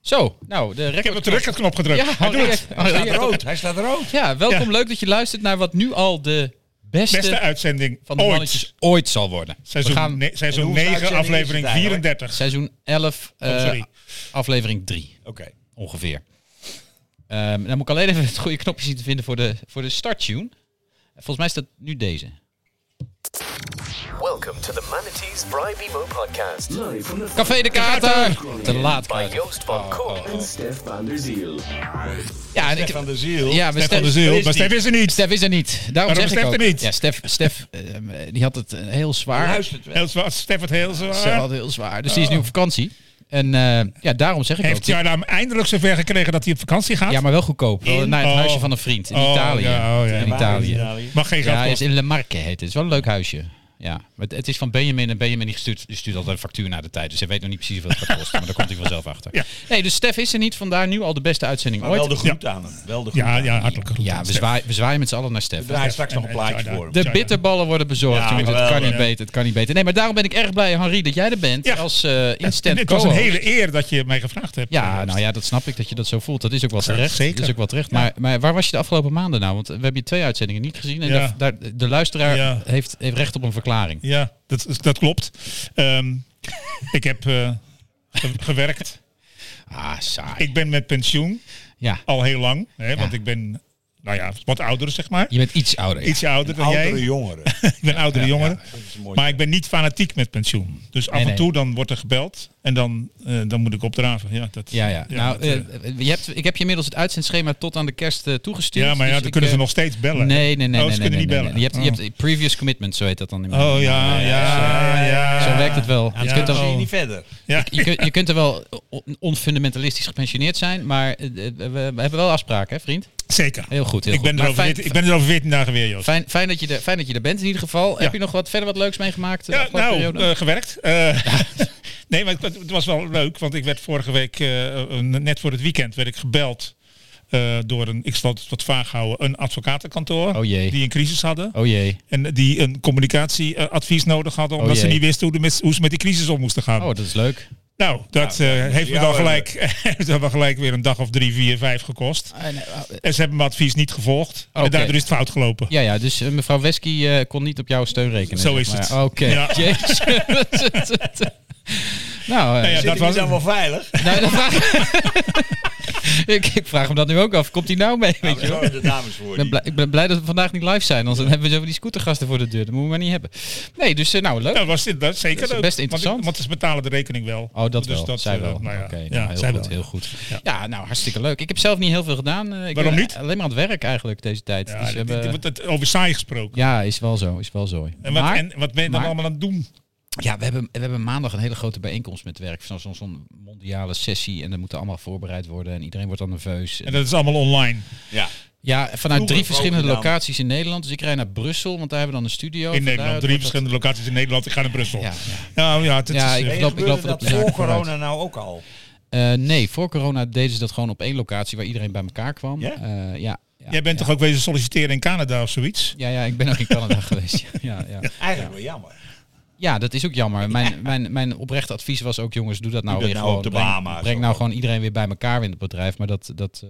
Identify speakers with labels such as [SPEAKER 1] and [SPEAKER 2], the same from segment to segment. [SPEAKER 1] Zo, nou, de record.
[SPEAKER 2] Ik heb op de recordknop gedrukt.
[SPEAKER 1] Ja,
[SPEAKER 2] Hij
[SPEAKER 1] oh,
[SPEAKER 2] doet
[SPEAKER 1] ja,
[SPEAKER 2] het.
[SPEAKER 1] ja. Hij staat
[SPEAKER 3] rood. Hij staat rood.
[SPEAKER 1] Ja, welkom.
[SPEAKER 2] Ja.
[SPEAKER 1] Leuk dat je luistert naar wat nu al de beste,
[SPEAKER 2] Beste uitzending
[SPEAKER 1] van de
[SPEAKER 2] ooit.
[SPEAKER 1] mannetjes ooit zal worden.
[SPEAKER 2] Seizoen,
[SPEAKER 1] We gaan
[SPEAKER 2] ne- seizoen
[SPEAKER 3] En hoeveel
[SPEAKER 2] 9,
[SPEAKER 3] uitzendingen is
[SPEAKER 2] aflevering
[SPEAKER 3] het eigenlijk?
[SPEAKER 2] 34.
[SPEAKER 1] seizoen 11, eh,
[SPEAKER 2] Oh, sorry.
[SPEAKER 1] aflevering 3
[SPEAKER 3] Oké.
[SPEAKER 1] ongeveer. Ehm dan moet ik alleen even het goede knopje zien te vinden voor de, voor de starttune. Volgens mij is dat nu deze.
[SPEAKER 4] Welcome to the Manatees Bribe Emo podcast
[SPEAKER 5] Live from the
[SPEAKER 1] Café de Kater! Te laat,
[SPEAKER 4] by
[SPEAKER 1] Kater.
[SPEAKER 4] Joost van Kooi.
[SPEAKER 5] and Stef van der Ziel.
[SPEAKER 1] Ja, en
[SPEAKER 3] Stef van de ziel.
[SPEAKER 1] ja, maar
[SPEAKER 2] Stef van de
[SPEAKER 1] Stef-
[SPEAKER 2] Ziel,
[SPEAKER 3] is
[SPEAKER 2] maar Stef
[SPEAKER 3] niet.
[SPEAKER 2] is er niet.
[SPEAKER 1] Stef is er niet. Daarom
[SPEAKER 2] Waarom
[SPEAKER 1] zeg ik
[SPEAKER 2] Stef
[SPEAKER 1] ook.
[SPEAKER 2] er niet?
[SPEAKER 1] Ja, Stef, Stef ehm, die had het eh, heel zwaar.
[SPEAKER 3] Luistert wel.
[SPEAKER 2] Heel zwaar. Stef het heel
[SPEAKER 1] Ze
[SPEAKER 2] zwaar.
[SPEAKER 1] hadden heel zwaar. Dus die is nu op vakantie. En eh, ja, daarom zeg ik ook.
[SPEAKER 2] Heeft Jarnaam eindelijk zover gekregen dat hij op vakantie gaat?
[SPEAKER 1] Ja, maar wel goedkoop. Wel
[SPEAKER 2] In-
[SPEAKER 1] naar het
[SPEAKER 2] oh.
[SPEAKER 1] huisje van een vriend in
[SPEAKER 2] Oh,
[SPEAKER 1] Italië.
[SPEAKER 2] ja, oh, ja.
[SPEAKER 1] In
[SPEAKER 2] Waar
[SPEAKER 1] Italië. Ja,
[SPEAKER 3] Italië.
[SPEAKER 2] Mag geen geld
[SPEAKER 1] hij is
[SPEAKER 2] kosten.
[SPEAKER 1] in Le Marque heet het. Het is wel een leuk huisje. Ja, maar het, het is van Benjamin en Benjamin die stuurt, die stuurt altijd een factuur naar de tijd. Dus hij weet nog niet precies wat het gaat kosten, maar daar komt hij vanzelf achter.
[SPEAKER 2] Ja.
[SPEAKER 1] Nee, dus Stef is er niet, vandaar nu al de beste uitzending
[SPEAKER 3] Maar
[SPEAKER 1] ooit.
[SPEAKER 3] wel de groet aan hem. Wel de groet
[SPEAKER 2] Ja,
[SPEAKER 3] aan hem.
[SPEAKER 2] ja, hartelijk groet.
[SPEAKER 1] Ja,
[SPEAKER 2] aan
[SPEAKER 1] we,
[SPEAKER 2] Stef.
[SPEAKER 1] zwaai- we zwaaien met z'n allen naar Stef.
[SPEAKER 3] We draaien straks nog
[SPEAKER 2] En-
[SPEAKER 3] een
[SPEAKER 2] en-
[SPEAKER 3] plaatje
[SPEAKER 2] en-
[SPEAKER 3] voor hem.
[SPEAKER 1] De
[SPEAKER 2] Ja, ja.
[SPEAKER 1] bitterballen worden bezorgd,
[SPEAKER 3] Ja,
[SPEAKER 1] jongens. Het kan
[SPEAKER 3] geweldig,
[SPEAKER 1] niet
[SPEAKER 2] hè?
[SPEAKER 1] beter, het kan niet beter. Nee, maar daarom ben ik erg blij, Henri, dat jij er bent
[SPEAKER 2] Ja.
[SPEAKER 1] als eh
[SPEAKER 2] En
[SPEAKER 1] instant
[SPEAKER 2] Het was een
[SPEAKER 1] co-host.
[SPEAKER 2] hele eer dat je mij gevraagd hebt.
[SPEAKER 1] Ja,
[SPEAKER 2] Eh,
[SPEAKER 1] nou ja, dat snap ik dat je dat zo voelt. Dat is ook wel terecht.
[SPEAKER 2] zeker.
[SPEAKER 1] Dat is ook wel terecht. Maar, maar waar was je de afgelopen maanden nou? Want we hebben je twee uitzendingen niet gezien. En
[SPEAKER 2] Ja.
[SPEAKER 1] daar- daar, de luisteraar
[SPEAKER 2] Ja.
[SPEAKER 1] heeft, heeft recht op een verklaring.
[SPEAKER 2] Ja, dat, is- dat klopt. Ehm, ik heb eh, ge- gewerkt.
[SPEAKER 1] Ah, saai.
[SPEAKER 2] Ik ben met pensioen
[SPEAKER 1] ja,
[SPEAKER 2] al heel lang. Hè, Want ik ben nou ja, wat ouder, zeg maar.
[SPEAKER 1] je bent iets ouder. ja.
[SPEAKER 2] Iets ouder dan
[SPEAKER 3] Oudere
[SPEAKER 2] jij.
[SPEAKER 3] jongeren.
[SPEAKER 2] Ik ben oudere jongeren.
[SPEAKER 3] Dat is een mooi.
[SPEAKER 2] Maar ik ben niet fanatiek met pensioen. Dus af
[SPEAKER 1] Nee,
[SPEAKER 2] en
[SPEAKER 1] nee.
[SPEAKER 2] toe dan wordt er gebeld en dan, eh, dan moet ik opdraven. Ja, dat,
[SPEAKER 1] Ja, ja. nou,
[SPEAKER 2] dat, eh,
[SPEAKER 1] eh, je hebt, ik heb je inmiddels het uitzendschema tot aan de kerst eh, toegestuurd.
[SPEAKER 2] ja maar ja,
[SPEAKER 1] Dus
[SPEAKER 2] dan
[SPEAKER 1] ik,
[SPEAKER 2] kunnen ze
[SPEAKER 1] eh,
[SPEAKER 2] nog steeds bellen.
[SPEAKER 1] Nee, nee, nee. nee,
[SPEAKER 2] Oh, ze
[SPEAKER 1] nee,
[SPEAKER 2] kunnen
[SPEAKER 1] nee,
[SPEAKER 2] niet
[SPEAKER 1] nee,
[SPEAKER 2] bellen.
[SPEAKER 1] nee. Je, hebt, je hebt previous commitment, zo heet dat dan. in mijn-
[SPEAKER 2] Oh ja, ja, ja. oh.
[SPEAKER 1] Zo werkt het wel.
[SPEAKER 3] Aan
[SPEAKER 1] Je
[SPEAKER 3] het
[SPEAKER 1] kunt
[SPEAKER 3] eind
[SPEAKER 1] er-
[SPEAKER 3] zie je niet verder.
[SPEAKER 2] Ja.
[SPEAKER 1] Je kunt, je kunt er wel on- onfundamentalistisch gepensioneerd zijn, maar eh, eh, we, we hebben wel afspraken, hè, vriend?
[SPEAKER 2] Zeker.
[SPEAKER 1] Heel goed, heel
[SPEAKER 2] Ik
[SPEAKER 1] goed.
[SPEAKER 2] ben,
[SPEAKER 1] Maar
[SPEAKER 2] er over
[SPEAKER 1] fijn-
[SPEAKER 2] veertien- ik ben er over 14 dagen weer, Joost.
[SPEAKER 1] Fijn, fijn, dat je er, fijn dat je er bent in ieder geval. Heb je nog wat verder wat leuks meegemaakt? de
[SPEAKER 2] Ja,
[SPEAKER 1] afgelopen
[SPEAKER 2] nou,
[SPEAKER 1] periode?
[SPEAKER 2] eh, gewerkt. Eh, nee, maar het, het was wel leuk, want ik werd vorige week, eh, eh, net voor het weekend, werd ik gebeld eh, door een, ik zal het wat vaag houden, een advocatenkantoor
[SPEAKER 1] Oh jee.
[SPEAKER 2] die een crisis hadden.
[SPEAKER 1] oh jee.
[SPEAKER 2] En die een communicatieadvies nodig hadden, omdat
[SPEAKER 1] Oh,
[SPEAKER 2] ze
[SPEAKER 1] jee.
[SPEAKER 2] niet wisten hoe, de mes- hoe ze met die crisis om moesten gaan.
[SPEAKER 1] Oh, dat is leuk.
[SPEAKER 2] Nou, dat eh, heeft me
[SPEAKER 3] jou
[SPEAKER 2] dan gelijk, heeft me dan gelijk weer een dag of drie, vier, vijf gekost.
[SPEAKER 1] Ah,
[SPEAKER 2] En ze hebben mijn advies niet gevolgd.
[SPEAKER 1] Oké.
[SPEAKER 2] En daardoor is het fout gelopen.
[SPEAKER 1] eh, Ja, ja, dus eh, mevrouw Wesky eh, kon niet op jouw steun rekenen.
[SPEAKER 2] Zo
[SPEAKER 1] zeg
[SPEAKER 2] is het.
[SPEAKER 1] maar. Oké.
[SPEAKER 2] Ja.
[SPEAKER 1] Jezus. nou, eh,
[SPEAKER 2] ja,
[SPEAKER 3] Zit
[SPEAKER 2] dat
[SPEAKER 3] dat was
[SPEAKER 2] was
[SPEAKER 3] dan
[SPEAKER 2] het.
[SPEAKER 3] wel veilig.
[SPEAKER 1] nou, dan vraag... ik, ik vraag hem dat nu ook af. Komt hij nou mee? Weet je wel?
[SPEAKER 3] De dames voor.
[SPEAKER 1] Ik ben, blij, ik ben blij dat we vandaag niet live zijn, anders dan hebben we zo van die scootergasten voor de deur. Dat moeten we maar niet hebben. Nee, dus eh, nou, leuk.
[SPEAKER 2] Nou, was dit, dat is zeker
[SPEAKER 1] Dat is
[SPEAKER 2] leuk.
[SPEAKER 1] best
[SPEAKER 2] Want ik-
[SPEAKER 1] interessant.
[SPEAKER 2] Want, ze betalen de rekening wel.
[SPEAKER 1] Oh, dat
[SPEAKER 2] Dus
[SPEAKER 1] wel. zij
[SPEAKER 2] eh,
[SPEAKER 1] wel.
[SPEAKER 2] nou ja.
[SPEAKER 1] Oké, nou,
[SPEAKER 2] Ja,
[SPEAKER 1] heel,
[SPEAKER 2] zij
[SPEAKER 1] goed,
[SPEAKER 2] wel.
[SPEAKER 1] heel goed. Ja. nou, hartstikke leuk. Ik heb zelf niet heel veel gedaan. Eh, ik
[SPEAKER 2] Waarom
[SPEAKER 1] ben
[SPEAKER 2] niet?
[SPEAKER 1] Alleen maar aan het werk eigenlijk deze tijd.
[SPEAKER 2] Ja,
[SPEAKER 1] dus we
[SPEAKER 2] dit- dit-
[SPEAKER 1] hebben-
[SPEAKER 2] dit wordt over saai gesproken.
[SPEAKER 1] ja, is wel zo. Is wel zo.
[SPEAKER 2] En wat,
[SPEAKER 1] maar,
[SPEAKER 2] en wat ben je dan
[SPEAKER 1] maar-
[SPEAKER 2] allemaal aan het doen?
[SPEAKER 1] ja, we hebben, we hebben maandag een hele grote bijeenkomst met werk. Zo'n zo'n- zo'n mondiale sessie. En dan moeten allemaal voorbereid worden. En iedereen wordt dan nerveus.
[SPEAKER 2] En dat is allemaal online.
[SPEAKER 1] Oh,
[SPEAKER 3] Ja.
[SPEAKER 1] ja, vanuit drie
[SPEAKER 3] vroeger
[SPEAKER 1] verschillende
[SPEAKER 3] ook gedaan.
[SPEAKER 1] locaties in Nederland. Dus ik rij naar Brussel, want daar hebben we dan een studio.
[SPEAKER 2] In
[SPEAKER 1] Vandaar
[SPEAKER 2] Nederland.
[SPEAKER 1] het
[SPEAKER 2] Drie
[SPEAKER 1] wordt dat-
[SPEAKER 2] verschillende locaties in Nederland. Ik ga naar Brussel.
[SPEAKER 1] Ja,
[SPEAKER 2] Ja,
[SPEAKER 1] ja.
[SPEAKER 2] ja, het
[SPEAKER 1] Ja,
[SPEAKER 2] is,
[SPEAKER 1] ik-
[SPEAKER 2] eh,
[SPEAKER 3] Ik
[SPEAKER 1] geloof-
[SPEAKER 3] geloof,
[SPEAKER 1] geloof
[SPEAKER 3] dat,
[SPEAKER 1] dat de zaak
[SPEAKER 3] voor
[SPEAKER 1] vooruit-
[SPEAKER 3] corona nou ook al.
[SPEAKER 1] Eh, nee, voor corona deden ze dat gewoon op één locatie waar iedereen bij elkaar kwam.
[SPEAKER 3] Ja?
[SPEAKER 1] Eh, ja, ja,
[SPEAKER 2] jij bent
[SPEAKER 1] ja.
[SPEAKER 2] toch ook wezen solliciteren in Canada of zoiets?
[SPEAKER 1] Ja, ja, ik ben ook in Canada geweest. Ja, ja, ja.
[SPEAKER 3] Eigenlijk wel jammer.
[SPEAKER 1] ja, dat is ook jammer. Mijn, mijn, mijn oprechte advies was ook, jongens, doe dat nou
[SPEAKER 3] Doe dat
[SPEAKER 1] weer
[SPEAKER 3] nou
[SPEAKER 1] gewoon.
[SPEAKER 3] op de
[SPEAKER 1] Breng-
[SPEAKER 3] Bahama's
[SPEAKER 1] Breng,
[SPEAKER 3] of
[SPEAKER 1] nou
[SPEAKER 3] zo.
[SPEAKER 1] gewoon iedereen weer bij elkaar in het bedrijf. Maar dat, dat, eh,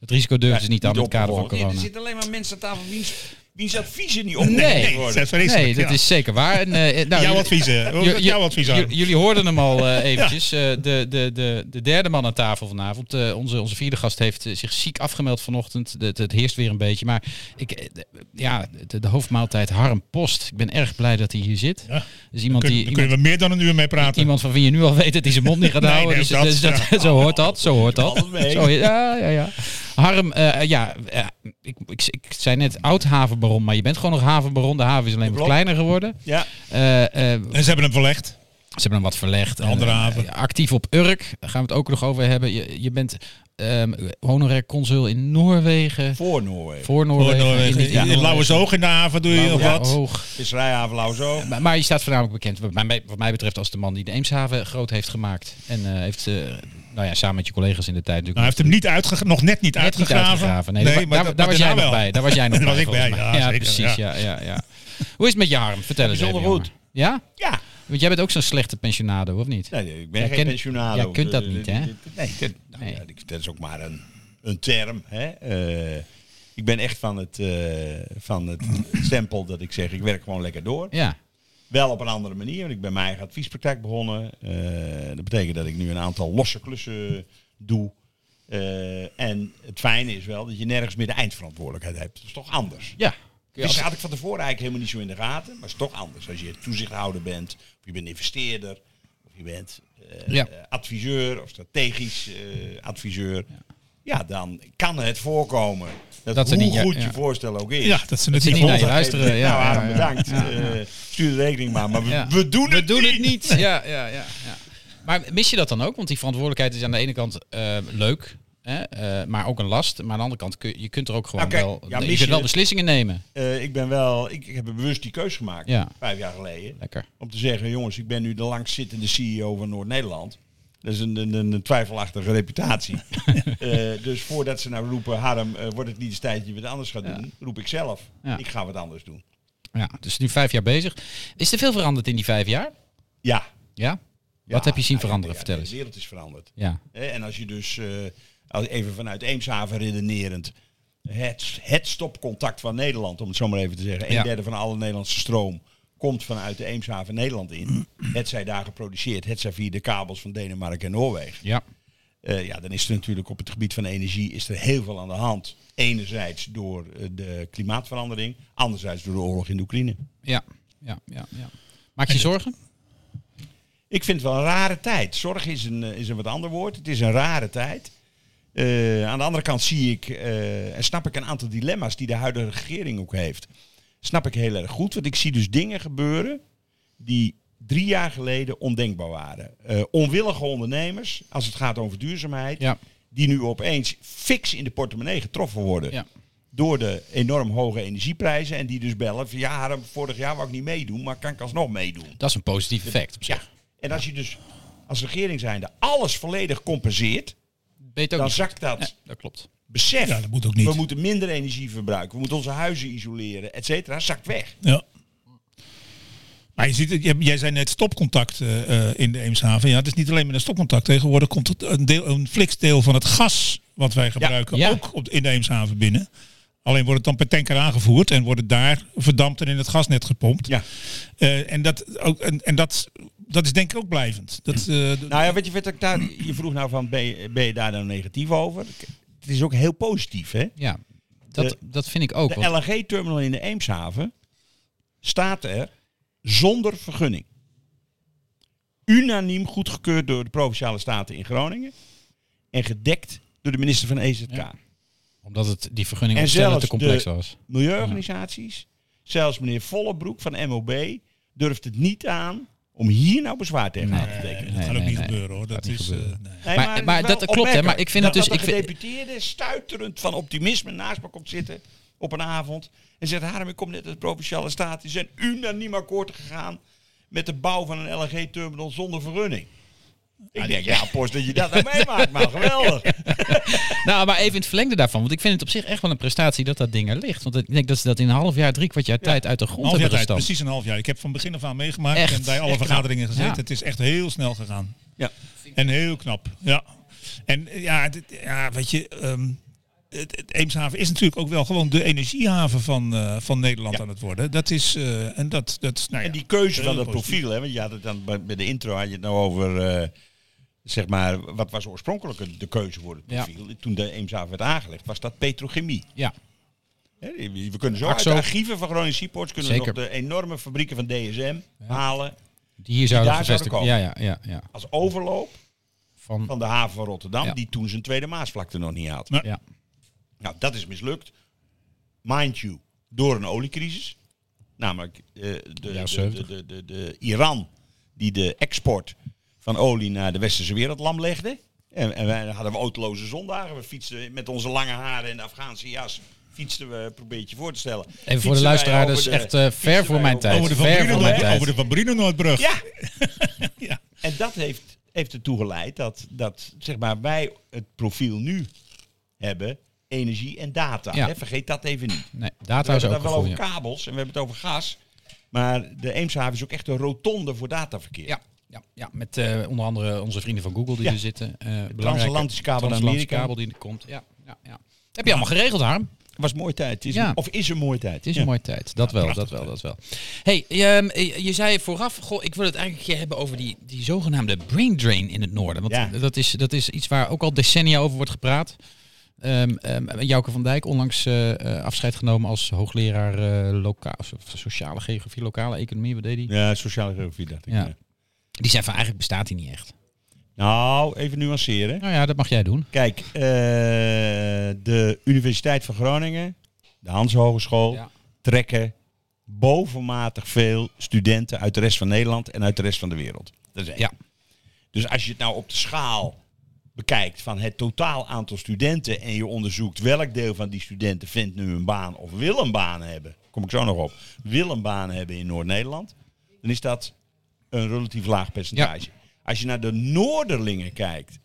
[SPEAKER 1] het risico durven ze niet aan in het kader van
[SPEAKER 3] opgevolgd.
[SPEAKER 1] corona.
[SPEAKER 3] Er zitten alleen maar mensen aan tafel wiens, wiens adviezen niet opgevolgd
[SPEAKER 1] Nee.
[SPEAKER 3] worden.
[SPEAKER 2] Zet vreselijk,
[SPEAKER 1] Nee, dat
[SPEAKER 2] ja.
[SPEAKER 1] is zeker waar. En, eh, eh, nou,
[SPEAKER 2] jouw
[SPEAKER 1] jullie-
[SPEAKER 2] adviezen. Hoe is
[SPEAKER 1] Ju-
[SPEAKER 2] dat
[SPEAKER 1] ju-
[SPEAKER 2] jouw advies
[SPEAKER 1] ju-
[SPEAKER 2] aan?
[SPEAKER 1] jullie hoorden hem al eh, eventjes. Eh, de, de, de, de derde man aan tafel vanavond. eh, onze, onze vierde gast heeft eh, zich ziek afgemeld vanochtend. Het- het heerst weer een beetje. Maar ik, eh, de- ja, de, de hoofdmaaltijd Harm Post. Ik ben erg blij dat hij hier zit.
[SPEAKER 2] Ja.
[SPEAKER 1] Dus iemand
[SPEAKER 2] Kun-
[SPEAKER 1] die...
[SPEAKER 2] Daar
[SPEAKER 1] iemand-
[SPEAKER 2] kunnen we meer dan een uur mee praten.
[SPEAKER 1] Iemand van wie je nu al weet dat hij zijn mond niet gaat
[SPEAKER 2] Nee,
[SPEAKER 1] houden.
[SPEAKER 2] nee,
[SPEAKER 1] dus
[SPEAKER 2] dat-
[SPEAKER 1] dus dat, zo hoort dat, zo hoort dat.
[SPEAKER 3] Alles mee.
[SPEAKER 1] Zo, ja, ja, ja. Harm, eh, ja, eh, ik, ik, ik zei net oud havenbaron, maar je bent gewoon nog havenbaron. De haven is alleen wat
[SPEAKER 3] klopt.
[SPEAKER 1] kleiner geworden.
[SPEAKER 3] Ja.
[SPEAKER 1] Eh, eh,
[SPEAKER 2] En ze hebben hem verlegd.
[SPEAKER 1] ze hebben hem wat verlegd. En,
[SPEAKER 2] andere
[SPEAKER 1] eh,
[SPEAKER 2] haven.
[SPEAKER 1] actief op Urk. Daar gaan we het ook nog over hebben. Je, je bent ehm, honorair consul in Noorwegen.
[SPEAKER 3] Voor Noorwegen.
[SPEAKER 1] Voor
[SPEAKER 2] Voor
[SPEAKER 1] Noorwegen.
[SPEAKER 2] Noorwegen.
[SPEAKER 1] in- in- in
[SPEAKER 2] In Lauwersoog in de haven doe je nog
[SPEAKER 1] oh, Ja, oh.
[SPEAKER 2] wat. Nou,
[SPEAKER 1] hoog.
[SPEAKER 3] Visserijhaven Lauzo.
[SPEAKER 1] Maar, maar je staat voornamelijk bekend, wat mij, wat mij betreft, als de man die de Eemshaven groot heeft gemaakt. En eh, heeft, eh, nou ja, samen met je collega's in de tijd
[SPEAKER 2] Nou,
[SPEAKER 1] natuurlijk.
[SPEAKER 2] hij heeft hem niet uitge nog net niet
[SPEAKER 1] net niet
[SPEAKER 2] uitgegraven.
[SPEAKER 1] Nee, daar- daar, daar was jij
[SPEAKER 2] daarna
[SPEAKER 1] nog
[SPEAKER 2] nou wel.
[SPEAKER 1] bij. Daar was jij nog
[SPEAKER 2] Daar
[SPEAKER 1] bij.
[SPEAKER 2] was ik
[SPEAKER 1] volgens
[SPEAKER 2] bij,
[SPEAKER 1] mij.
[SPEAKER 2] ja,
[SPEAKER 1] ja
[SPEAKER 2] zeker,
[SPEAKER 1] precies. Ja. Ja, ja, Hoe is het met je, Harm? Vertel eens even.
[SPEAKER 3] Bijzonder goed.
[SPEAKER 1] jongen. Ja?
[SPEAKER 3] Ja.
[SPEAKER 1] Want jij bent ook zo'n slechte pensionado, of niet?
[SPEAKER 3] Nee, nee, ik ben
[SPEAKER 1] Jij
[SPEAKER 3] geen
[SPEAKER 1] kent-
[SPEAKER 3] pensionado.
[SPEAKER 1] jij kunt dat niet, hè?
[SPEAKER 3] Nee, ik- nou
[SPEAKER 1] Nee.
[SPEAKER 3] Ja, die- dat is ook maar een, een term. Hè? Eh, ik ben echt van het, eh, van het stempel dat ik zeg, ik werk gewoon lekker door.
[SPEAKER 1] Ja.
[SPEAKER 3] Wel op een andere manier, want ik ben mijn eigen adviespraktijk begonnen. Eh, dat betekent dat ik nu een aantal losse klussen doe. Eh, en het fijne is wel dat je nergens meer de eindverantwoordelijkheid hebt. Dat is toch anders.
[SPEAKER 1] Ja. Kun je
[SPEAKER 3] Dus
[SPEAKER 1] altijd-
[SPEAKER 3] dat had ik van tevoren eigenlijk helemaal niet zo in de gaten. Maar het is toch anders. Als je toezichthouder bent, of je bent investeerder, of je bent eh,
[SPEAKER 1] Ja.
[SPEAKER 3] eh, adviseur of strategisch eh, adviseur. Ja. dan kan het voorkomen dat,
[SPEAKER 1] Dat ze
[SPEAKER 3] hoe
[SPEAKER 1] niet- ja,
[SPEAKER 3] goed
[SPEAKER 1] ja.
[SPEAKER 3] je voorstel ook is.
[SPEAKER 2] Ja, dat ze
[SPEAKER 1] Dat
[SPEAKER 2] het
[SPEAKER 1] ze
[SPEAKER 2] niet
[SPEAKER 1] niet naar je
[SPEAKER 2] volgen.
[SPEAKER 1] luisteren. Ja,
[SPEAKER 3] nou, Adam,
[SPEAKER 1] ja, ja.
[SPEAKER 3] bedankt.
[SPEAKER 1] Ja, ja.
[SPEAKER 3] Eh, stuur de rekening maar. Maar we,
[SPEAKER 1] Ja.
[SPEAKER 3] we doen het
[SPEAKER 1] doen
[SPEAKER 3] niet.
[SPEAKER 1] het niet. Ja, ja, ja, ja. Maar mis je dat dan ook? Want die verantwoordelijkheid is aan de ene kant eh, leuk, hè, eh, maar ook een last. Maar aan de andere kant, kun, je kunt er ook gewoon
[SPEAKER 3] Nou, kijk, ja,
[SPEAKER 1] wel, je
[SPEAKER 3] mis
[SPEAKER 1] kunt wel
[SPEAKER 3] je-
[SPEAKER 1] beslissingen nemen.
[SPEAKER 3] Eh, ik ben wel, ik, ik heb bewust die keus gemaakt,
[SPEAKER 1] Ja.
[SPEAKER 3] vijf jaar geleden.
[SPEAKER 1] Lekker.
[SPEAKER 3] Om te zeggen, jongens, ik ben nu de langstzittende CEO van Noord-Nederland. Dat is een, een, een- een twijfelachtige reputatie. Eh, dus voordat ze nou roepen, Harm, eh, wordt het niet eens tijd dat je wat anders gaat doen, roep ik zelf.
[SPEAKER 1] Ja.
[SPEAKER 3] Ik ga wat anders doen.
[SPEAKER 1] Ja, dus nu vijf jaar bezig. Is er veel veranderd in die vijf jaar?
[SPEAKER 3] Ja.
[SPEAKER 1] Ja?
[SPEAKER 3] Ja,
[SPEAKER 1] Wat heb je zien
[SPEAKER 3] nou,
[SPEAKER 1] veranderen?
[SPEAKER 3] ja,
[SPEAKER 1] Vertel eens.
[SPEAKER 3] De wereld is veranderd.
[SPEAKER 1] Ja.
[SPEAKER 3] Hè, En als je dus, eh, als- even vanuit Eemshaven redenerend, het, het stopcontact van Nederland, om het zo maar even te zeggen,
[SPEAKER 1] Ja.
[SPEAKER 3] een derde van alle Nederlandse stroom komt vanuit de Eemshaven Nederland in. Het zij daar geproduceerd, het zij via de kabels van Denemarken en Noorwegen.
[SPEAKER 1] Ja.
[SPEAKER 3] Eh, ja, dan is er natuurlijk op het gebied van energie is er heel veel aan de hand. Enerzijds door eh, de klimaatverandering, anderzijds door de oorlog in de Oekraïne.
[SPEAKER 1] Ja. Ja. Ja. ja. Maak je zorgen?
[SPEAKER 3] Ik vind het wel een rare tijd. Zorg is een, eh, is een wat ander woord. Het is een rare tijd. Eh, aan de andere kant zie ik eh, en snap ik een aantal dilemma's die de huidige regering ook heeft. Snap ik heel erg goed. Want ik zie dus dingen gebeuren die drie jaar geleden ondenkbaar waren. Eh, onwillige ondernemers, als het gaat over duurzaamheid,
[SPEAKER 1] Ja.
[SPEAKER 3] die nu opeens fix in de portemonnee getroffen worden.
[SPEAKER 1] Ja.
[SPEAKER 3] Door de enorm hoge energieprijzen. En die dus bellen van ja, Harm, vorig jaar wou ik niet meedoen, maar kan ik alsnog meedoen.
[SPEAKER 1] Dat is een positief effect op
[SPEAKER 3] Ja.
[SPEAKER 1] zich.
[SPEAKER 3] En als je dus als regering zijnde alles volledig compenseert,
[SPEAKER 1] Weet ook
[SPEAKER 3] dan
[SPEAKER 1] niet.
[SPEAKER 3] zakt dat
[SPEAKER 1] Ja, dat klopt.
[SPEAKER 3] besef.
[SPEAKER 2] Ja, dat moet ook niet.
[SPEAKER 3] We moeten minder energie verbruiken, we moeten onze huizen isoleren, et cetera, zakt weg.
[SPEAKER 2] Ja. Maar je ziet, het, jij- jij zei net stopcontact eh, eh, in de Eemshaven. Ja, het is niet alleen met een stopcontact. Tegenwoordig komt het een, deel, een fliksdeel van het gas wat wij gebruiken
[SPEAKER 1] ja.
[SPEAKER 2] ook op, de- in de Eemshaven binnen. Alleen wordt het dan per tanker aangevoerd en wordt het daar verdampt en in het gasnet gepompt.
[SPEAKER 3] Ja.
[SPEAKER 2] Eh, en dat, ook, en, en dat, dat is denk ik ook blijvend. Dat, eh, d-
[SPEAKER 3] Nou ja, weet je, weet ik daar, je vroeg nou van, ben je, ben je daar nou negatief over? Het is ook heel positief, hè?
[SPEAKER 1] Ja. Dat,
[SPEAKER 3] De-
[SPEAKER 1] dat vind ik ook.
[SPEAKER 3] De
[SPEAKER 1] want-
[SPEAKER 3] LNG-terminal in de Eemshaven staat er zonder vergunning. Unaniem goedgekeurd door de Provinciale Staten in Groningen en gedekt door de minister van E EZK.
[SPEAKER 1] Ja. omdat het die vergunning
[SPEAKER 3] En
[SPEAKER 1] opstellen
[SPEAKER 3] zelfs
[SPEAKER 1] te complex
[SPEAKER 3] de-
[SPEAKER 1] was.
[SPEAKER 3] milieuorganisaties, zelfs meneer Vollebroek van MOB, durft het niet aan om hier nou bezwaar tegen aan te tekenen.
[SPEAKER 2] dat
[SPEAKER 1] nee,
[SPEAKER 2] gaat ook
[SPEAKER 1] nee,
[SPEAKER 2] niet
[SPEAKER 1] nee.
[SPEAKER 2] gebeuren hoor. Dat
[SPEAKER 1] Gaat niet
[SPEAKER 2] is,
[SPEAKER 1] gebeuren.
[SPEAKER 2] eh, nee.
[SPEAKER 3] Nee,
[SPEAKER 1] Maar-
[SPEAKER 3] het is
[SPEAKER 1] maar dat
[SPEAKER 3] wel
[SPEAKER 1] klopt, hè, maar
[SPEAKER 3] opmerkelijk
[SPEAKER 1] ik vind dat dus-
[SPEAKER 3] Dat
[SPEAKER 1] ik
[SPEAKER 3] de
[SPEAKER 1] vind-
[SPEAKER 3] gedeputeerde stuiterend van optimisme naast me komt zitten op een avond en zegt, Harm, ik kom net uit de Provinciale Staten, die zijn unaniem akkoord gegaan met de bouw van een LNG-terminal zonder vergunning. Ik
[SPEAKER 1] Ah,
[SPEAKER 3] denk, ja, post dat je dat nou meemaakt, maar geweldig.
[SPEAKER 1] Nou, maar even in het verlengde daarvan. Want ik vind het op zich echt wel een prestatie dat dat ding er ligt. Want ik denk dat ze dat in een half jaar, drie kwart jaar tijd uit de
[SPEAKER 2] Een
[SPEAKER 1] grond
[SPEAKER 2] half jaar
[SPEAKER 1] hebben
[SPEAKER 2] tijd,
[SPEAKER 1] gestampt.
[SPEAKER 2] precies een half jaar. Ik heb van begin af aan meegemaakt
[SPEAKER 1] Echt,
[SPEAKER 2] en bij alle
[SPEAKER 1] echt
[SPEAKER 2] vergaderingen gezeten.
[SPEAKER 1] Ja.
[SPEAKER 2] Het is echt heel snel gegaan.
[SPEAKER 3] Ja.
[SPEAKER 2] En heel knap, ja. En eh, ja, dit- ja weet je, ehm, het, het Eemshaven is natuurlijk ook wel gewoon de energiehaven van, eh, van Nederland aan het worden. Dat is, eh, en dat, dat is, nou ja.
[SPEAKER 3] En die keuze van
[SPEAKER 2] Heel
[SPEAKER 3] dat profiel, hè, want je had het dan bij bij de intro had je het nou over, eh, zeg maar, wat was oorspronkelijk de keuze voor het
[SPEAKER 1] Ja.
[SPEAKER 3] profiel? Toen de Eemshaven werd aangelegd, was dat petrochemie.
[SPEAKER 1] Ja,
[SPEAKER 3] Hè, We kunnen zo
[SPEAKER 1] Axo.
[SPEAKER 3] uit de archieven van Groningen Seaports kunnen we
[SPEAKER 1] Zeker.
[SPEAKER 3] nog de enorme fabrieken van DSM halen
[SPEAKER 1] die hier zouden
[SPEAKER 3] daar zouden
[SPEAKER 1] gevestigd worden. Ja, ja, ja. ja.
[SPEAKER 3] als overloop
[SPEAKER 1] Van,
[SPEAKER 3] van de haven van Rotterdam,
[SPEAKER 1] Ja.
[SPEAKER 3] die toen zijn tweede Maasvlakte nog niet had.
[SPEAKER 2] Ja.
[SPEAKER 1] ja.
[SPEAKER 3] Nou, dat is mislukt. Mind you, door een oliecrisis. Namelijk eh, de,
[SPEAKER 1] Ja,
[SPEAKER 3] de,
[SPEAKER 1] 70.
[SPEAKER 3] de, de, de, de Iran die de export van olie naar de westerse wereld lam legde. En, en wij hadden we autoloze zondagen. We fietsten met onze lange haren en de Afghaanse jas. Fietsten we, probeer het je voor te stellen.
[SPEAKER 1] Even voor de luisteraar, dat is echt eh, ver voor mijn tijd.
[SPEAKER 2] over de Van
[SPEAKER 1] ver voor mijn
[SPEAKER 2] Brienenoord-
[SPEAKER 1] tijd.
[SPEAKER 2] over de Van Brienenoordbrug.
[SPEAKER 3] Ja,
[SPEAKER 2] Ja.
[SPEAKER 3] en dat heeft, heeft ertoe geleid dat, dat zeg maar, wij het profiel nu hebben. Energie en data.
[SPEAKER 1] Ja.
[SPEAKER 3] Hè? Vergeet dat even niet.
[SPEAKER 1] Nee,
[SPEAKER 3] We
[SPEAKER 1] data is
[SPEAKER 3] hebben
[SPEAKER 1] ook
[SPEAKER 3] het
[SPEAKER 1] een
[SPEAKER 3] wel over
[SPEAKER 1] goeie.
[SPEAKER 3] kabels en we hebben het over gas. Maar de Eemshaven is ook echt een rotonde voor dataverkeer.
[SPEAKER 1] Ja, Ja, ja met eh, onder andere onze vrienden van Google die
[SPEAKER 3] Ja.
[SPEAKER 1] er zitten. eh, belangrijke-
[SPEAKER 3] transatlantische kabel naar
[SPEAKER 1] transatlantische
[SPEAKER 3] Amerika.
[SPEAKER 1] kabel die er komt. Ja, ja, ja. Heb je allemaal geregeld, Harm?
[SPEAKER 3] Was mooi tijd. Is
[SPEAKER 1] Ja.
[SPEAKER 3] een- of is een mooie tijd.
[SPEAKER 1] Het is een mooie tijd. Dat wel, dat wel, dat wel. hey, ehm, je- je zei vooraf, goh, ik wil het eigenlijk een keer hebben over die, die zogenaamde brain drain in het noorden. Want
[SPEAKER 3] Ja.
[SPEAKER 1] dat, is, dat is iets waar ook al decennia over wordt gepraat. Ehm ehm, Jouke van Dijk, onlangs eh, eh, afscheid genomen als hoogleraar eh, loka- of sociale geografie, lokale economie, wat deed hij?
[SPEAKER 3] Ja, sociale geografie dacht ik.
[SPEAKER 1] Ja.
[SPEAKER 3] ja.
[SPEAKER 1] Die zei van eigenlijk bestaat hij niet echt.
[SPEAKER 3] Nou, even nuanceren.
[SPEAKER 1] Nou ja, dat mag jij doen.
[SPEAKER 3] Kijk, eh, de Universiteit van Groningen, de Hans Hogeschool,
[SPEAKER 1] Ja.
[SPEAKER 3] trekken bovenmatig veel studenten uit de rest van Nederland en uit de rest van de wereld. Dat is één.
[SPEAKER 1] Ja.
[SPEAKER 3] Dus als je het nou op de schaal bekijkt van het totaal aantal studenten en je onderzoekt welk deel van die studenten vindt nu een baan of wil een baan hebben, kom ik zo nog op, wil een baan hebben in Noord-Nederland, dan is dat een relatief laag percentage. Als je naar de Noorderlingen kijkt,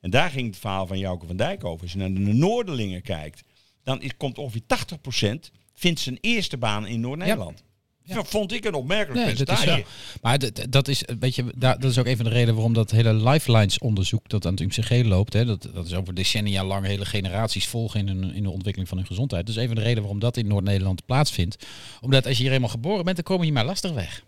[SPEAKER 3] en daar ging het verhaal van Jouke van Dijk over, als je naar de Noorderlingen kijkt, dan is, komt ongeveer 80% vindt zijn eerste baan in Noord-Nederland. Dat vond ik een opmerkelijk
[SPEAKER 1] Nee, dat is
[SPEAKER 3] percentage.
[SPEAKER 1] zo. Maar d- d- dat is, eh, weet je, da- dat is ook een van de redenen waarom dat hele lifelines-onderzoek dat aan het UMCG loopt. Hè, dat, dat is over decennia lang hele generaties volgen in, hun, in de ontwikkeling van hun gezondheid. Dus een van de redenen waarom dat in Noord-Nederland plaatsvindt. Omdat als je hier eenmaal geboren bent, dan kom je hier maar lastig weg.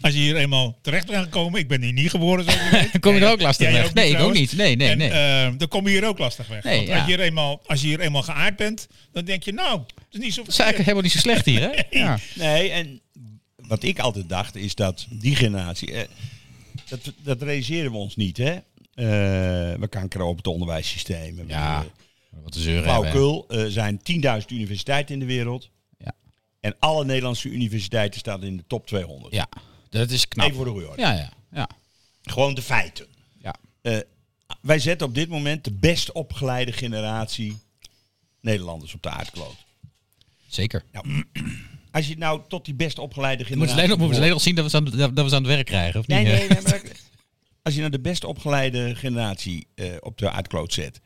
[SPEAKER 2] Als je hier eenmaal terecht bent gekomen, ik ben hier niet geboren. Zoals je weet.
[SPEAKER 1] Dan kom je er ook lastig
[SPEAKER 2] Jij
[SPEAKER 1] weg.
[SPEAKER 2] ook
[SPEAKER 1] nee, ik ook
[SPEAKER 2] trouwens.
[SPEAKER 1] niet. Nee, nee,
[SPEAKER 2] en,
[SPEAKER 1] nee.
[SPEAKER 2] eh, dan kom je hier ook lastig weg.
[SPEAKER 1] Nee,
[SPEAKER 2] Want
[SPEAKER 1] ja.
[SPEAKER 2] als, je hier eenmaal, als je hier eenmaal geaard bent, dan denk je, nou, het is niet zo
[SPEAKER 1] dat is eigenlijk helemaal niet zo slecht hier, hè? Ja.
[SPEAKER 3] Nee, en wat ik altijd dacht is dat die generatie. eh, dat, dat realiseren we ons niet, hè? Eh, we kankeren op het onderwijssysteem. We-
[SPEAKER 1] ja. Wat een zeur hebben.
[SPEAKER 3] Flauwekul. Er zijn 10.000 universiteiten in de wereld.
[SPEAKER 1] Ja.
[SPEAKER 3] En alle Nederlandse universiteiten staan in de top 200.
[SPEAKER 1] Ja, dat is knap.
[SPEAKER 3] Even voor de goede orde.
[SPEAKER 1] Ja, ja, ja.
[SPEAKER 3] Gewoon de feiten.
[SPEAKER 1] ja.
[SPEAKER 3] Eh, wij zetten op dit moment de best opgeleide generatie Nederlanders op de aardkloot.
[SPEAKER 1] Zeker.
[SPEAKER 3] Als je nou tot die best opgeleide
[SPEAKER 1] We moeten
[SPEAKER 3] generatie...
[SPEAKER 1] alleen nog- moeten we
[SPEAKER 3] behoort-
[SPEAKER 1] alleen nog zien dat we ze aan, dat, dat we ze aan het werk krijgen, of niet?
[SPEAKER 3] Nee, nee, nee, maar als je naar de best opgeleide generatie eh, op de aardkloot zet.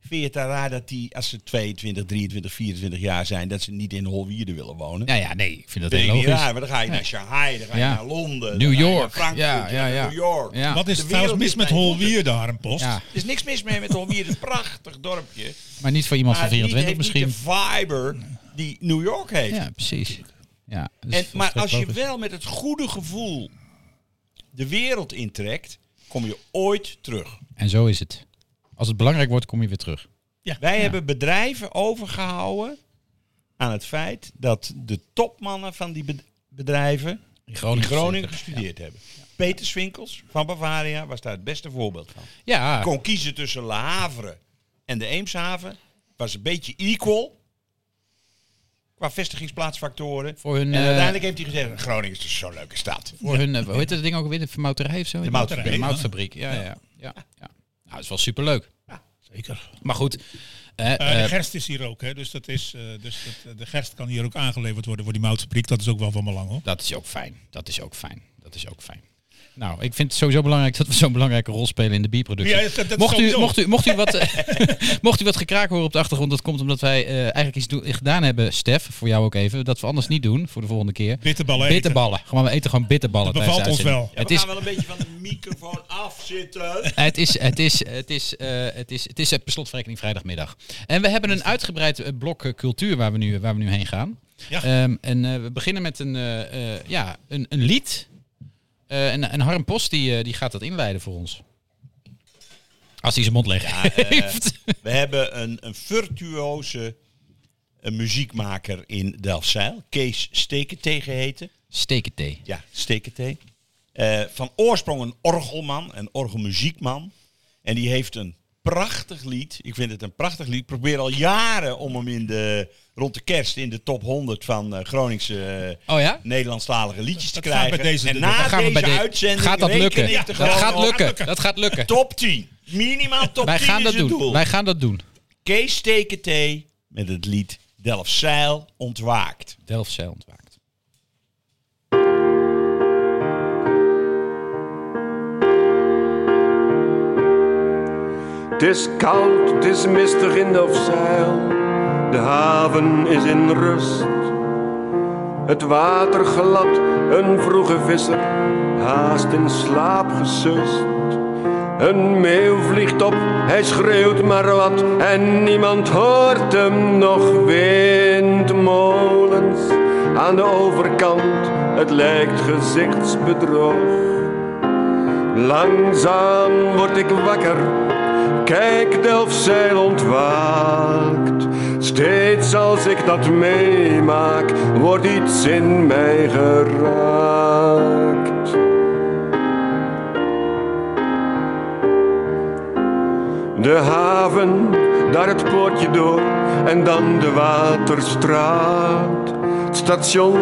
[SPEAKER 3] Vind je het dan raar dat die, als ze 22, 23, 24 jaar zijn, dat ze niet in Holwierde willen wonen?
[SPEAKER 1] Nou ja, nee, ik vind dat
[SPEAKER 3] dat
[SPEAKER 1] heel
[SPEAKER 3] vind ik niet
[SPEAKER 1] logisch.
[SPEAKER 3] raar, maar dan ga je naar Shanghai, dan ga je
[SPEAKER 1] Ja.
[SPEAKER 3] naar Londen,
[SPEAKER 1] New
[SPEAKER 3] dan ga je
[SPEAKER 1] York.
[SPEAKER 3] naar Frankfurt,
[SPEAKER 1] Ja,
[SPEAKER 3] dan ga je
[SPEAKER 1] ja,
[SPEAKER 3] naar
[SPEAKER 1] ja.
[SPEAKER 3] New York.
[SPEAKER 1] Ja.
[SPEAKER 2] Wat is
[SPEAKER 3] De
[SPEAKER 2] er trouwens
[SPEAKER 3] wereld
[SPEAKER 2] mis
[SPEAKER 3] is
[SPEAKER 2] met
[SPEAKER 3] mijn
[SPEAKER 2] Holwier daar een post?
[SPEAKER 1] Ja,
[SPEAKER 3] Er is niks mis mee met Holwierde, een prachtig dorpje.
[SPEAKER 1] maar niet voor iemand
[SPEAKER 3] Maar
[SPEAKER 1] van
[SPEAKER 3] het niet-
[SPEAKER 1] 24
[SPEAKER 3] heeft
[SPEAKER 1] misschien.
[SPEAKER 3] niet de fiber die New York heeft.
[SPEAKER 1] Ja, precies. Ja, dat is
[SPEAKER 3] En, maar
[SPEAKER 1] volstrekt
[SPEAKER 3] als je
[SPEAKER 1] logisch.
[SPEAKER 3] wel met het goede gevoel de wereld intrekt, kom je ooit terug.
[SPEAKER 1] En zo is het. Als het belangrijk wordt, kom je weer terug.
[SPEAKER 3] Wij hebben bedrijven overgehouden aan het feit dat de topmannen van die bed- bedrijven
[SPEAKER 1] In
[SPEAKER 3] in
[SPEAKER 1] Groningen.
[SPEAKER 3] Groningen gestudeerd hebben. Peter Swinkels van Bavaria was daar het beste voorbeeld van.
[SPEAKER 1] Ja,
[SPEAKER 3] Kon kiezen tussen La Havre en de Eemshaven. Was een beetje equal qua vestigingsplaatsfactoren.
[SPEAKER 1] Voor hun,
[SPEAKER 3] en
[SPEAKER 1] eh,
[SPEAKER 3] uiteindelijk heeft hij gezegd, Groningen is dus zo'n leuke stad.
[SPEAKER 1] voor hun, eh, hoe heet dat ding ook weer? De vermouterij of zo? De
[SPEAKER 3] moutfabriek.
[SPEAKER 1] De moutfabriek, ja, ja. ja. ja. Nou, dat is wel superleuk.
[SPEAKER 2] Zeker.
[SPEAKER 1] Maar goed. eh,
[SPEAKER 2] Eh,
[SPEAKER 1] eh,
[SPEAKER 2] de gerst is hier ook, hè? dus, dat is, eh, dus dat, de gerst kan hier ook aangeleverd worden voor die moutfabriek. Dat is ook wel van belang, hoor.
[SPEAKER 1] dat is ook fijn. Dat is ook fijn. Dat is ook fijn. Nou, ik vind het sowieso belangrijk dat we zo'n belangrijke rol spelen in de bierproductie.
[SPEAKER 2] Ja, dat- dat is
[SPEAKER 1] mocht, u,
[SPEAKER 2] sowieso.
[SPEAKER 1] mocht, u, mocht, u wat, eh, mocht u wat gekraak horen op de achtergrond, dat komt omdat wij eh, eigenlijk iets do- gedaan hebben, Stef, voor jou ook even, dat we anders niet doen voor de volgende keer.
[SPEAKER 2] Bitterballen eten.
[SPEAKER 1] Bitterballen. Gewoon, we eten gewoon bitterballen.
[SPEAKER 2] Dat bevalt
[SPEAKER 1] tijdens de
[SPEAKER 2] ons
[SPEAKER 1] uitzending.
[SPEAKER 3] Ja,
[SPEAKER 1] Het
[SPEAKER 3] we
[SPEAKER 1] is,
[SPEAKER 3] gaan wel een beetje van de microfoon afzitten.
[SPEAKER 1] het is, het is, het is, eh, het is, het is eh, per slotverrekening vrijdagmiddag. En we hebben een uitgebreid eh, blok eh, cultuur waar we nu, waar we nu heen gaan.
[SPEAKER 2] Ja.
[SPEAKER 1] Ehm, en eh, we beginnen met een, eh, eh, ja, een, een lied. Eh, en, en Harm Post die, eh, die gaat dat inleiden voor ons. Als hij zijn mond leeg heeft.
[SPEAKER 3] We hebben een, een virtuoze eh, muziekmaker in Delfzijl. Kees Stekentee geheten.
[SPEAKER 1] Steken thee.
[SPEAKER 3] Ja, Stekentee. Eh, van oorsprong een orgelman, een orgelmuziekman. En die heeft een prachtig lied. Ik vind het een prachtig lied. Ik probeer al jaren om hem in de, rond de kerst in de top 100 van eh, Groningse eh,
[SPEAKER 1] Oh ja?
[SPEAKER 3] Nederlandstalige liedjes te
[SPEAKER 2] Dat gaat bij
[SPEAKER 3] krijgen.
[SPEAKER 2] deze
[SPEAKER 3] en
[SPEAKER 2] doen.
[SPEAKER 3] na
[SPEAKER 2] Dat
[SPEAKER 1] Gaan we
[SPEAKER 3] deze
[SPEAKER 1] bij de-
[SPEAKER 3] uitzending
[SPEAKER 1] Gaat dat
[SPEAKER 3] reken
[SPEAKER 1] lukken?
[SPEAKER 3] ik er
[SPEAKER 1] Dat
[SPEAKER 3] gewoon
[SPEAKER 1] gaat
[SPEAKER 3] op.
[SPEAKER 1] lukken. Dat gaat lukken.
[SPEAKER 3] Top 10. Minimaal top
[SPEAKER 1] Wij
[SPEAKER 3] 10
[SPEAKER 1] gaan
[SPEAKER 3] is
[SPEAKER 1] dat
[SPEAKER 3] het
[SPEAKER 1] doen.
[SPEAKER 3] doel.
[SPEAKER 1] Wij gaan dat doen.
[SPEAKER 3] Kees Stekentee met het lied Delfzijl ontwaakt.
[SPEAKER 1] Delfzijl ontwaakt.
[SPEAKER 5] Het is koud, het is mistig in Delfzijl. De haven is in rust. Het water glad, een vroege visser haast in slaap gesust. Een meeuw vliegt op, hij schreeuwt maar wat en niemand hoort hem nog. Windmolens aan de overkant, het lijkt gezichtsbedrog. Langzaam word ik wakker, kijk Delfzijl ontwaakt. Steeds als ik dat meemaak, wordt iets in mij geraakt. De haven, daar het poortje door en dan de waterstraat. Het station,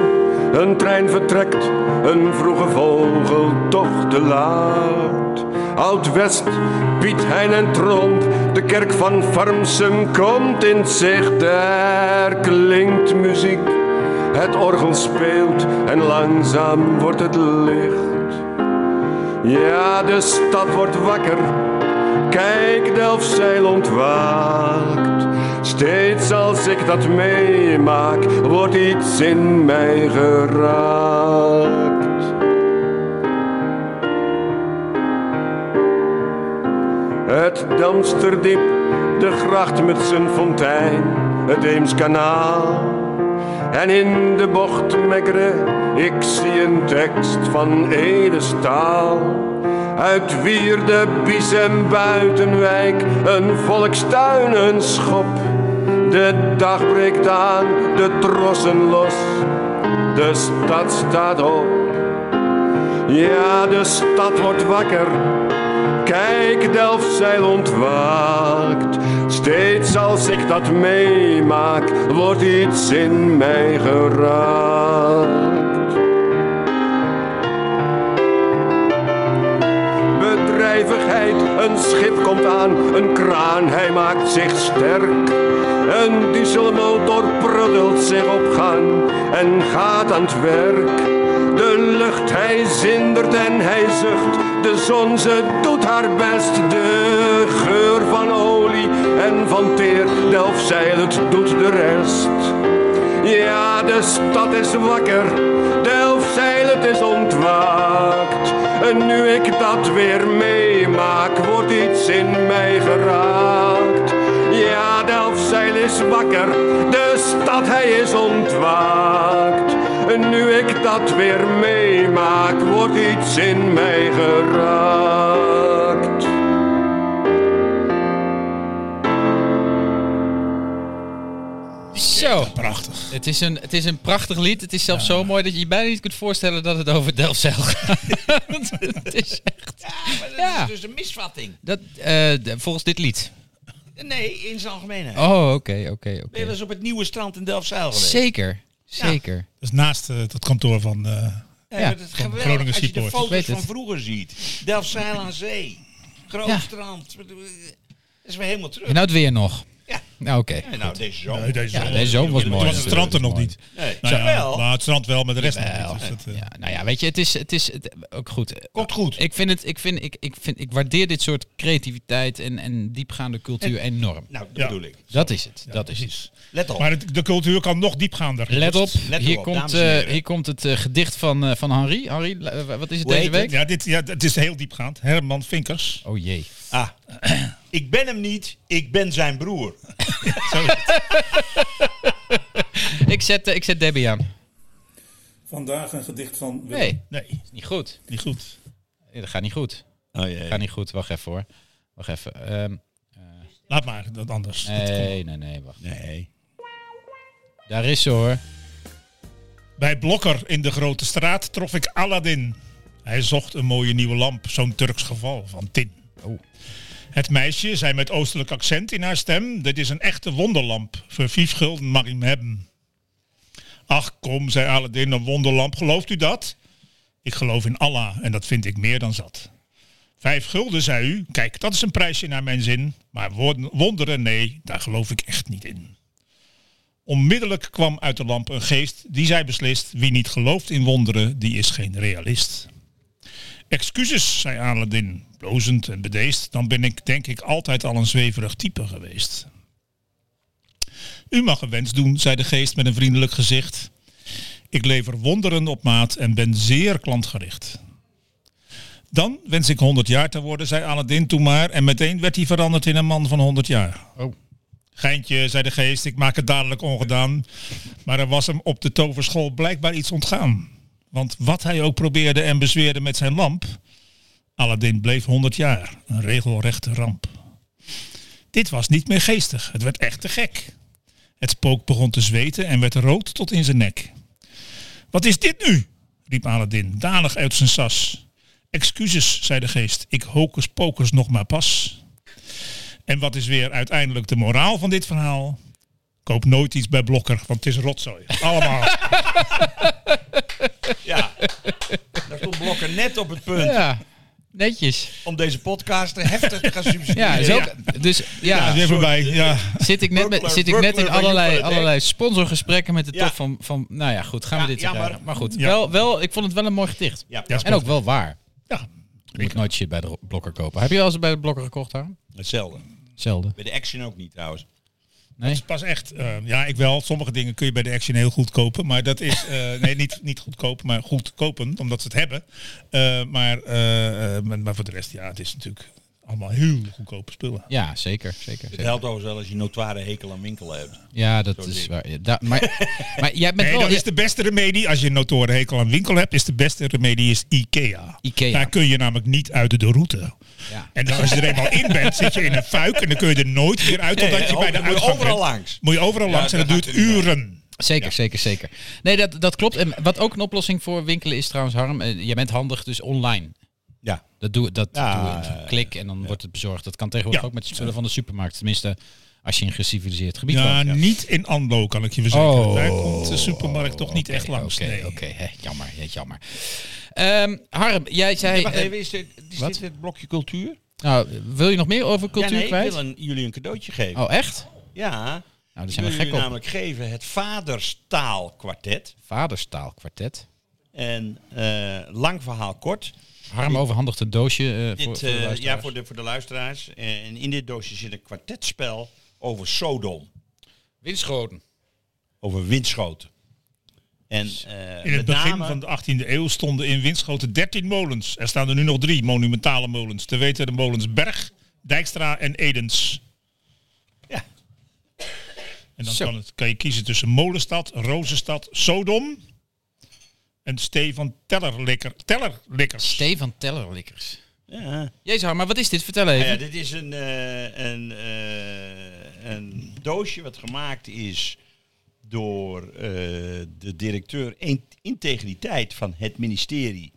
[SPEAKER 5] een trein vertrekt, een vroege vogel toch te laat. Oud-West, Piet Hein en Tromp, de kerk van Farmsum komt in zicht. Er klinkt muziek, het orgel speelt en langzaam wordt het licht. Ja, de stad wordt wakker. Kijk, Delfzijl ontwaakt. Steeds als ik dat meemaak, wordt iets in mij geraakt. Het Damsterdiep, de gracht met zijn fontein, het Eemskanaal. En in de bocht mekkere, ik zie een tekst van Edestaal. Uit Wierde, Bies en Buitenwijk, een volkstuin, een schop. De dag breekt aan, de trossen los, de stad staat op. Ja, de stad wordt wakker, kijk Delfzijl ontwaakt. Steeds als ik dat meemaak, wordt iets in mij geraakt. Bedrijvigheid, een schip komt aan, een kraan, hij maakt zich sterk. Een dieselmotor pruddelt zich op gang en gaat aan het werk. De lucht, hij zindert en hij zucht. De zon, ze doet haar best. De geur van olie en van teer. Delfzijl, het doet de rest. Ja, de stad is wakker. Delfzijl, het is ontwaakt. En nu ik dat weer meemaak, wordt iets in mij geraakt. Ja, Delfzijl is wakker. De stad, hij is ontwaakt. En nu ik dat weer meemaak, wordt iets in mij geraakt.
[SPEAKER 1] Zo.
[SPEAKER 2] Prachtig.
[SPEAKER 1] Het is, een, het is een prachtig lied. Het is zelfs zo mooi dat je je bijna niet kunt voorstellen dat het over Delfzijl gaat. het is echt...
[SPEAKER 6] Maar dat
[SPEAKER 1] Ja.
[SPEAKER 6] is dus een misvatting.
[SPEAKER 1] Dat, eh, d- volgens dit lied.
[SPEAKER 6] Nee, in zijn algemeenheid. Ben
[SPEAKER 1] Oh, oké, oké,
[SPEAKER 6] je wel
[SPEAKER 1] oké.
[SPEAKER 6] eens op het nieuwe strand in Delfzijl geweest?
[SPEAKER 1] Zeker, zeker.
[SPEAKER 2] Dat is naast eh, het kantoor van... eh,
[SPEAKER 6] Ja,
[SPEAKER 1] Ja.
[SPEAKER 6] maar dat is geweldig
[SPEAKER 2] Groningen
[SPEAKER 6] als je de
[SPEAKER 2] Seaport.
[SPEAKER 1] Ik
[SPEAKER 6] foto's
[SPEAKER 1] weet
[SPEAKER 6] van
[SPEAKER 1] het.
[SPEAKER 6] vroeger ziet. Delfzijl aan zee. Groot
[SPEAKER 1] Ja.
[SPEAKER 6] strand. Dat is weer helemaal terug.
[SPEAKER 1] En nou het weer nog.
[SPEAKER 6] Ja.
[SPEAKER 1] Nou, oké.
[SPEAKER 6] Nee, nou, deze
[SPEAKER 3] Oh,
[SPEAKER 6] zomer.
[SPEAKER 2] nee, deze
[SPEAKER 1] Ja,
[SPEAKER 2] zomer.
[SPEAKER 1] deze zomer was mooi
[SPEAKER 2] Toen was het strand er nog
[SPEAKER 1] natuurlijk.
[SPEAKER 2] niet.
[SPEAKER 6] Nee.
[SPEAKER 2] Nou ja,
[SPEAKER 6] Jawel.
[SPEAKER 2] maar het strand wel, maar de rest nog
[SPEAKER 1] Wel,
[SPEAKER 2] niet. Dus dat, eh,
[SPEAKER 1] ja, nou ja, weet je, het is, het is het, ook goed.
[SPEAKER 6] Komt goed.
[SPEAKER 1] Ik vind het, ik vind, ik, ik vind, ik waardeer dit soort creativiteit en, en diepgaande cultuur enorm.
[SPEAKER 6] Nou, dat
[SPEAKER 2] Ja.
[SPEAKER 6] bedoel ik.
[SPEAKER 1] Dat is het, dat is het.
[SPEAKER 6] Let op.
[SPEAKER 2] Maar het- de cultuur kan nog diepgaander.
[SPEAKER 1] Let op,
[SPEAKER 6] Let
[SPEAKER 1] hier,
[SPEAKER 6] erop,
[SPEAKER 1] komt,
[SPEAKER 6] dames en
[SPEAKER 1] eh,
[SPEAKER 6] heren.
[SPEAKER 1] hier komt het eh, gedicht van, eh, van Henri. Henri, la- wa- wat is het
[SPEAKER 6] Hoe
[SPEAKER 1] deze
[SPEAKER 6] heet
[SPEAKER 1] week?
[SPEAKER 2] Ja, dit, ja, het is heel diepgaand. Herman Vinkers.
[SPEAKER 1] Oh jee.
[SPEAKER 6] Ah. ik ben hem niet, ik ben zijn broer.
[SPEAKER 2] Zo is het.
[SPEAKER 1] Ik zet, eh, ik zet Debbie aan.
[SPEAKER 7] Vandaag een gedicht van Willem.
[SPEAKER 1] Nee,
[SPEAKER 2] Nee,
[SPEAKER 1] niet goed.
[SPEAKER 2] niet goed.
[SPEAKER 1] Nee, Dat gaat niet goed.
[SPEAKER 6] Oh
[SPEAKER 1] Dat gaat niet goed. Wacht even hoor. Wacht even. Ehm,
[SPEAKER 2] Laat maar, dat anders.
[SPEAKER 1] nee, nee, nee, wacht.
[SPEAKER 6] Nee.
[SPEAKER 1] Daar is ze hoor.
[SPEAKER 2] Bij Blokker in de Grote Straat trof ik Aladdin. Hij zocht een mooie nieuwe lamp, zo'n Turks geval van tin. Oh. Het meisje zei met oostelijk accent in haar stem... dit is een echte wonderlamp, voor vijf gulden mag ik hem hebben. Ach kom, zei Aladdin, een wonderlamp, gelooft u dat? Ik geloof in Allah en dat vind ik meer dan zat. Vijf gulden, zei u, kijk, dat is een prijsje naar mijn zin. Maar won- wonderen, nee, daar geloof ik echt niet in. Onmiddellijk kwam uit de lamp een geest die zei beslist: wie niet gelooft in wonderen, die is geen realist. Excuses, zei Aladdin, blozend en bedeesd, dan ben ik denk ik altijd al een zweverig type geweest. U mag een wens doen, zei de geest met een vriendelijk gezicht. Ik lever wonderen op maat en ben zeer klantgericht. Dan wens ik 100 jaar te worden, zei Aladdin toen maar. En meteen werd hij veranderd in een man van 100 jaar.
[SPEAKER 1] Oh.
[SPEAKER 2] Geintje, zei de geest, ik maak het dadelijk ongedaan. Maar er was hem op de toverschool blijkbaar iets ontgaan. Want wat hij ook probeerde en bezweerde met zijn lamp, Aladdin bleef 100 jaar. Een regelrechte ramp. Dit was niet meer geestig, het werd echt te gek. Het spook begon te zweten en werd rood tot in zijn nek. Wat is dit nu? riep Aladdin, danig uit zijn sas. Excuses, zei de geest, ik hokus pokus nog maar pas. En wat is weer uiteindelijk de moraal van dit verhaal? Koop nooit iets bij Blokker, want het is rotzooi. Allemaal.
[SPEAKER 3] Ja, daar stond Blokker net op het punt
[SPEAKER 1] Ja, netjes.
[SPEAKER 3] om deze podcast heftig te gaan subsidiëren.
[SPEAKER 1] Ja, is ook, dus
[SPEAKER 2] Ja,
[SPEAKER 1] ja,
[SPEAKER 2] weer voorbij. Ja.
[SPEAKER 1] zit ik net, met,
[SPEAKER 3] Burglar,
[SPEAKER 1] zit ik net in
[SPEAKER 3] burglar,
[SPEAKER 1] allerlei,
[SPEAKER 3] burglar, hè?
[SPEAKER 1] allerlei sponsorgesprekken met de
[SPEAKER 3] Ja.
[SPEAKER 1] top van, van... Nou ja, goed, gaan we
[SPEAKER 3] Ja,
[SPEAKER 1] dit weer
[SPEAKER 3] ja, maar-
[SPEAKER 1] krijgen. Maar goed,
[SPEAKER 2] Ja.
[SPEAKER 1] wel, wel, ik vond het wel een mooi gedicht.
[SPEAKER 3] Ja,
[SPEAKER 2] Ja,
[SPEAKER 1] En ook wel waar.
[SPEAKER 2] ja.
[SPEAKER 1] Je moet nooit shit bij de blokker kopen. Heb je wel eens bij de blokker gekocht, daar?
[SPEAKER 3] hetzelfde.
[SPEAKER 1] Zelden.
[SPEAKER 3] Bij de action ook niet trouwens.
[SPEAKER 1] Nee?
[SPEAKER 2] Pas echt, eh, ja, ik wel. Sommige dingen kun je bij de Action heel goed kopen. Maar dat is, eh, nee, niet, niet goedkoop, maar goed kopen, omdat ze het hebben. Eh, maar, eh, eh, maar maar voor de rest, ja, het is natuurlijk allemaal heel goedkope spullen.
[SPEAKER 1] Ja, zeker, zeker.
[SPEAKER 3] Het
[SPEAKER 1] zeker.
[SPEAKER 3] helpt overigens wel als je notoire hekel aan winkelen hebt.
[SPEAKER 1] Ja, dat
[SPEAKER 3] Zo'n
[SPEAKER 1] is
[SPEAKER 3] ding.
[SPEAKER 1] waar. Ja, da- maar, maar jij bent
[SPEAKER 2] Nee,
[SPEAKER 1] wel...
[SPEAKER 2] dat is de beste remedie. Als je een notoren hekel aan winkel hebt, is de beste remedie is Ikea.
[SPEAKER 1] Ikea.
[SPEAKER 2] Daar kun je namelijk niet uit de route.
[SPEAKER 1] Ja.
[SPEAKER 2] En dan, als je er eenmaal in bent, zit je in een fuik en dan kun je er nooit meer uit totdat
[SPEAKER 3] Nee,
[SPEAKER 2] je bij de
[SPEAKER 3] dan moet je
[SPEAKER 2] uitgang
[SPEAKER 3] overal
[SPEAKER 2] bent.
[SPEAKER 3] langs.
[SPEAKER 2] Moet je overal langs en dat
[SPEAKER 3] daar
[SPEAKER 2] duurt
[SPEAKER 3] gaat het niet
[SPEAKER 2] uren.
[SPEAKER 1] Zeker, zeker, zeker. Nee, dat, dat klopt. En wat ook een oplossing voor winkelen is trouwens, Harm. eh, Jij bent handig, dus online.
[SPEAKER 3] Ja.
[SPEAKER 1] Dat doe, dat
[SPEAKER 3] Ja,
[SPEAKER 1] doe ik. Klik en dan wordt het bezorgd. Dat kan tegenwoordig
[SPEAKER 2] Ja.
[SPEAKER 1] ook met de spullen van de supermarkt. Tenminste, als je in een geciviliseerd gebied
[SPEAKER 2] Ja,
[SPEAKER 1] woont.
[SPEAKER 2] niet in Anlo, kan ik je verzekeren.
[SPEAKER 1] Oh.
[SPEAKER 2] Daar komt de supermarkt toch niet
[SPEAKER 1] Oké,
[SPEAKER 2] echt langs.
[SPEAKER 1] Oké,
[SPEAKER 2] nee.
[SPEAKER 1] oké. hè, jammer, hè, jammer. Ehm, Harm, jij zei...
[SPEAKER 3] Wacht
[SPEAKER 1] eh,
[SPEAKER 3] even, is dit, is
[SPEAKER 1] wat?
[SPEAKER 3] dit het blokje cultuur?
[SPEAKER 1] nou, wil je nog meer over cultuur
[SPEAKER 3] ja, nee,
[SPEAKER 1] kwijt?
[SPEAKER 3] ik wil een, jullie een cadeautje geven.
[SPEAKER 1] Oh, echt?
[SPEAKER 3] Ja,
[SPEAKER 1] Nou, daar
[SPEAKER 3] ik
[SPEAKER 1] zijn
[SPEAKER 3] wil
[SPEAKER 1] we gek
[SPEAKER 3] jullie
[SPEAKER 1] op.
[SPEAKER 3] namelijk geven het Vaderstaalkwartet.
[SPEAKER 1] Vaderstaalkwartet.
[SPEAKER 3] En eh, lang verhaal kort.
[SPEAKER 1] Harm overhandigt een doosje eh voor, voor
[SPEAKER 3] Dit,
[SPEAKER 1] de
[SPEAKER 3] eh,
[SPEAKER 1] luisteraars.
[SPEAKER 3] ja, voor de, voor de luisteraars. Eh, En in dit doosje zit een kwartetspel over Sodom.
[SPEAKER 1] Winschoten.
[SPEAKER 3] Over windschoten. En,
[SPEAKER 1] Dus
[SPEAKER 3] eh,
[SPEAKER 2] In het
[SPEAKER 3] met
[SPEAKER 2] begin
[SPEAKER 3] name-
[SPEAKER 2] van de 18e eeuw stonden in Winschoten 13 molens. Er staan er nu nog drie monumentale molens. Te weten de molens Berg, Dijkstra en Edens.
[SPEAKER 3] Ja.
[SPEAKER 2] En dan
[SPEAKER 1] Zo.
[SPEAKER 2] kan, het, kan je kiezen tussen Molenstad, Rozenstad, Sodom en Stefan Tellerlikker, Tellerlikkers.
[SPEAKER 1] Stefan Tellerlikkers.
[SPEAKER 3] Ja.
[SPEAKER 1] Jezus, Harm, maar wat is dit? Vertel even.
[SPEAKER 3] Nou ja, dit is een, eh, een, eh, een doosje wat gemaakt is door eh, de directeur in- integriteit van het ministerie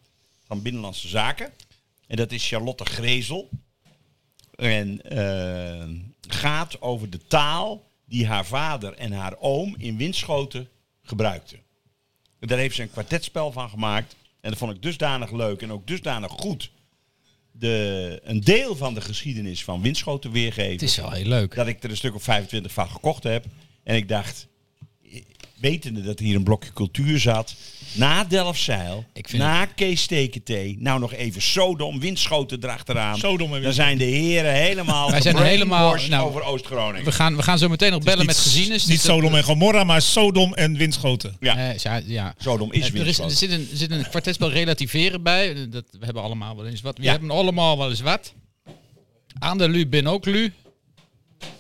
[SPEAKER 3] van Binnenlandse Zaken. En dat is Charlotte Grezel. En eh, gaat over de taal die haar vader en haar oom in Winschoten gebruikten. En daar heeft ze een kwartetspel van gemaakt. En dat vond ik dusdanig leuk en ook dusdanig goed. De, een deel van de geschiedenis van Winschoten weergeven.
[SPEAKER 1] het is wel heel leuk.
[SPEAKER 3] Dat ik er een stuk of 25 van gekocht heb. En ik dacht, eh, wetende dat hier een blokje cultuur zat. Na Delfzijl,
[SPEAKER 1] Ik vind
[SPEAKER 3] na Kees Tekentee. Nou nog even Sodom, Winschoten erachteraan.
[SPEAKER 2] Sodom en
[SPEAKER 3] Dan
[SPEAKER 2] Winschoten.
[SPEAKER 3] zijn de heren helemaal
[SPEAKER 1] Wij zijn
[SPEAKER 3] gebrainwashed
[SPEAKER 1] helemaal, nou,
[SPEAKER 3] over Oost-Groningen.
[SPEAKER 1] We gaan, we gaan zo meteen nog bellen
[SPEAKER 2] Niet-
[SPEAKER 1] met gezienis.
[SPEAKER 2] Niet
[SPEAKER 1] dus dat-
[SPEAKER 2] Sodom en Gomorra, maar Sodom en Winschoten.
[SPEAKER 1] Eh, ja, ja.
[SPEAKER 3] Sodom
[SPEAKER 1] Eh,
[SPEAKER 3] is
[SPEAKER 1] er, is, er
[SPEAKER 3] Winschoten.
[SPEAKER 1] zit een, zit een kwartetspel relativeren bij. Eh, Dat we hebben allemaal wel eens wat. We
[SPEAKER 3] Ja.
[SPEAKER 1] hebben allemaal wel eens wat. Aan de lu bin ook lu.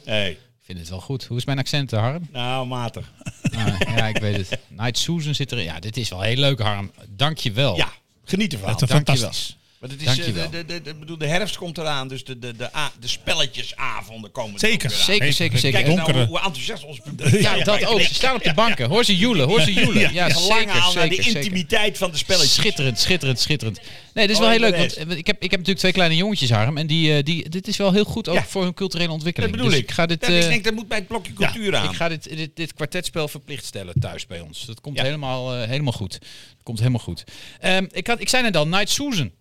[SPEAKER 3] Hey,
[SPEAKER 1] Ik vind het wel goed. Hoe is mijn accent, eh, Harm?
[SPEAKER 3] nou, matig.
[SPEAKER 1] Ah, ja, ik weet het. Night Susan zit erin. Ja, dit is wel heel leuk, Harm. Dank je wel.
[SPEAKER 3] Ja, geniet ervan.
[SPEAKER 2] Dat is
[SPEAKER 1] dankjewel.
[SPEAKER 2] fantastisch.
[SPEAKER 3] Maar het is, eh,
[SPEAKER 1] Dankjewel.
[SPEAKER 3] de, de, de, de- bedoel, de herfst komt eraan, dus de, de, de, a- de spelletjesavonden komen er
[SPEAKER 2] Zeker.
[SPEAKER 3] ook weer aan.
[SPEAKER 1] Zeker, zeker, zeker.
[SPEAKER 3] Kijk
[SPEAKER 2] Het
[SPEAKER 3] eens nou hoe,
[SPEAKER 2] donkere.
[SPEAKER 3] hoe enthousiast ons publiek
[SPEAKER 1] Ja, dat ook. Ze
[SPEAKER 3] Ze
[SPEAKER 1] staan op de banken. Hoor ze joelen, hoor ze joelen. Ja,
[SPEAKER 3] verlangen
[SPEAKER 1] zeker,
[SPEAKER 3] al naar de
[SPEAKER 1] zeker, zeker.
[SPEAKER 3] intimiteit van de spelletjes.
[SPEAKER 1] Schitterend, schitterend, schitterend. Nee, dit is
[SPEAKER 3] Oh,
[SPEAKER 1] wel heel
[SPEAKER 3] en
[SPEAKER 1] leuk.
[SPEAKER 3] de
[SPEAKER 1] Want eh, ik heb, ik heb natuurlijk twee kleine jongetjes, Harm. En die, eh, die, dit is wel heel goed ook
[SPEAKER 3] Ja.
[SPEAKER 1] voor hun culturele
[SPEAKER 3] Dat
[SPEAKER 1] ontwikkeling.
[SPEAKER 3] bedoel
[SPEAKER 1] Dus
[SPEAKER 3] ik.
[SPEAKER 1] ik ga dit,
[SPEAKER 3] dat, ik
[SPEAKER 1] eh,
[SPEAKER 3] denk, dat moet bij het blokje cultuur aan.
[SPEAKER 1] ik ga dit, dit, dit kwartetspel verplicht stellen thuis bij ons. Dat komt
[SPEAKER 3] Ja.
[SPEAKER 1] helemaal, eh, helemaal goed. Dat komt helemaal goed. Ehm, ik, had, ik zei net al, Night Susan.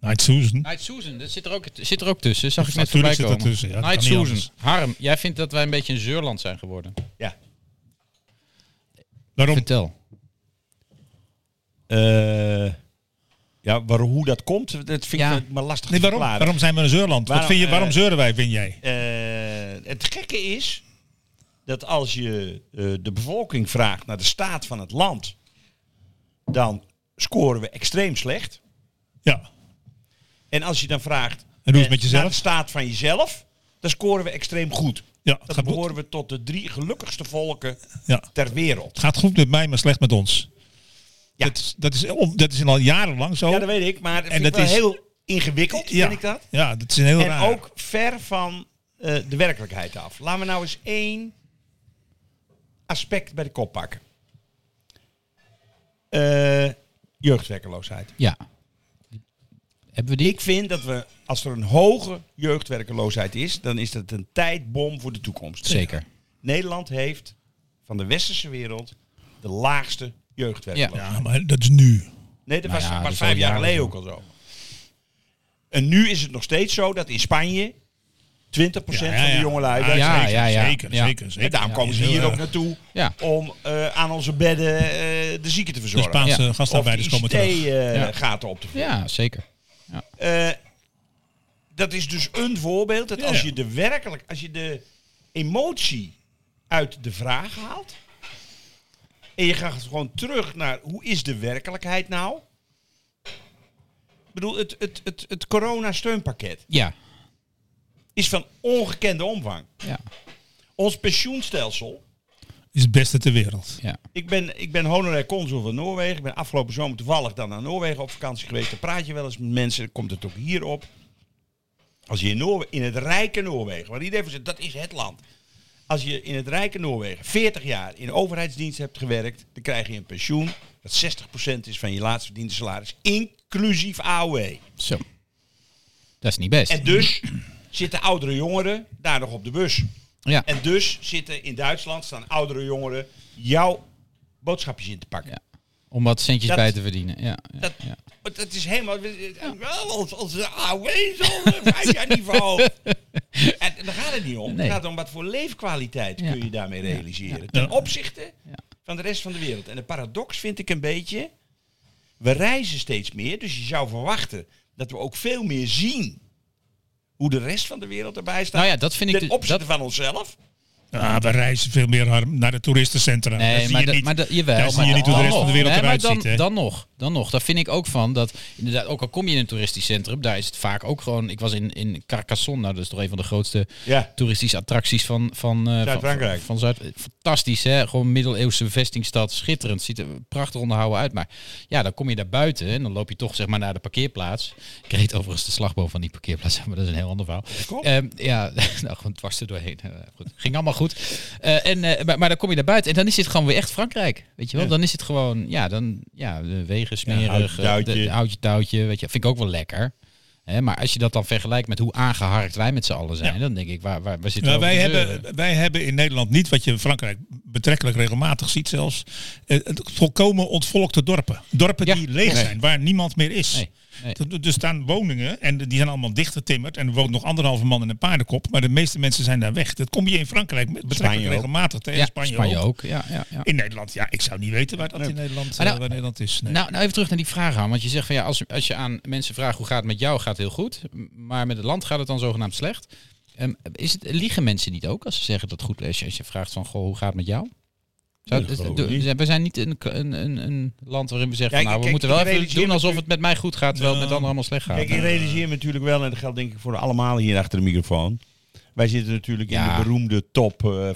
[SPEAKER 2] Night Susan.
[SPEAKER 1] Night Susan, dat zit er ook, zit er ook tussen. Zag ik net
[SPEAKER 2] Natuurlijk
[SPEAKER 1] voorbij
[SPEAKER 2] zit dat
[SPEAKER 1] komen.
[SPEAKER 2] tussen, ja, dat
[SPEAKER 1] Night
[SPEAKER 2] kan niet
[SPEAKER 1] Susan. Harm, jij vindt dat wij een beetje een zeurland zijn geworden.
[SPEAKER 3] Ja.
[SPEAKER 2] Waarom?
[SPEAKER 1] Vertel.
[SPEAKER 3] Eh, ja, waar, hoe dat komt, dat vind
[SPEAKER 1] Ja.
[SPEAKER 3] ik maar lastig
[SPEAKER 2] Nee,
[SPEAKER 3] te
[SPEAKER 2] waarom?
[SPEAKER 3] verklaren.
[SPEAKER 2] Waarom zijn we een zeurland? Wat
[SPEAKER 3] Waarom,
[SPEAKER 2] vind je,
[SPEAKER 3] eh,
[SPEAKER 2] waarom zeuren wij, vind jij?
[SPEAKER 3] Eh, het gekke is dat als je eh, de bevolking vraagt naar de staat van het land, dan scoren we extreem slecht.
[SPEAKER 2] Ja.
[SPEAKER 3] En als je dan vraagt
[SPEAKER 2] En hoe is het
[SPEAKER 3] eh,
[SPEAKER 2] met jezelf?
[SPEAKER 3] naar de staat van jezelf, dan scoren we extreem goed.
[SPEAKER 2] nou- Ja,
[SPEAKER 3] Dan
[SPEAKER 2] gaat goed.
[SPEAKER 3] behoren we tot de drie gelukkigste volken
[SPEAKER 2] Ja.
[SPEAKER 3] ter wereld.
[SPEAKER 2] Het gaat goed met mij, maar slecht met ons.
[SPEAKER 3] Ja.
[SPEAKER 2] Dat, is- dat, is, om- dat is al jarenlang zo.
[SPEAKER 3] Ja, dat weet ik, maar dat
[SPEAKER 2] Oh. En
[SPEAKER 3] vind ik
[SPEAKER 2] dat
[SPEAKER 3] wel
[SPEAKER 2] is-
[SPEAKER 3] heel ingewikkeld,
[SPEAKER 2] Ja.
[SPEAKER 3] vind ik dat.
[SPEAKER 2] Ja, dat is een heel
[SPEAKER 3] En
[SPEAKER 2] raar.
[SPEAKER 3] ook ver van eh, de werkelijkheid af. Laten we nou eens één aspect bij de kop pakken. Eh, jeugdwerkeloosheid.
[SPEAKER 1] Ja. Hebben we die?
[SPEAKER 3] Ik vind dat we, als er een hoge jeugdwerkeloosheid is, dan is dat een tijdbom voor de toekomst.
[SPEAKER 1] Zeker.
[SPEAKER 3] Nederland heeft van de westerse wereld de laagste jeugdwerkeloosheid.
[SPEAKER 2] Ja, maar dat is nu.
[SPEAKER 3] Nee, dat
[SPEAKER 1] Nou
[SPEAKER 3] was,
[SPEAKER 1] ja,
[SPEAKER 3] was
[SPEAKER 1] dat is al
[SPEAKER 3] vijf jaar
[SPEAKER 1] jaren
[SPEAKER 3] geleden
[SPEAKER 1] zo.
[SPEAKER 3] ook al zo. En nu is het nog steeds zo dat in Spanje 20% van de jongelui...
[SPEAKER 2] Ja,
[SPEAKER 3] werkt.
[SPEAKER 1] Ja,
[SPEAKER 2] zeker,
[SPEAKER 1] ja, ja.
[SPEAKER 2] zeker,
[SPEAKER 1] Ja.
[SPEAKER 2] zeker, zeker.
[SPEAKER 3] En daarom
[SPEAKER 2] Ja,
[SPEAKER 3] komen ze
[SPEAKER 2] heel
[SPEAKER 3] hier
[SPEAKER 2] erg.
[SPEAKER 3] ook naartoe
[SPEAKER 1] Ja.
[SPEAKER 3] om eh, aan onze bedden eh, de zieken te
[SPEAKER 2] De
[SPEAKER 3] verzorgen.
[SPEAKER 2] Spaanse
[SPEAKER 1] Ja.
[SPEAKER 2] gastarbeiders
[SPEAKER 3] of
[SPEAKER 2] komen
[SPEAKER 3] de
[SPEAKER 2] terug.
[SPEAKER 1] Ja.
[SPEAKER 3] ICT-gaten op te vullen.
[SPEAKER 1] Ja, zeker.
[SPEAKER 3] Eh, dat is dus een voorbeeld dat
[SPEAKER 2] Ja,
[SPEAKER 3] als
[SPEAKER 2] ja.
[SPEAKER 3] je de werkelijk, als je de emotie uit de vraag haalt en je gaat gewoon terug naar hoe is de werkelijkheid nou? Ik bedoel, het, het, het, het corona-steunpakket
[SPEAKER 1] Ja.
[SPEAKER 3] is van ongekende omvang.
[SPEAKER 1] Ja.
[SPEAKER 3] Ons pensioenstelsel.
[SPEAKER 2] Is het beste ter wereld.
[SPEAKER 1] Ja.
[SPEAKER 3] Ik ben, ik ben honorair consul van Noorwegen. Ik ben afgelopen zomer toevallig dan naar Noorwegen op vakantie geweest. Dan praat je wel eens met mensen. Dan komt het ook hier op. Als je in, Noorwe- in het rijke Noorwegen, waar iedereen van zegt, dat is het land. Als je in het rijke Noorwegen 40 jaar in overheidsdienst hebt gewerkt, dan krijg je een pensioen dat 60% is van je laatst verdiende salaris, inclusief AOW.
[SPEAKER 1] Zo. Dat is niet best.
[SPEAKER 3] En dus zitten oudere jongeren daar nog op de bus.
[SPEAKER 1] Ja.
[SPEAKER 3] En dus zitten in Duitsland, staan oudere jongeren jouw boodschapjes in te pakken.
[SPEAKER 1] Ja. Om wat centjes
[SPEAKER 3] Dat-
[SPEAKER 1] bij te verdienen. Ja. ja,
[SPEAKER 3] Dat,
[SPEAKER 1] ja.
[SPEAKER 3] dat is helemaal. Wel, als, als de AOW zo vijf jaar niet verhoogd. En daar gaat het niet om.
[SPEAKER 1] Nee.
[SPEAKER 3] Het gaat om wat voor leefkwaliteit
[SPEAKER 1] Ja.
[SPEAKER 3] kun je daarmee realiseren. Ten opzichte van de rest van de wereld. En de paradox vind ik een beetje. We reizen steeds meer, dus je zou verwachten dat we ook veel meer zien hoe de rest van de wereld erbij staat.
[SPEAKER 1] Nou ja, dat vind ik
[SPEAKER 3] ten
[SPEAKER 1] dus-
[SPEAKER 3] opzichte
[SPEAKER 1] dat-
[SPEAKER 3] van onszelf.
[SPEAKER 2] Ah, we reizen veel meer Harm, naar de toeristencentra. Daar
[SPEAKER 1] Nee,
[SPEAKER 2] zie
[SPEAKER 1] maar,
[SPEAKER 2] je
[SPEAKER 1] dat-
[SPEAKER 2] niet-
[SPEAKER 1] maar dat- jawel.
[SPEAKER 2] Daar zie
[SPEAKER 1] maar
[SPEAKER 2] je niet hoe de
[SPEAKER 1] dan
[SPEAKER 2] rest van de
[SPEAKER 1] nog.
[SPEAKER 2] wereld
[SPEAKER 1] Nee, maar
[SPEAKER 2] eruit
[SPEAKER 1] dan,
[SPEAKER 2] ziet. hè.
[SPEAKER 1] Dan nog, dan nog. Daar vind ik ook van dat, inderdaad, ook al kom je in een toeristisch centrum, daar is het vaak ook gewoon... Ik was in, in Carcassonne, nou, dat is toch een van de grootste
[SPEAKER 3] Ja.
[SPEAKER 1] toeristische attracties van... van eh, van-
[SPEAKER 3] Zuid-Frankrijk.
[SPEAKER 1] Van, Zuid, fantastisch, hè. Gewoon middeleeuwse vestingstad, schitterend. Ziet er prachtig onderhouden uit. Maar ja, dan kom je daar buiten en dan loop je toch zeg maar naar de parkeerplaats. Ik reed overigens de slagboom van die parkeerplaats, maar dat is een heel ander verhaal. Ehm, ja, nou gewoon dwars er doorheen. Eh, goed. Ging allemaal goed. Eh, en, eh, maar, maar dan kom je daar buiten en dan is dit gewoon weer echt Frankrijk. Weet je wel? Dan is het gewoon, ja, dan, ja de wegen smerig.
[SPEAKER 3] houtje,
[SPEAKER 1] eh,
[SPEAKER 3] touwtje.
[SPEAKER 1] de- de houtje, touwtje. Weet je, vind ik ook wel lekker. Hè, maar als je dat dan vergelijkt met hoe aangeharkt wij met z'n allen zijn, dan denk ik, waar, waar, waar zitten
[SPEAKER 2] Ja,
[SPEAKER 1] we
[SPEAKER 2] Nou, wij,
[SPEAKER 1] over te zeuren?
[SPEAKER 2] hebben, wij hebben in Nederland niet, wat je in Frankrijk betrekkelijk regelmatig ziet zelfs, eh, het volkomen ontvolkte dorpen. Dorpen
[SPEAKER 1] Ja,
[SPEAKER 2] die leeg
[SPEAKER 1] nee.
[SPEAKER 2] zijn, waar niemand meer is.
[SPEAKER 1] Nee, nee.
[SPEAKER 2] Er- Er staan woningen en die zijn allemaal dichtgetimmerd en er woont nog anderhalve man in een paardenkop, maar de meeste mensen zijn daar weg. Dat kom je in Frankrijk met- betrekkelijk
[SPEAKER 3] ook.
[SPEAKER 2] regelmatig tegen.
[SPEAKER 1] ja,
[SPEAKER 2] Spanje, ook.
[SPEAKER 1] ook. Ja, ja, ja.
[SPEAKER 2] In Nederland, ja, ik zou niet weten waar dat in Nederland,
[SPEAKER 1] Maar
[SPEAKER 2] eh,
[SPEAKER 1] nou-
[SPEAKER 2] waar Nederland is. Nee.
[SPEAKER 1] Nou, nou, even terug naar die vraag aan. Want je zegt van ja, als, als je aan mensen vraagt hoe gaat het met jou, gaat het heel goed. m- Maar met het land gaat het dan zogenaamd slecht. Ehm, is het, liegen mensen niet ook als ze zeggen dat het goed is? Als je, als je vraagt van goh, hoe gaat het met jou? Zou-
[SPEAKER 3] dat
[SPEAKER 1] is-
[SPEAKER 3] geloof
[SPEAKER 1] do-
[SPEAKER 3] ik niet.
[SPEAKER 1] zijn- we zijn niet een, een, een, een land waarin we zeggen
[SPEAKER 3] Ja,
[SPEAKER 1] van, nou, we
[SPEAKER 3] kijk,
[SPEAKER 1] moeten wel
[SPEAKER 3] ik
[SPEAKER 1] even
[SPEAKER 3] realiseer
[SPEAKER 1] doen
[SPEAKER 3] me
[SPEAKER 1] alsof het met
[SPEAKER 3] natuurlijk- Nou,
[SPEAKER 1] mij goed gaat, terwijl het eh, met anderen allemaal slecht gaat.
[SPEAKER 3] Kijk, ik realiseer me natuurlijk wel, en dat geldt denk ik voor allemaal hier achter de microfoon. Wij zitten natuurlijk
[SPEAKER 1] Ja.
[SPEAKER 3] in de beroemde top eh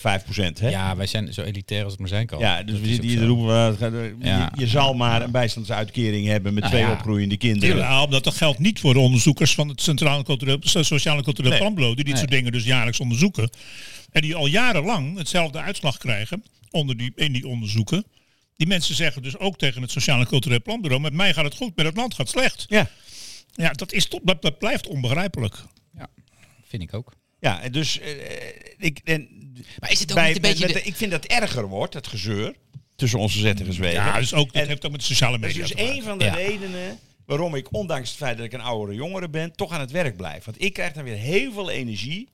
[SPEAKER 3] 5%. Hè?
[SPEAKER 1] ja, wij zijn zo elitair als het maar zijn kan.
[SPEAKER 3] Ja, dus
[SPEAKER 1] Oh, Dat
[SPEAKER 3] we
[SPEAKER 1] is
[SPEAKER 3] zitten
[SPEAKER 1] ook
[SPEAKER 3] hier te
[SPEAKER 1] zo.
[SPEAKER 3] roepen, eh, het gaat, eh, je-
[SPEAKER 1] Ja.
[SPEAKER 3] je, zal maar een bijstandsuitkering hebben met
[SPEAKER 1] Nou
[SPEAKER 3] twee
[SPEAKER 1] ja.
[SPEAKER 3] opgroeiende kinderen.
[SPEAKER 2] Ja, Ah, omdat dat geldt niet voor de onderzoekers van het Centraal Cultureel, So- Sociaal en Cultureel
[SPEAKER 3] Nee.
[SPEAKER 2] Planbureau, die dit
[SPEAKER 1] Nee.
[SPEAKER 2] soort dingen dus jaarlijks onderzoeken. En die al jarenlang hetzelfde uitslag krijgen onder die, in die onderzoeken. Die mensen zeggen dus ook tegen het Sociaal en Cultureel Planbureau, met mij gaat het goed, met het land gaat het slecht.
[SPEAKER 3] Ja.
[SPEAKER 2] Ja, dat, is toch, dat, dat blijft onbegrijpelijk.
[SPEAKER 1] Ja, vind ik ook.
[SPEAKER 3] Ja, en dus eh, ik, en
[SPEAKER 1] Maar is het ook
[SPEAKER 3] bij-
[SPEAKER 1] niet een beetje...
[SPEAKER 3] met-
[SPEAKER 1] de-
[SPEAKER 3] ik vind dat erger wordt, dat gezeur tussen onze zetters en
[SPEAKER 2] Ja, dus ook, dat heeft ook met de sociale
[SPEAKER 3] Dat is
[SPEAKER 2] media
[SPEAKER 3] dus
[SPEAKER 2] te maken.
[SPEAKER 3] een van de
[SPEAKER 1] Ja.
[SPEAKER 3] redenen waarom ik, ondanks het feit dat ik een oudere jongere ben, toch aan het werk blijf. Want ik krijg dan weer heel veel energie.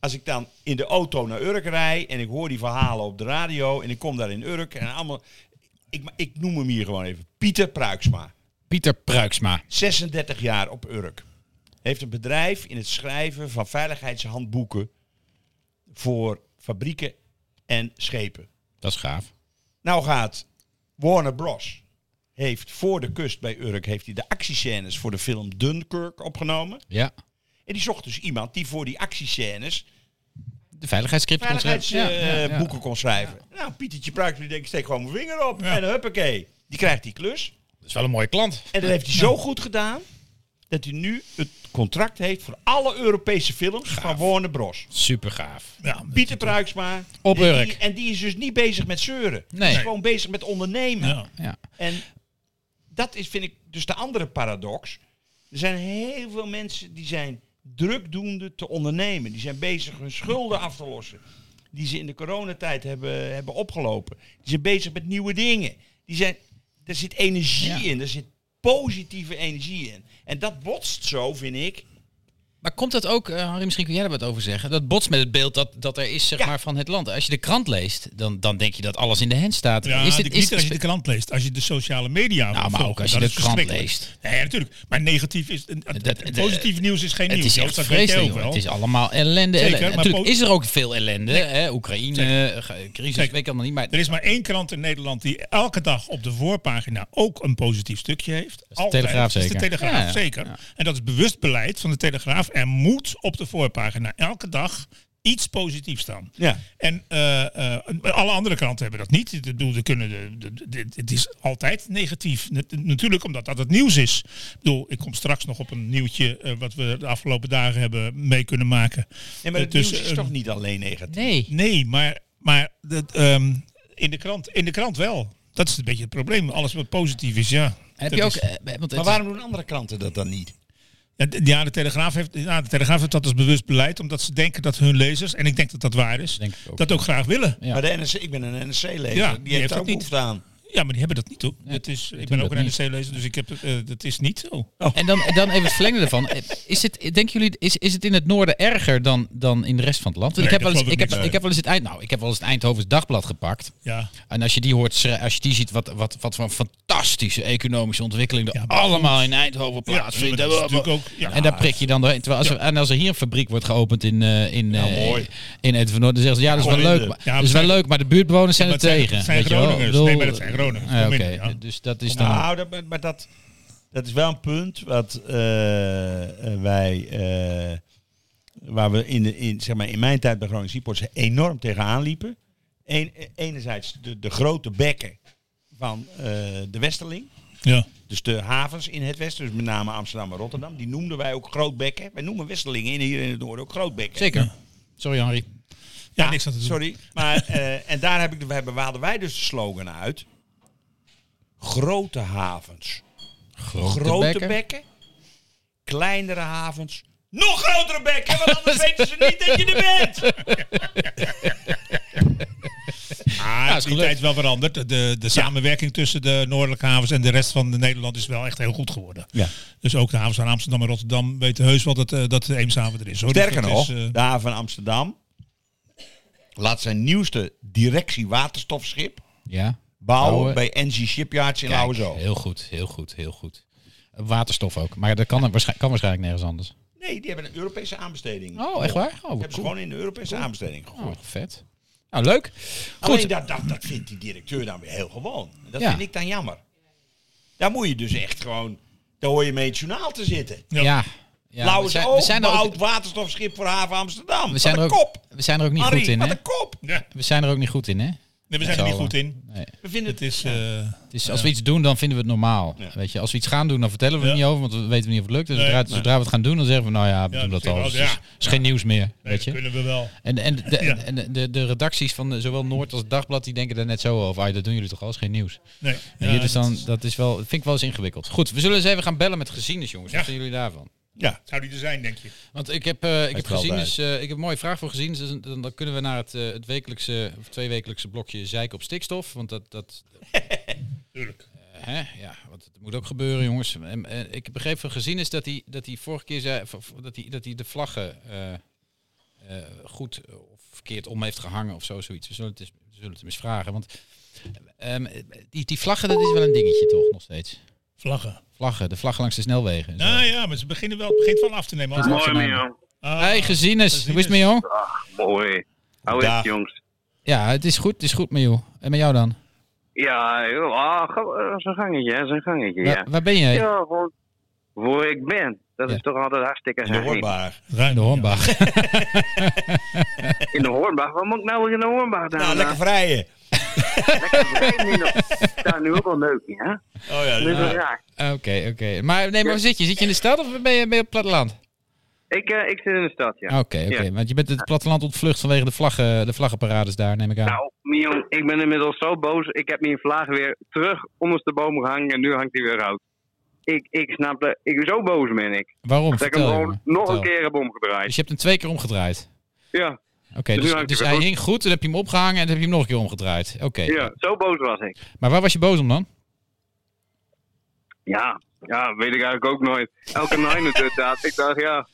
[SPEAKER 3] Als ik dan in de auto naar Urk rijd en ik hoor die verhalen op de radio en ik kom daar in Urk en allemaal... Ik, maar ik noem hem hier gewoon even. Pieter Pruiksma,
[SPEAKER 1] Pieter Pruiksma.
[SPEAKER 3] 36 jaar op Urk. Heeft een bedrijf in het schrijven van veiligheidshandboeken voor fabrieken en schepen.
[SPEAKER 1] Dat is gaaf.
[SPEAKER 3] Nou gaat Warner Bros. heeft voor de kust bij Urk heeft hij de actiescènes voor de film Dunkirk opgenomen.
[SPEAKER 1] Ja.
[SPEAKER 3] En die zocht dus iemand die voor die actiescènes
[SPEAKER 1] De veiligheidscript. kon schrijven.
[SPEAKER 3] veiligheidsboeken
[SPEAKER 1] Ja, ja, ja.
[SPEAKER 3] kon schrijven. Nou, Pietertje Pruik die denkt, steek gewoon mijn vinger op. En huppakee, die krijgt die klus.
[SPEAKER 1] Dat is wel een mooie klant.
[SPEAKER 3] En dat heeft hij zo goed gedaan, dat hij nu het contract heeft voor alle Europese films van Warner Bros.
[SPEAKER 1] Super gaaf.
[SPEAKER 2] Ja,
[SPEAKER 3] Pieter Pruiksma.
[SPEAKER 1] Op
[SPEAKER 3] En die-
[SPEAKER 1] Urk.
[SPEAKER 3] En die is dus niet bezig met zeuren.
[SPEAKER 1] Nee.
[SPEAKER 3] Die is gewoon bezig met ondernemen.
[SPEAKER 2] ja.
[SPEAKER 1] Ja.
[SPEAKER 3] En dat is, vind ik, dus de andere paradox. Er zijn heel veel mensen die zijn drukdoende te ondernemen. Die zijn bezig hun schulden af te lossen. Die ze in de coronatijd hebben, hebben opgelopen. Die zijn bezig met nieuwe dingen. Die zijn, er zit energie
[SPEAKER 1] Ja.
[SPEAKER 3] in. Er zit positieve energie in. En dat botst zo, vind ik.
[SPEAKER 1] Maar komt dat ook, eh, Harry, misschien kun jij daar wat over zeggen. Dat botst met het beeld dat, dat er is zeg
[SPEAKER 3] Ja.
[SPEAKER 1] maar, van het land. Als je de krant leest, dan, dan denk je dat alles in de hand staat.
[SPEAKER 2] Ja,
[SPEAKER 1] is
[SPEAKER 2] dit,
[SPEAKER 1] dit,
[SPEAKER 2] niet
[SPEAKER 1] is dit
[SPEAKER 2] als je de krant leest. Als je de sociale media
[SPEAKER 1] maar
[SPEAKER 2] volgt,
[SPEAKER 1] ook als je
[SPEAKER 2] dat
[SPEAKER 1] de
[SPEAKER 2] is
[SPEAKER 1] krant
[SPEAKER 2] verschrikkelijk.
[SPEAKER 1] leest.
[SPEAKER 2] Nee, natuurlijk. Maar negatief is... eh, het-
[SPEAKER 1] dat-
[SPEAKER 2] het positief nieuws is geen
[SPEAKER 1] het
[SPEAKER 2] nieuws.
[SPEAKER 1] is
[SPEAKER 2] Joost,
[SPEAKER 1] echt
[SPEAKER 2] dat weet jij
[SPEAKER 1] vreselijk.
[SPEAKER 2] ook
[SPEAKER 1] hoor.
[SPEAKER 2] wel.
[SPEAKER 1] Het is allemaal ellende.
[SPEAKER 2] Zeker,
[SPEAKER 1] ellende.
[SPEAKER 2] maar
[SPEAKER 1] Natuurlijk
[SPEAKER 2] po-
[SPEAKER 1] is er ook veel ellende. Hè? Oekraïne, eh, crisis,
[SPEAKER 2] Zeker.
[SPEAKER 1] weet ik allemaal niet. Maar
[SPEAKER 2] Er is maar één krant in Nederland die elke dag op de voorpagina ook een positief stukje heeft. Dat
[SPEAKER 1] is de Telegraaf
[SPEAKER 2] Dat is
[SPEAKER 1] zeker.
[SPEAKER 2] de Telegraaf,
[SPEAKER 1] Ja, ja.
[SPEAKER 2] zeker. En dat is bewust beleid van de Telegraaf. Er moet op de voorpagina elke dag iets positiefs staan.
[SPEAKER 3] Ja.
[SPEAKER 2] En eh, eh, alle andere kranten hebben dat niet. Ik bedoel, er kunnen de, de- de- dit- het is altijd negatief. Net- Natuurlijk omdat dat het nieuws is. Ik bedoel, ik kom straks nog op een nieuwtje eh, wat we de afgelopen dagen hebben mee kunnen maken.
[SPEAKER 3] Nee, maar
[SPEAKER 2] Eh,
[SPEAKER 3] het
[SPEAKER 2] tussen
[SPEAKER 3] nieuws is
[SPEAKER 2] een-
[SPEAKER 3] toch niet alleen negatief?
[SPEAKER 1] nee,
[SPEAKER 2] Nee, maar, maar dat, ehm, in, de krant, in de krant wel. Dat is een beetje het probleem. Alles wat positief is, ja.
[SPEAKER 1] heb
[SPEAKER 2] Dat
[SPEAKER 1] je ook...
[SPEAKER 2] is-
[SPEAKER 1] eh, want het
[SPEAKER 3] Maar
[SPEAKER 1] is-
[SPEAKER 3] waarom doen andere kranten dat dan niet?
[SPEAKER 2] ja, de- ja, de Telegraaf heeft, ja, de Telegraaf heeft dat als bewust beleid. Omdat ze denken dat hun lezers, en ik denk dat dat waar is,
[SPEAKER 1] Denk ik ook.
[SPEAKER 2] dat ook graag willen. Ja,
[SPEAKER 1] Ja.
[SPEAKER 3] Maar de NRC, ik ben een NRC-lezer.
[SPEAKER 2] Ja,
[SPEAKER 3] die, heeft daar ook
[SPEAKER 2] dat niet.
[SPEAKER 3] behoefte aan.
[SPEAKER 2] maar die hebben dat niet op. Het is, ik ben
[SPEAKER 1] doen
[SPEAKER 2] ook een
[SPEAKER 1] dat niet.
[SPEAKER 2] NRC-lezer, dus ik heb, het, eh, dat is niet zo.
[SPEAKER 1] En dan, en dan even het verlengde ervan. Is het, denken jullie, is, is het in het noorden erger dan, dan in de rest van het land? Want
[SPEAKER 2] Nee,
[SPEAKER 1] ik, heb
[SPEAKER 2] dat
[SPEAKER 1] wel eens,
[SPEAKER 2] geloof
[SPEAKER 1] ik,
[SPEAKER 2] ik
[SPEAKER 1] heb,
[SPEAKER 2] niet,
[SPEAKER 1] ik heb wel eens het eind, nou, ik heb wel eens het Eindhovens dagblad gepakt.
[SPEAKER 2] Ja.
[SPEAKER 1] En als je die hoort, schre- als je die ziet, wat, wat, wat voor een fantastische economische ontwikkeling er
[SPEAKER 2] Ja, maar
[SPEAKER 1] allemaal in Eindhoven
[SPEAKER 2] Ja,
[SPEAKER 1] plaatsvindt.
[SPEAKER 2] maar dat is natuurlijk ook- ja.
[SPEAKER 1] en daar prik je dan doorheen. Terwijl als er, en als er hier een fabriek wordt geopend in, eh in,
[SPEAKER 2] Nou,
[SPEAKER 1] eh, in Ed van Noord, dan zeggen ze, ja, dat is wel leuk.
[SPEAKER 2] Ja,
[SPEAKER 1] maar-
[SPEAKER 2] maar
[SPEAKER 1] dat is wel
[SPEAKER 2] zijn-
[SPEAKER 1] leuk, maar de buurtbewoners zijn
[SPEAKER 2] Ja,
[SPEAKER 1] er
[SPEAKER 2] maar het zijn-
[SPEAKER 1] tegen.
[SPEAKER 2] het zijn
[SPEAKER 1] weet je wel?
[SPEAKER 2] Groningers.
[SPEAKER 1] Ik bedoel-
[SPEAKER 2] Nee, maar dat zijn Groningers.
[SPEAKER 1] Ah,
[SPEAKER 2] Kom
[SPEAKER 1] Oké,
[SPEAKER 2] in, ja.
[SPEAKER 1] dus dat is dan...
[SPEAKER 3] Nou, dat, maar dat, dat is wel een punt wat eh, eh, wij, eh, waar we in, de, in, zeg maar in mijn tijd bij Groningen Seaports enorm tegenaan liepen. Eén- eh, enerzijds de, de grote bekken van eh, de Westerling.
[SPEAKER 2] Ja.
[SPEAKER 3] Dus de havens in het westen, dus met name Amsterdam en Rotterdam, die noemden wij ook grootbekken. Wij noemen Westerlingen in, hier in het noorden ook grootbekken.
[SPEAKER 1] Zeker. Sorry, Henri.
[SPEAKER 2] Ja, niks aan te doen.
[SPEAKER 3] Ah, Sorry. Maar, eh, en daar heb ik, de- we hebben, hadden wij dus de slogan uit. Grote havens. Grote, bekken.
[SPEAKER 1] bekken.
[SPEAKER 3] Kleinere havens. Nog grotere bekken, want anders weten ze niet dat je er bent.
[SPEAKER 2] Ah,
[SPEAKER 1] is
[SPEAKER 2] die
[SPEAKER 1] gelukt.
[SPEAKER 2] tijd is wel veranderd. De, de samenwerking tussen de noordelijke havens en de rest van Nederland is wel echt heel goed geworden.
[SPEAKER 3] Ja.
[SPEAKER 2] Dus ook de havens van Amsterdam en Rotterdam weten heus wel dat, eh, dat de Eemshaven er is. Hoor.
[SPEAKER 3] Sterker
[SPEAKER 2] Dus dat
[SPEAKER 3] nog,
[SPEAKER 2] is, eh,
[SPEAKER 3] de haven van Amsterdam laat zijn nieuwste directie waterstofschip
[SPEAKER 1] Ja.
[SPEAKER 3] bouwen
[SPEAKER 1] Bouwen.
[SPEAKER 3] bij NG Shipyards in
[SPEAKER 1] Kijk,
[SPEAKER 3] Lauwerzo.
[SPEAKER 1] Heel goed, heel goed, heel goed. Waterstof ook. Maar dat kan, waarschijn- kan waarschijnlijk nergens anders.
[SPEAKER 3] Nee, die hebben een Europese aanbesteding.
[SPEAKER 1] Oh, echt waar? Oh,
[SPEAKER 3] Die hebben ze gewoon in de Europese aanbesteding gegooid.
[SPEAKER 1] Oh, vet. Nou, leuk.
[SPEAKER 3] Alleen
[SPEAKER 1] Goed.
[SPEAKER 3] dat, dat, dat vindt die directeur dan weer heel gewoon. Dat
[SPEAKER 1] Ja.
[SPEAKER 3] vind ik dan jammer. Daar moet je dus echt gewoon... Daar hoor je mee in het journaal te zitten.
[SPEAKER 1] Ja. ja.
[SPEAKER 3] Blauwe
[SPEAKER 1] we
[SPEAKER 3] we
[SPEAKER 1] zijn, we zijn er ook,
[SPEAKER 3] oud waterstofschip voor haven Amsterdam.
[SPEAKER 1] we zijn er
[SPEAKER 3] wat een
[SPEAKER 1] ook,
[SPEAKER 3] kop.
[SPEAKER 1] we zijn er ook niet
[SPEAKER 3] Harry,
[SPEAKER 1] goed in,
[SPEAKER 3] wat
[SPEAKER 1] hè?
[SPEAKER 3] een kop.
[SPEAKER 2] ja,
[SPEAKER 1] We zijn er ook niet goed in, hè?
[SPEAKER 2] nee, we zijn er
[SPEAKER 1] Zo,
[SPEAKER 2] niet
[SPEAKER 1] eh,
[SPEAKER 2] goed in.
[SPEAKER 1] Nee.
[SPEAKER 3] We vinden
[SPEAKER 2] Het is, eh,
[SPEAKER 1] Dus als we iets doen, dan vinden we het normaal. Weet je, als we iets gaan doen, dan vertellen we het
[SPEAKER 2] Ja.
[SPEAKER 1] niet over, want we weten niet of het lukt. Dus
[SPEAKER 2] Nee.
[SPEAKER 1] zodra, zodra we het gaan doen, dan zeggen we, nou ja, we
[SPEAKER 2] Ja,
[SPEAKER 1] doen dat
[SPEAKER 2] dat
[SPEAKER 1] al.
[SPEAKER 2] vind
[SPEAKER 1] Dus
[SPEAKER 2] ik
[SPEAKER 1] het
[SPEAKER 2] wel,
[SPEAKER 1] is, is geen nieuws meer, weet je.
[SPEAKER 2] kunnen we wel.
[SPEAKER 1] En, en, de,
[SPEAKER 2] Ja.
[SPEAKER 1] en de, de, de redacties van eh, zowel Noord als Dagblad, die denken daar net zo over. Ah, dat doen jullie toch al, is geen nieuws.
[SPEAKER 2] Nee.
[SPEAKER 1] En
[SPEAKER 2] Ja,
[SPEAKER 1] hier dus dan, dat is wel, vind ik wel eens ingewikkeld. Goed, we zullen eens even gaan bellen met gezienis, jongens. Wat
[SPEAKER 2] Ja.
[SPEAKER 1] vinden jullie daarvan?
[SPEAKER 2] Ja, zou die er zijn, denk je?
[SPEAKER 1] Want ik heb, eh, ik heb
[SPEAKER 3] wel
[SPEAKER 1] gezienis, eh, ik heb een mooie vraag voor gezien. Dus dan, dan kunnen we naar het, eh, het wekelijkse of tweewekelijkse blokje zeik op stikstof. Want dat, dat Eh,
[SPEAKER 2] Tuurlijk.
[SPEAKER 1] hè, ja, want het moet ook gebeuren, jongens. En, eh, ik begreep van gezien is dat hij, dat hij vorige keer zei v- v- dat hij, dat hij de vlaggen eh, eh, goed of verkeerd om heeft gehangen of zo, zoiets. We zullen het eens, we zullen het hem eens vragen. Want ehm, die, die vlaggen, dat is wel een dingetje toch nog steeds?
[SPEAKER 2] Vlaggen.
[SPEAKER 1] Vlaggen, de vlaggen langs de snelwegen. en zo.
[SPEAKER 2] Nou ja, maar ze beginnen wel, het begint wel af te nemen.
[SPEAKER 1] Mooi,
[SPEAKER 2] Ah,
[SPEAKER 1] Mion. Hey, gezienis. Hoe is het met jou?
[SPEAKER 8] Mooi. Hoe is het, jongens?
[SPEAKER 1] Ja, het is goed, het is goed met jou. En met jou dan?
[SPEAKER 8] Ja, joh, ah, ga- eh, zo'n gangetje, hè, zo'n gangetje, ja.
[SPEAKER 1] Waar, waar ben jij?
[SPEAKER 8] Ja, gewoon waar ik ben. Dat
[SPEAKER 1] Ja.
[SPEAKER 8] is toch altijd hartstikke
[SPEAKER 3] In de
[SPEAKER 8] gezellig.
[SPEAKER 3] hoorbaar.
[SPEAKER 1] In de Hornbach.
[SPEAKER 8] In de Hoornbach? Wat moet ik nou weer in de Eh, Hoornbach doen?
[SPEAKER 3] Nou, lekker vrijen.
[SPEAKER 8] Daar nu ook wel leuk, in, hè?
[SPEAKER 3] Oh ja,
[SPEAKER 8] Dat is wel raar.
[SPEAKER 1] Oké, oké. Maar nee, maar waar zit je? Zit je in de stad of ben je, ben je op het platteland?
[SPEAKER 8] Ik, eh, ik zit in de stad, ja.
[SPEAKER 1] Oké, oké.
[SPEAKER 8] Ja.
[SPEAKER 1] Want je bent het platteland ontvlucht vanwege de, vlaggen, de vlaggenparades daar, neem ik aan.
[SPEAKER 8] Nou, Mion, ik ben inmiddels zo boos. Ik heb mijn vlag weer terug onderste boom gehangen en nu hangt hij weer uit. Ik, ik snap dat. Ik, zo boos ben ik.
[SPEAKER 1] Waarom?
[SPEAKER 8] Dat ik hem
[SPEAKER 1] Vertel
[SPEAKER 8] gewoon
[SPEAKER 1] jongen.
[SPEAKER 8] nog een
[SPEAKER 1] Vertel.
[SPEAKER 8] keer heb omgedraaid.
[SPEAKER 1] Dus je hebt hem twee keer omgedraaid?
[SPEAKER 8] Ja,
[SPEAKER 1] Oké,
[SPEAKER 8] Dus nu
[SPEAKER 1] dus,
[SPEAKER 8] hangt
[SPEAKER 1] dus
[SPEAKER 8] hij
[SPEAKER 1] hij
[SPEAKER 8] weer
[SPEAKER 1] hing goed, dan heb je hem opgehangen en dan heb je hem nog een keer omgedraaid. Oké.
[SPEAKER 8] ja, zo boos was ik.
[SPEAKER 1] Maar waar was je boos om dan?
[SPEAKER 8] Ja, ja, weet ik eigenlijk ook nooit. Elke nine het inderdaad. Ik dacht, ja,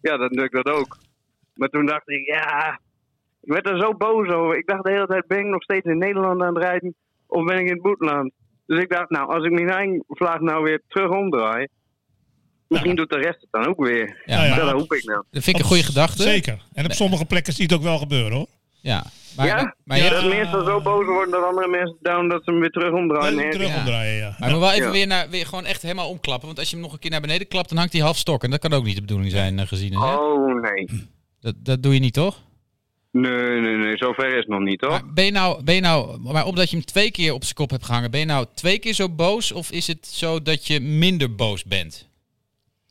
[SPEAKER 8] ja, dat doe ik dat ook. Maar toen dacht ik, ja, ik werd er zo boos over. Ik dacht de hele tijd, ben ik nog steeds in Nederland aan het rijden of ben ik in het boetland? Dus ik dacht, nou, als ik mijn eigen vlaag nou weer terug omdraai, misschien doet de rest het dan ook weer.
[SPEAKER 1] Ja,
[SPEAKER 2] ja.
[SPEAKER 1] maar
[SPEAKER 8] Dat hoop ik nou.
[SPEAKER 1] dat vind ik een goede gedachte.
[SPEAKER 2] Zeker. En op sommige plekken zie je het ook wel gebeuren hoor.
[SPEAKER 1] Ja. Maar,
[SPEAKER 8] Ja?
[SPEAKER 1] maar, je-
[SPEAKER 8] Dat mensen zo boos worden dat andere mensen down dat ze hem weer terug omdraaien.
[SPEAKER 2] Leuk terug
[SPEAKER 8] Oh, Nee,
[SPEAKER 2] omdraaien, ja.
[SPEAKER 1] maar je moet wel even
[SPEAKER 8] Ja.
[SPEAKER 1] weer, naar, weer gewoon echt helemaal omklappen. Want als je hem nog een keer naar beneden klapt, dan hangt hij half stok. En dat kan ook niet de bedoeling zijn eh, gezien. Hè?
[SPEAKER 8] Oh nee.
[SPEAKER 1] Dat, dat doe je niet, toch?
[SPEAKER 8] Nee, nee, nee. Zover is het nog niet, hoor.
[SPEAKER 1] Maar ben je nou, ben je nou, maar omdat je hem twee keer op zijn kop hebt gehangen, ben je nou twee keer zo boos? Of is het zo dat je minder boos bent?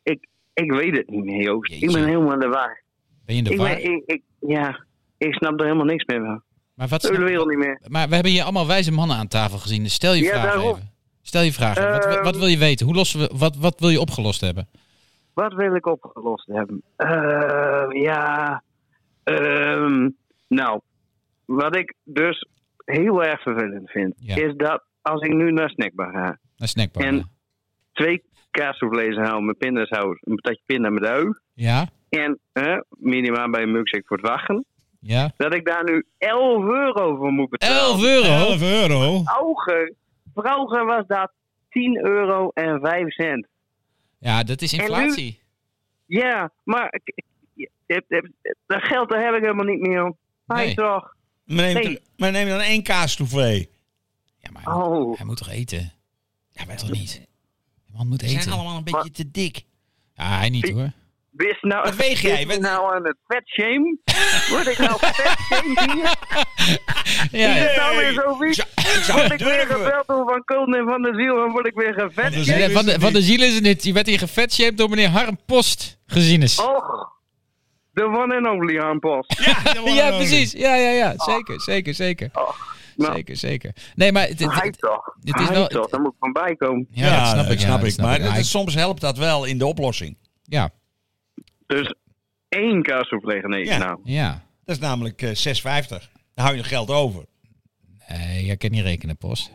[SPEAKER 8] Ik, ik weet het niet meer, Joost. Ik
[SPEAKER 1] Jeetje.
[SPEAKER 8] ben helemaal in de war.
[SPEAKER 1] Ben je in de
[SPEAKER 8] Ik,
[SPEAKER 1] war?
[SPEAKER 8] ben, ik, ik- ja, ik snap er helemaal niks meer van.
[SPEAKER 1] Maar, wat,
[SPEAKER 8] De hele wereld niet meer.
[SPEAKER 1] maar we hebben hier allemaal wijze mannen aan tafel gezien. Dus stel je
[SPEAKER 8] Ja,
[SPEAKER 1] vraag
[SPEAKER 8] daarom.
[SPEAKER 1] even. Stel je vraag. even. wat,
[SPEAKER 8] Ehm.
[SPEAKER 1] wat wil je weten? Hoe lossen we, wat, wat wil je opgelost hebben?
[SPEAKER 8] Wat wil ik opgelost hebben? Eh, ja. ehm, nou, wat ik dus heel erg vervelend vind,
[SPEAKER 1] Ja.
[SPEAKER 8] is dat als ik nu naar Snackbar ga,
[SPEAKER 1] Naar snackbar.
[SPEAKER 8] En- twee kaassoufflés haal met pindasaus, een patatje pinda met ui,
[SPEAKER 1] Ja?
[SPEAKER 8] en eh, minimaal bij een milkshake voor het wachten,
[SPEAKER 1] Ja?
[SPEAKER 8] dat ik daar nu 11 euro voor moet betalen.
[SPEAKER 1] 11 euro?
[SPEAKER 2] 11 euro.
[SPEAKER 8] Auger, vroeger was dat 10 euro en 5 cent.
[SPEAKER 1] Ja, dat is
[SPEAKER 8] nu?
[SPEAKER 1] inflatie.
[SPEAKER 8] Ja, maar ik- ik- ik- ik- ik- dat geld daar heb ik helemaal niet meer. om. Hij
[SPEAKER 1] Nee.
[SPEAKER 8] toch?
[SPEAKER 3] Maar neem,
[SPEAKER 8] Nee.
[SPEAKER 3] maar neem dan één kaastouflé.
[SPEAKER 1] Ja, maar hij, moet-
[SPEAKER 8] Oh,
[SPEAKER 1] hij moet toch eten? Ja, maar toch niet? De man moet
[SPEAKER 6] Ze zijn
[SPEAKER 1] eten.
[SPEAKER 6] allemaal een beetje te dik.
[SPEAKER 1] Ja, hij niet hoor.
[SPEAKER 8] wist nou,
[SPEAKER 3] Wat weeg jij?
[SPEAKER 8] Ben
[SPEAKER 3] Wat-
[SPEAKER 8] nou aan het vet shame? Word ik nou vet shame hier?
[SPEAKER 1] Ja,
[SPEAKER 8] Is
[SPEAKER 1] ja.
[SPEAKER 8] het nou weer zo
[SPEAKER 3] Zou-
[SPEAKER 8] vies?
[SPEAKER 3] ik zou
[SPEAKER 8] Word
[SPEAKER 3] het
[SPEAKER 8] ik weer
[SPEAKER 3] durven.
[SPEAKER 8] gebeld door Van Kulten en Van de Ziel en word ik weer gevet?
[SPEAKER 2] Dus
[SPEAKER 1] Ja,
[SPEAKER 2] ik
[SPEAKER 1] van,
[SPEAKER 2] wist
[SPEAKER 1] de,
[SPEAKER 2] het
[SPEAKER 1] van de
[SPEAKER 2] niet.
[SPEAKER 1] ziel is het niet. Je werd hier gefetshaped door meneer Harm Post gezien
[SPEAKER 8] Oh,
[SPEAKER 1] is.
[SPEAKER 8] Och, de one and only aanpas.
[SPEAKER 1] ja, precies. Ja, ja, ja. Zeker, zeker, zeker.
[SPEAKER 8] nou.
[SPEAKER 1] Zeker, zeker. Nee, maar... Het, het-
[SPEAKER 8] Hij toch?
[SPEAKER 1] dit is
[SPEAKER 8] Hij
[SPEAKER 1] wel-
[SPEAKER 8] toch? Daar moet ik van bij komen.
[SPEAKER 1] ja, dat snap ik. ja,
[SPEAKER 3] snap
[SPEAKER 1] dat
[SPEAKER 3] ik. Maar dat
[SPEAKER 1] Ja,
[SPEAKER 3] is- soms helpt dat wel in de oplossing.
[SPEAKER 1] Ja,
[SPEAKER 8] Dus één kaassoufflé nee,
[SPEAKER 3] Ja.
[SPEAKER 8] nou.
[SPEAKER 1] ja.
[SPEAKER 3] Dat is namelijk eh, 6,50. Dan hou je geld over.
[SPEAKER 1] Nee, jij kan niet rekenen, Post.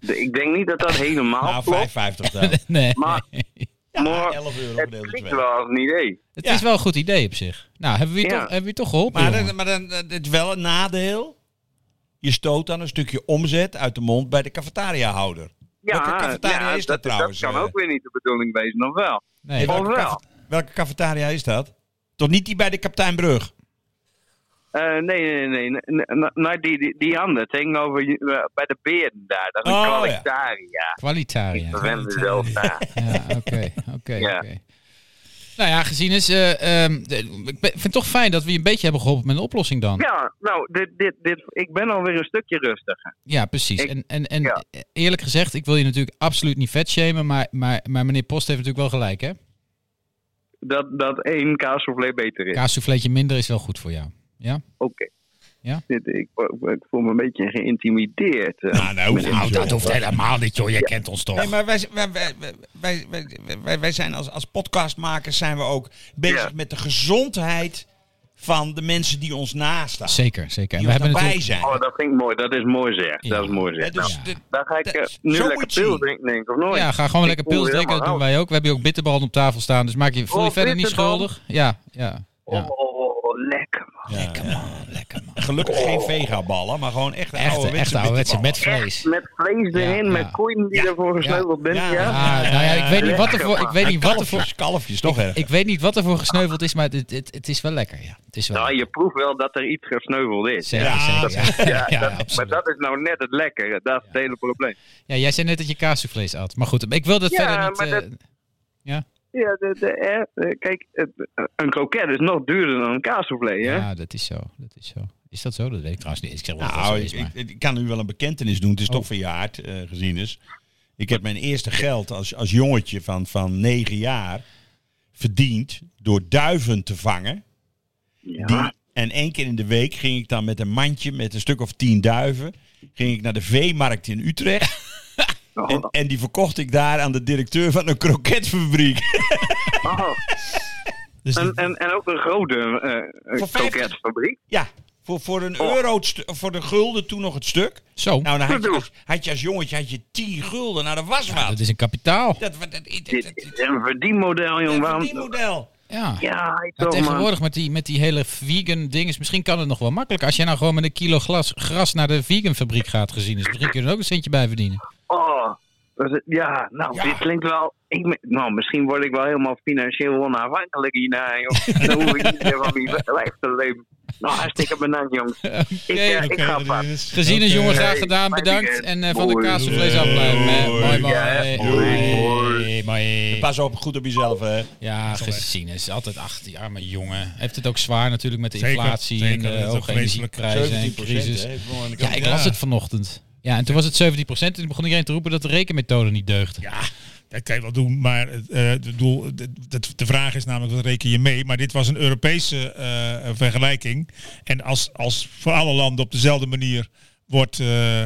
[SPEAKER 8] De- Ik denk niet dat dat helemaal
[SPEAKER 3] Nou,
[SPEAKER 8] klopt.
[SPEAKER 3] 5,50 dan.
[SPEAKER 1] Nee.
[SPEAKER 8] Maar,
[SPEAKER 3] Ja,
[SPEAKER 8] maar
[SPEAKER 3] 11 euro
[SPEAKER 8] het
[SPEAKER 3] gedeeld door
[SPEAKER 8] klinkt
[SPEAKER 3] twee.
[SPEAKER 8] wel als een idee.
[SPEAKER 1] Het
[SPEAKER 3] Ja.
[SPEAKER 1] is wel een goed idee op zich. Nou, hebben we je,
[SPEAKER 8] Ja.
[SPEAKER 1] toch, hebben we je toch geholpen,
[SPEAKER 3] Maar,
[SPEAKER 1] jongen?
[SPEAKER 3] dan, maar dan, eh, het is wel een nadeel. Je stoot dan een stukje omzet uit de mond bij de cafetariahouder. Welke
[SPEAKER 8] Ja,
[SPEAKER 3] cafetaria
[SPEAKER 8] ja,
[SPEAKER 3] is dat trouwens,
[SPEAKER 8] kan
[SPEAKER 3] eh? Oh,
[SPEAKER 8] ook weer niet de bedoeling wezen, of wel?
[SPEAKER 1] Nee.
[SPEAKER 8] Of wel?
[SPEAKER 3] Welke cafetaria is dat? Toch niet die bij de Kapteinbrug?
[SPEAKER 8] Eh, nee, nee, nee. nee, nee, nee, nee, die, die, die andere, tegenover je- eh, bij de beerden daar. Dat is een
[SPEAKER 3] Oh, ja. Oh,
[SPEAKER 8] kwalitaria. Ik
[SPEAKER 1] Qualitaria.
[SPEAKER 8] verwend mezelf daar.
[SPEAKER 1] Ja, oké, oké,
[SPEAKER 8] Ja.
[SPEAKER 1] oké. Nou ja, gezien is... eh, ehm, de- ik ben- vind het toch fijn dat we je een beetje hebben geholpen met een oplossing dan.
[SPEAKER 8] Ja, nou, dit, dit, dit, ik ben alweer een stukje rustiger.
[SPEAKER 1] Ja, precies.
[SPEAKER 8] Ik-
[SPEAKER 1] en en, en
[SPEAKER 8] ja.
[SPEAKER 1] eerlijk gezegd, ik wil je natuurlijk absoluut niet vet shamen, maar, maar, maar meneer Post heeft natuurlijk wel gelijk, hè?
[SPEAKER 8] Dat, dat één kaassoufflé beter is.
[SPEAKER 1] Kaassouffleetje minder is wel goed voor jou. Ja?
[SPEAKER 8] Oké.
[SPEAKER 1] Ja?
[SPEAKER 8] Dit, ik, oh, ik voel me een beetje geïntimideerd. eh.
[SPEAKER 1] Nou, dat hoeft helemaal niet, joh. Jij kent ons toch?
[SPEAKER 3] Nee, maar wij, wij, wij, wij, wij- wij, wij zijn als, als podcastmakers zijn we ook bezig
[SPEAKER 8] Ja.
[SPEAKER 3] met de gezondheid van de mensen die ons nastaan.
[SPEAKER 1] Zeker, zeker. En
[SPEAKER 3] Die
[SPEAKER 1] we
[SPEAKER 3] ons
[SPEAKER 1] hebben
[SPEAKER 3] nabij
[SPEAKER 1] natuurlijk...
[SPEAKER 3] zijn.
[SPEAKER 8] Oh, dat vind ik mooi. Dat is mooi zeg.
[SPEAKER 1] Ja.
[SPEAKER 8] Dat is mooi zeg.
[SPEAKER 3] Hè, dus
[SPEAKER 8] Nou,
[SPEAKER 3] de-
[SPEAKER 8] dan ga ik eh,
[SPEAKER 3] dat-
[SPEAKER 8] nu
[SPEAKER 3] zo
[SPEAKER 8] lekker
[SPEAKER 3] moet je.
[SPEAKER 8] pil drinken, denk ik, of nooit?
[SPEAKER 1] Ja, ga gewoon
[SPEAKER 8] Ik
[SPEAKER 1] lekker
[SPEAKER 8] voel
[SPEAKER 1] pils
[SPEAKER 8] me
[SPEAKER 1] drinken. Dat doen
[SPEAKER 8] helemaal
[SPEAKER 1] wij ook. We hebben hier ook bitterballen op tafel staan. Dus maak je, voel je
[SPEAKER 8] Oh,
[SPEAKER 1] verder niet
[SPEAKER 8] bitterballen.
[SPEAKER 1] schuldig. Ja, ja. ja.
[SPEAKER 8] oud. Oh, oh, oh, wel lekker, man.
[SPEAKER 1] Lekker man, lekker man.
[SPEAKER 3] Gelukkig geen vegaballen, maar gewoon echt
[SPEAKER 1] Echt,
[SPEAKER 3] ouderwetse
[SPEAKER 1] echt ouderwetse met
[SPEAKER 3] bitterballen.
[SPEAKER 1] vlees.
[SPEAKER 8] Met vlees
[SPEAKER 1] Ja,
[SPEAKER 8] erin,
[SPEAKER 1] ja.
[SPEAKER 8] met koeien die ervoor gesneuveld bent, ja.
[SPEAKER 1] Ah, nou ja, ik weet niet wat ervoor,
[SPEAKER 8] Lekker,
[SPEAKER 1] ik weet niet wat
[SPEAKER 3] Kalfjes,
[SPEAKER 1] ervoor,
[SPEAKER 3] kalfjes, toch erg.
[SPEAKER 1] ik weet niet wat ervoor gesneuveld is, maar het, het, het is wel lekker, ja. Het is wel
[SPEAKER 8] Nou, je proeft wel dat er iets gesneuveld is.
[SPEAKER 1] Zeker, zeker, ja.
[SPEAKER 8] Ja,
[SPEAKER 1] Ja,
[SPEAKER 8] dat- maar
[SPEAKER 1] absoluut.
[SPEAKER 8] dat is nou net het lekkere. Dat is het hele probleem.
[SPEAKER 1] Ja, jij zei net dat je kaassoufflés at. Maar goed, ik wil dat
[SPEAKER 8] Ja,
[SPEAKER 1] verder niet...
[SPEAKER 8] maar dat-
[SPEAKER 1] eh,
[SPEAKER 8] Ja, de, de, eh, eh, kijk, het- een kroket is nog duurder dan een kaassoufflé, hè?
[SPEAKER 1] ja, dat is zo. Dat is zo. Is dat zo? Dat weet ik trouwens niet. Ik zeg wel dat
[SPEAKER 3] Nou,
[SPEAKER 1] het
[SPEAKER 3] ik,
[SPEAKER 1] zo is, maar... Oh.
[SPEAKER 3] ik, ik kan u wel een bekentenis doen. Het is toch verjaard, eh, gezien is. Ik heb mijn eerste geld als, als jongetje van, van 9 jaar verdiend door duiven te vangen. Die- en één keer in de week ging ik dan met een mandje met een stuk of tien duiven... ging ik naar de veemarkt in Utrecht.
[SPEAKER 8] Oh,
[SPEAKER 3] En, en die verkocht ik daar aan de directeur van een kroketfabriek.
[SPEAKER 8] oh.
[SPEAKER 2] Dus
[SPEAKER 8] En,
[SPEAKER 2] die-
[SPEAKER 8] en, en ook een grote eh, eh
[SPEAKER 3] Voor 50.
[SPEAKER 8] kroketfabriek.
[SPEAKER 3] Ja, voor, voor een euro, het stu- voor de gulden toen nog het stuk.
[SPEAKER 1] Zo,
[SPEAKER 3] Nou, dan had je,
[SPEAKER 8] Bedoel.
[SPEAKER 3] als, had je als jongetje had je 10 gulden. Nou, dat was
[SPEAKER 1] dat
[SPEAKER 3] wat.
[SPEAKER 1] is een kapitaal.
[SPEAKER 3] Dat, dat, dat, dat,
[SPEAKER 8] Dit is een verdienmodel,
[SPEAKER 3] dat
[SPEAKER 8] jongen. Waarom?
[SPEAKER 3] verdienmodel.
[SPEAKER 1] Ja.
[SPEAKER 8] Ja, hij
[SPEAKER 1] Maar
[SPEAKER 8] toch, man.
[SPEAKER 1] tegenwoordig met die, met die hele vegan dinges, misschien kan het nog wel makkelijker. Als jij nou gewoon met een kilo glas, gras naar de vegan fabriek gaat gezien is, misschien kun je er ook een centje bij verdienen.
[SPEAKER 8] Oh, dat is- ja, nou, dit klinkt wel... Ik, me- nou, misschien word ik wel helemaal financieel onafhankelijk hierna, joh. Dan hoef ik niet meer van die lijf te leven. Nou, hartstikke bedankt, jongens. ik, eh, ik ga
[SPEAKER 2] Oké, dat
[SPEAKER 8] vast.
[SPEAKER 2] is-
[SPEAKER 1] Gezien is
[SPEAKER 2] Oké.
[SPEAKER 1] jongen, graag
[SPEAKER 8] Hey,
[SPEAKER 1] gedaan.
[SPEAKER 8] fijn
[SPEAKER 1] Bedankt.
[SPEAKER 8] weekend.
[SPEAKER 1] En eh, van de
[SPEAKER 8] Hoi.
[SPEAKER 1] kaassoufflés afblijven.
[SPEAKER 2] Hoi.
[SPEAKER 1] Mooi, mooi.
[SPEAKER 8] Ja,
[SPEAKER 1] Mooi, mooi.
[SPEAKER 3] Pas op, goed op jezelf, hè.
[SPEAKER 1] Ja, gezien is altijd achter die arme jongen. Heeft het ook zwaar natuurlijk met de
[SPEAKER 2] Zeker,
[SPEAKER 1] inflatie
[SPEAKER 2] zeker.
[SPEAKER 1] en
[SPEAKER 2] Dat is
[SPEAKER 1] de
[SPEAKER 2] ook
[SPEAKER 1] hoge
[SPEAKER 2] vreselijk.
[SPEAKER 1] energieprijzen en
[SPEAKER 3] 17
[SPEAKER 1] crisis.
[SPEAKER 3] hè.
[SPEAKER 1] Ja, ik las het vanochtend. Ja, en toen was het 17 en toen begon iedereen te roepen dat de rekenmethode niet deugde.
[SPEAKER 2] Ja, dat kan je wel doen, maar eh, het doel, de, de- de vraag is namelijk, wat reken je mee? Maar dit was een Europese eh, vergelijking. En als, als voor alle landen op dezelfde manier wordt, eh,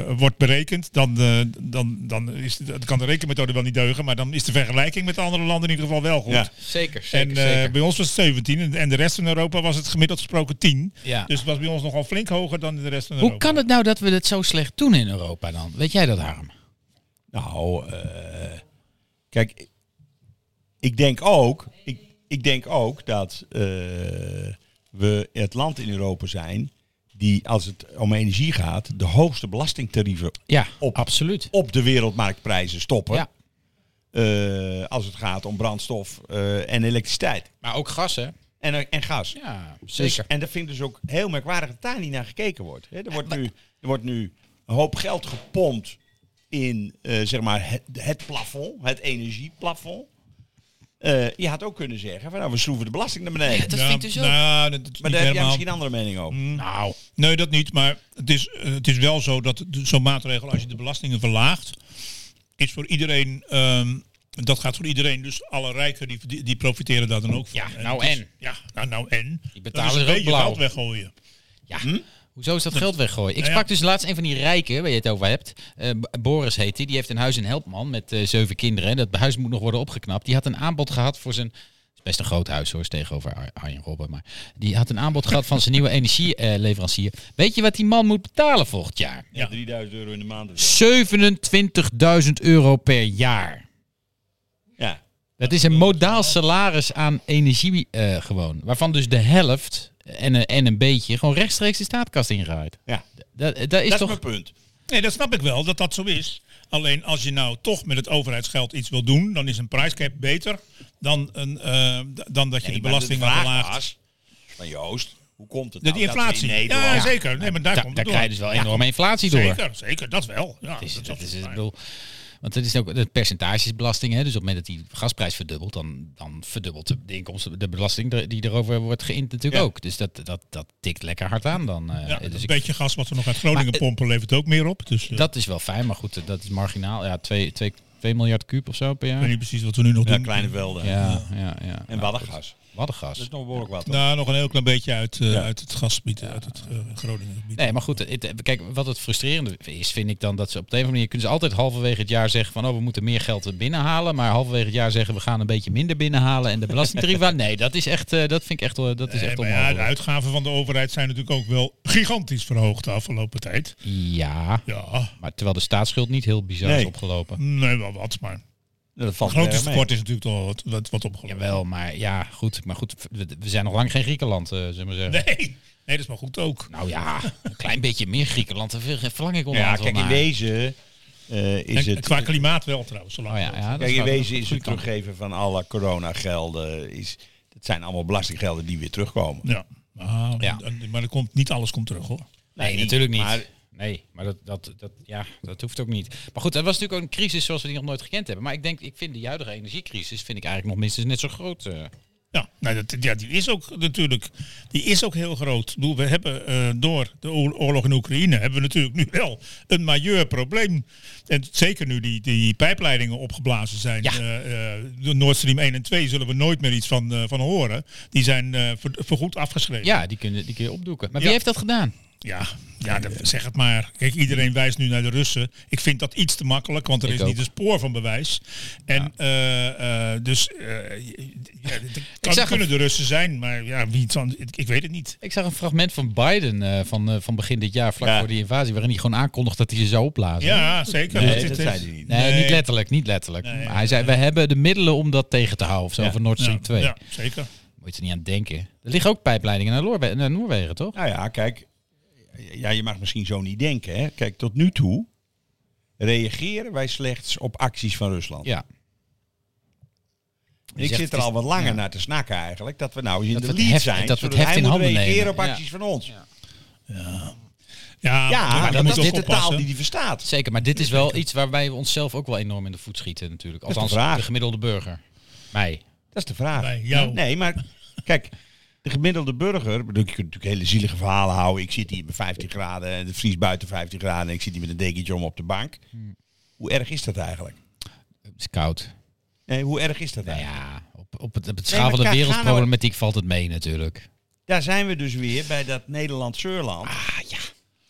[SPEAKER 2] eh, wordt berekend, dan, eh, dan, dan is, de- dan kan de rekenmethode wel niet deugen, maar dan is de vergelijking met de andere landen in ieder geval wel goed.
[SPEAKER 3] Ja.
[SPEAKER 1] Zeker,
[SPEAKER 2] En eh, bij ons was het 17 en- en de rest van Europa was het gemiddeld gesproken 10.
[SPEAKER 1] Ja.
[SPEAKER 2] Dus het was bij ons nogal flink hoger dan in de rest van
[SPEAKER 1] Hoe
[SPEAKER 2] Europa.
[SPEAKER 1] kan het nou dat we het zo slecht doen in Europa dan? Weet jij dat, Harm?
[SPEAKER 3] Nou, eh, kijk, ik denk ook, ik, ik denk ook dat eh, we het land in Europa zijn die, als het om energie gaat, de hoogste belastingtarieven
[SPEAKER 1] Ja,
[SPEAKER 3] Op.
[SPEAKER 1] absoluut.
[SPEAKER 3] op de wereldmarktprijzen stoppen.
[SPEAKER 1] Ja.
[SPEAKER 3] Eh, als het gaat om brandstof eh, en elektriciteit
[SPEAKER 1] Maar ook gas, hè?
[SPEAKER 3] en, en gas.
[SPEAKER 1] Ja,
[SPEAKER 3] Dus-
[SPEAKER 1] zeker.
[SPEAKER 3] en dat vind ik dus ook heel merkwaardig dat daar niet naar gekeken wordt. Hè, er, wordt nu, er wordt nu een hoop geld gepompt in eh, zeg maar het, het plafond, het energieplafond. Eh, je had ook kunnen zeggen, van, nou, we schroeven de belasting naar beneden.
[SPEAKER 1] dat
[SPEAKER 2] Ja,
[SPEAKER 1] vind ik dus ook.
[SPEAKER 2] nou, dat is
[SPEAKER 3] maar
[SPEAKER 2] niet
[SPEAKER 3] daar heb jij
[SPEAKER 2] helemaal. Mm,
[SPEAKER 3] misschien een andere mening over.
[SPEAKER 1] nou,
[SPEAKER 2] Nee, dat niet. Maar het is, eh, het is wel zo dat de- zo'n maatregel, als je de belastingen verlaagt, is voor iedereen. ehm, dat gaat voor iedereen. Dus alle rijken die, die, die profiteren daar dan ook van.
[SPEAKER 1] Ja, nou
[SPEAKER 2] het is-
[SPEAKER 1] en?
[SPEAKER 2] ja, nou, nou en.
[SPEAKER 1] Die betalen
[SPEAKER 2] Dat
[SPEAKER 1] er
[SPEAKER 2] is
[SPEAKER 1] ook
[SPEAKER 2] een beetje
[SPEAKER 1] blauw.
[SPEAKER 2] geld weggooien.
[SPEAKER 1] ja. Hoezo is dat geld weggooien? Ik
[SPEAKER 2] Nou ja.
[SPEAKER 1] sprak dus laatst een van die rijken, waar je het over hebt. Eh, B- Boris heet die. Die heeft een huis in Helpman met eh, zeven kinderen. Dat huis moet nog worden opgeknapt. Die had een aanbod gehad voor zijn... Het is best een groot huis hoor, is tegenover Ar- Arjen Robben. Maar die had een aanbod gehad van zijn nieuwe energieleverancier. Weet je wat die man moet betalen volgend jaar?
[SPEAKER 2] Ja.
[SPEAKER 3] 3000 euro in de maand. of zo.
[SPEAKER 1] 27.000 euro per jaar.
[SPEAKER 3] Ja.
[SPEAKER 1] Dat is een modaal salaris aan energie eh, gewoon. Waarvan dus de helft en, een- en een beetje gewoon rechtstreeks de staatkast ingaat.
[SPEAKER 3] Ja.
[SPEAKER 1] Dat, dat is
[SPEAKER 3] dat is
[SPEAKER 1] toch...
[SPEAKER 3] mijn punt.
[SPEAKER 2] Nee, dat snap ik wel, dat dat zo is. Alleen als je nou toch met het overheidsgeld iets wil doen, dan is een prijscap beter dan, een, eh, d- dan dat je de
[SPEAKER 3] Ik
[SPEAKER 2] belastingen
[SPEAKER 3] vraag
[SPEAKER 2] verlaagt.
[SPEAKER 3] was van Joost, hoe komt het
[SPEAKER 2] De,
[SPEAKER 3] nou
[SPEAKER 2] die inflatie.
[SPEAKER 3] Dat we in
[SPEAKER 2] ja,
[SPEAKER 3] Nederland-
[SPEAKER 2] zeker. Nee, maar daar,
[SPEAKER 1] Da-
[SPEAKER 2] komt
[SPEAKER 1] daar
[SPEAKER 2] het
[SPEAKER 1] krijg je dus wel enorme inflatie door.
[SPEAKER 2] door. Zeker, zeker, dat wel. Ja,
[SPEAKER 1] Het is,
[SPEAKER 2] dat
[SPEAKER 1] dat is, ik
[SPEAKER 2] waar.
[SPEAKER 1] bedoel, want het is ook het percentagesbelasting. Hè? Dus op het moment dat die gasprijs verdubbelt, dan, dan verdubbelt de, de inkomsten, de belasting er- die erover wordt geïnd natuurlijk
[SPEAKER 3] Ja.
[SPEAKER 1] ook. Dus dat, dat, dat tikt lekker hard aan dan. eh.
[SPEAKER 2] Ja,
[SPEAKER 1] dus
[SPEAKER 2] een
[SPEAKER 1] ik-
[SPEAKER 2] beetje gas wat we nog uit Groningen
[SPEAKER 1] Maar, eh,
[SPEAKER 2] pompen levert ook meer op. Dus eh,
[SPEAKER 1] dat is wel fijn, maar goed, eh, dat is marginaal. Ja, 2 miljard kuub of zo per
[SPEAKER 2] ik weet
[SPEAKER 1] jaar.
[SPEAKER 2] niet precies wat we nu nog
[SPEAKER 3] Ja,
[SPEAKER 2] doen.
[SPEAKER 3] kleine velden.
[SPEAKER 1] Ja, ja, ja.
[SPEAKER 3] En waddengas.
[SPEAKER 1] Waddengas.
[SPEAKER 3] Dat is nog behoorlijk wat. hoor.
[SPEAKER 2] Nou, nog een heel klein beetje uit, eh, uit het gasgebied, uit het eh, Groningen gebied.
[SPEAKER 1] Nee, maar goed, het- het- kijk, wat het frustrerende is, vind ik dan dat ze op de een of andere manier kunnen ze altijd halverwege het jaar zeggen van oh, we moeten meer geld binnenhalen. Maar halverwege het jaar zeggen we gaan een beetje minder binnenhalen en de belastingtarieven. nee, dat is echt, eh, dat vind ik echt, eh, dat is
[SPEAKER 2] Eh,
[SPEAKER 1] echt
[SPEAKER 2] maar ja, de
[SPEAKER 1] onmogelijk.
[SPEAKER 2] uitgaven van de overheid zijn natuurlijk ook wel gigantisch verhoogd de afgelopen tijd.
[SPEAKER 1] Ja,
[SPEAKER 2] Ja,
[SPEAKER 1] maar terwijl de staatsschuld niet heel bizar is
[SPEAKER 3] Nee.
[SPEAKER 1] opgelopen.
[SPEAKER 2] nee, wel wat, maar
[SPEAKER 3] Dat valt erg mee.
[SPEAKER 2] Groottekort is natuurlijk toch wat, wat, wat opgelopen.
[SPEAKER 1] Jawel, maar ja, goed. Maar goed, we, we zijn nog lang geen Griekenland, eh zullen we zeggen.
[SPEAKER 2] Nee. nee, dat is maar goed ook.
[SPEAKER 1] Nou ja, een klein beetje meer Griekenland, daar verlang ik
[SPEAKER 3] Ja,
[SPEAKER 1] onderhand wel
[SPEAKER 3] kijk, in
[SPEAKER 1] naar.
[SPEAKER 3] wezen eh, is
[SPEAKER 2] En
[SPEAKER 3] het...
[SPEAKER 2] qua klimaat wel trouwens. Zolang
[SPEAKER 1] Oh ja, ja, dat
[SPEAKER 3] Kijk, in
[SPEAKER 1] wel-
[SPEAKER 3] wezen is het
[SPEAKER 1] goede kant.
[SPEAKER 3] teruggeven van alle coronagelden... Is, het zijn allemaal belastinggelden die weer terugkomen.
[SPEAKER 2] ja. Maar,
[SPEAKER 1] Ja.
[SPEAKER 2] en- maar er komt, niet alles komt terug hoor.
[SPEAKER 1] Nee,
[SPEAKER 3] Nee,
[SPEAKER 1] natuurlijk niet.
[SPEAKER 3] maar-
[SPEAKER 1] nee, maar dat, dat, dat, ja, dat hoeft ook niet. Maar goed, dat was natuurlijk ook een crisis zoals we die nog nooit gekend hebben. Maar ik denk, ik vind de huidige energiecrisis vind ik eigenlijk nog minstens net zo groot. eh.
[SPEAKER 2] Ja, nou, dat, ja, die is ook natuurlijk die is ook heel groot. Ik bedoel, we hebben eh, door de oor- oorlog in Oekraïne hebben we natuurlijk nu wel een majeur probleem. En zeker nu die, die pijpleidingen opgeblazen zijn.
[SPEAKER 1] Ja.
[SPEAKER 2] eh, eh, de Nord Stream 1 en 2 zullen we nooit meer iets van, eh, van horen. Die zijn eh, voor, voorgoed afgeschreven.
[SPEAKER 1] Ja, die kun, je- die kun je opdoeken. Maar wie
[SPEAKER 2] Ja.
[SPEAKER 1] heeft dat gedaan?
[SPEAKER 2] Ja, ja dat- eh, zeg het maar. Kijk, iedereen wijst nu naar de Russen. Ik vind dat iets te makkelijk, want er
[SPEAKER 1] Ik
[SPEAKER 2] is
[SPEAKER 1] ook.
[SPEAKER 2] niet een spoor van bewijs. En eh, eh, dus, eh, ja, het kan,
[SPEAKER 1] zag
[SPEAKER 2] kunnen
[SPEAKER 1] een-
[SPEAKER 2] de Russen zijn, maar ja, wie het dan, ik, ik weet het niet.
[SPEAKER 1] Ik zag een fragment van Biden eh, van, eh, van begin dit jaar, vlak voor die invasie, waarin hij gewoon aankondigt dat hij ze zou opblazen.
[SPEAKER 2] Ja, zeker.
[SPEAKER 3] Nee,
[SPEAKER 2] Het-
[SPEAKER 3] dat
[SPEAKER 2] het-
[SPEAKER 3] zei hij niet.
[SPEAKER 1] Nee,
[SPEAKER 2] Nee.
[SPEAKER 1] niet letterlijk, niet letterlijk.
[SPEAKER 2] Nee.
[SPEAKER 1] maar hij zei, we hebben de middelen om dat tegen te houden of zo,
[SPEAKER 3] Ja.
[SPEAKER 1] van Nord Stream 2.
[SPEAKER 2] Ja, zeker.
[SPEAKER 1] Moet je er niet aan denken. Er liggen ook pijpleidingen naar, Noorwe- naar Noorwegen, toch?
[SPEAKER 3] Nou ja, kijk. Ja, je mag misschien zo niet denken. Hè. Kijk, tot nu toe reageren wij slechts op acties van Rusland.
[SPEAKER 1] Ja. Je
[SPEAKER 3] ik
[SPEAKER 1] zegt,
[SPEAKER 3] zit er
[SPEAKER 1] het is-
[SPEAKER 3] al wat langer
[SPEAKER 1] ja.
[SPEAKER 3] naar te snakken eigenlijk. Dat we nou eens in
[SPEAKER 1] Dat we
[SPEAKER 3] de
[SPEAKER 1] het
[SPEAKER 3] lead
[SPEAKER 1] heft-
[SPEAKER 3] zijn.
[SPEAKER 1] dat we het
[SPEAKER 3] zodat
[SPEAKER 1] heft
[SPEAKER 3] hij
[SPEAKER 1] in
[SPEAKER 3] moet
[SPEAKER 1] handen
[SPEAKER 3] reageren
[SPEAKER 1] nemen.
[SPEAKER 3] op
[SPEAKER 1] Ja.
[SPEAKER 3] acties van ons. Ja,
[SPEAKER 2] Ja,
[SPEAKER 3] maar
[SPEAKER 2] dan
[SPEAKER 3] dat
[SPEAKER 2] moet
[SPEAKER 3] is
[SPEAKER 2] je
[SPEAKER 3] dit
[SPEAKER 2] ook
[SPEAKER 3] de taal
[SPEAKER 2] oppassen.
[SPEAKER 3] die hij verstaat.
[SPEAKER 1] Zeker, maar dit is wel iets waarbij we onszelf ook wel enorm in de voet schieten natuurlijk.
[SPEAKER 3] is de
[SPEAKER 1] Althans,
[SPEAKER 3] vraag.
[SPEAKER 1] de gemiddelde burger. Mij.
[SPEAKER 3] Dat is de vraag.
[SPEAKER 2] Bij jou.
[SPEAKER 3] Nee, maar kijk, de gemiddelde burger... ik bedoel, Je kunt natuurlijk hele zielige verhalen houden. Ik zit hier met 15 graden en het vries buiten 15 graden... en ik zit hier met een dekentje om op de bank.
[SPEAKER 2] Hmm.
[SPEAKER 3] Hoe erg is dat eigenlijk?
[SPEAKER 1] Het is koud.
[SPEAKER 3] Nee, hoe erg is dat
[SPEAKER 1] Nou
[SPEAKER 3] eigenlijk?
[SPEAKER 1] ja, op, op het, op het schaal van de
[SPEAKER 3] kijk, ga nou-
[SPEAKER 1] wereldproblematiek valt het mee natuurlijk.
[SPEAKER 3] Daar zijn we dus weer bij dat Nederland-Zeurland.
[SPEAKER 1] Ah ja,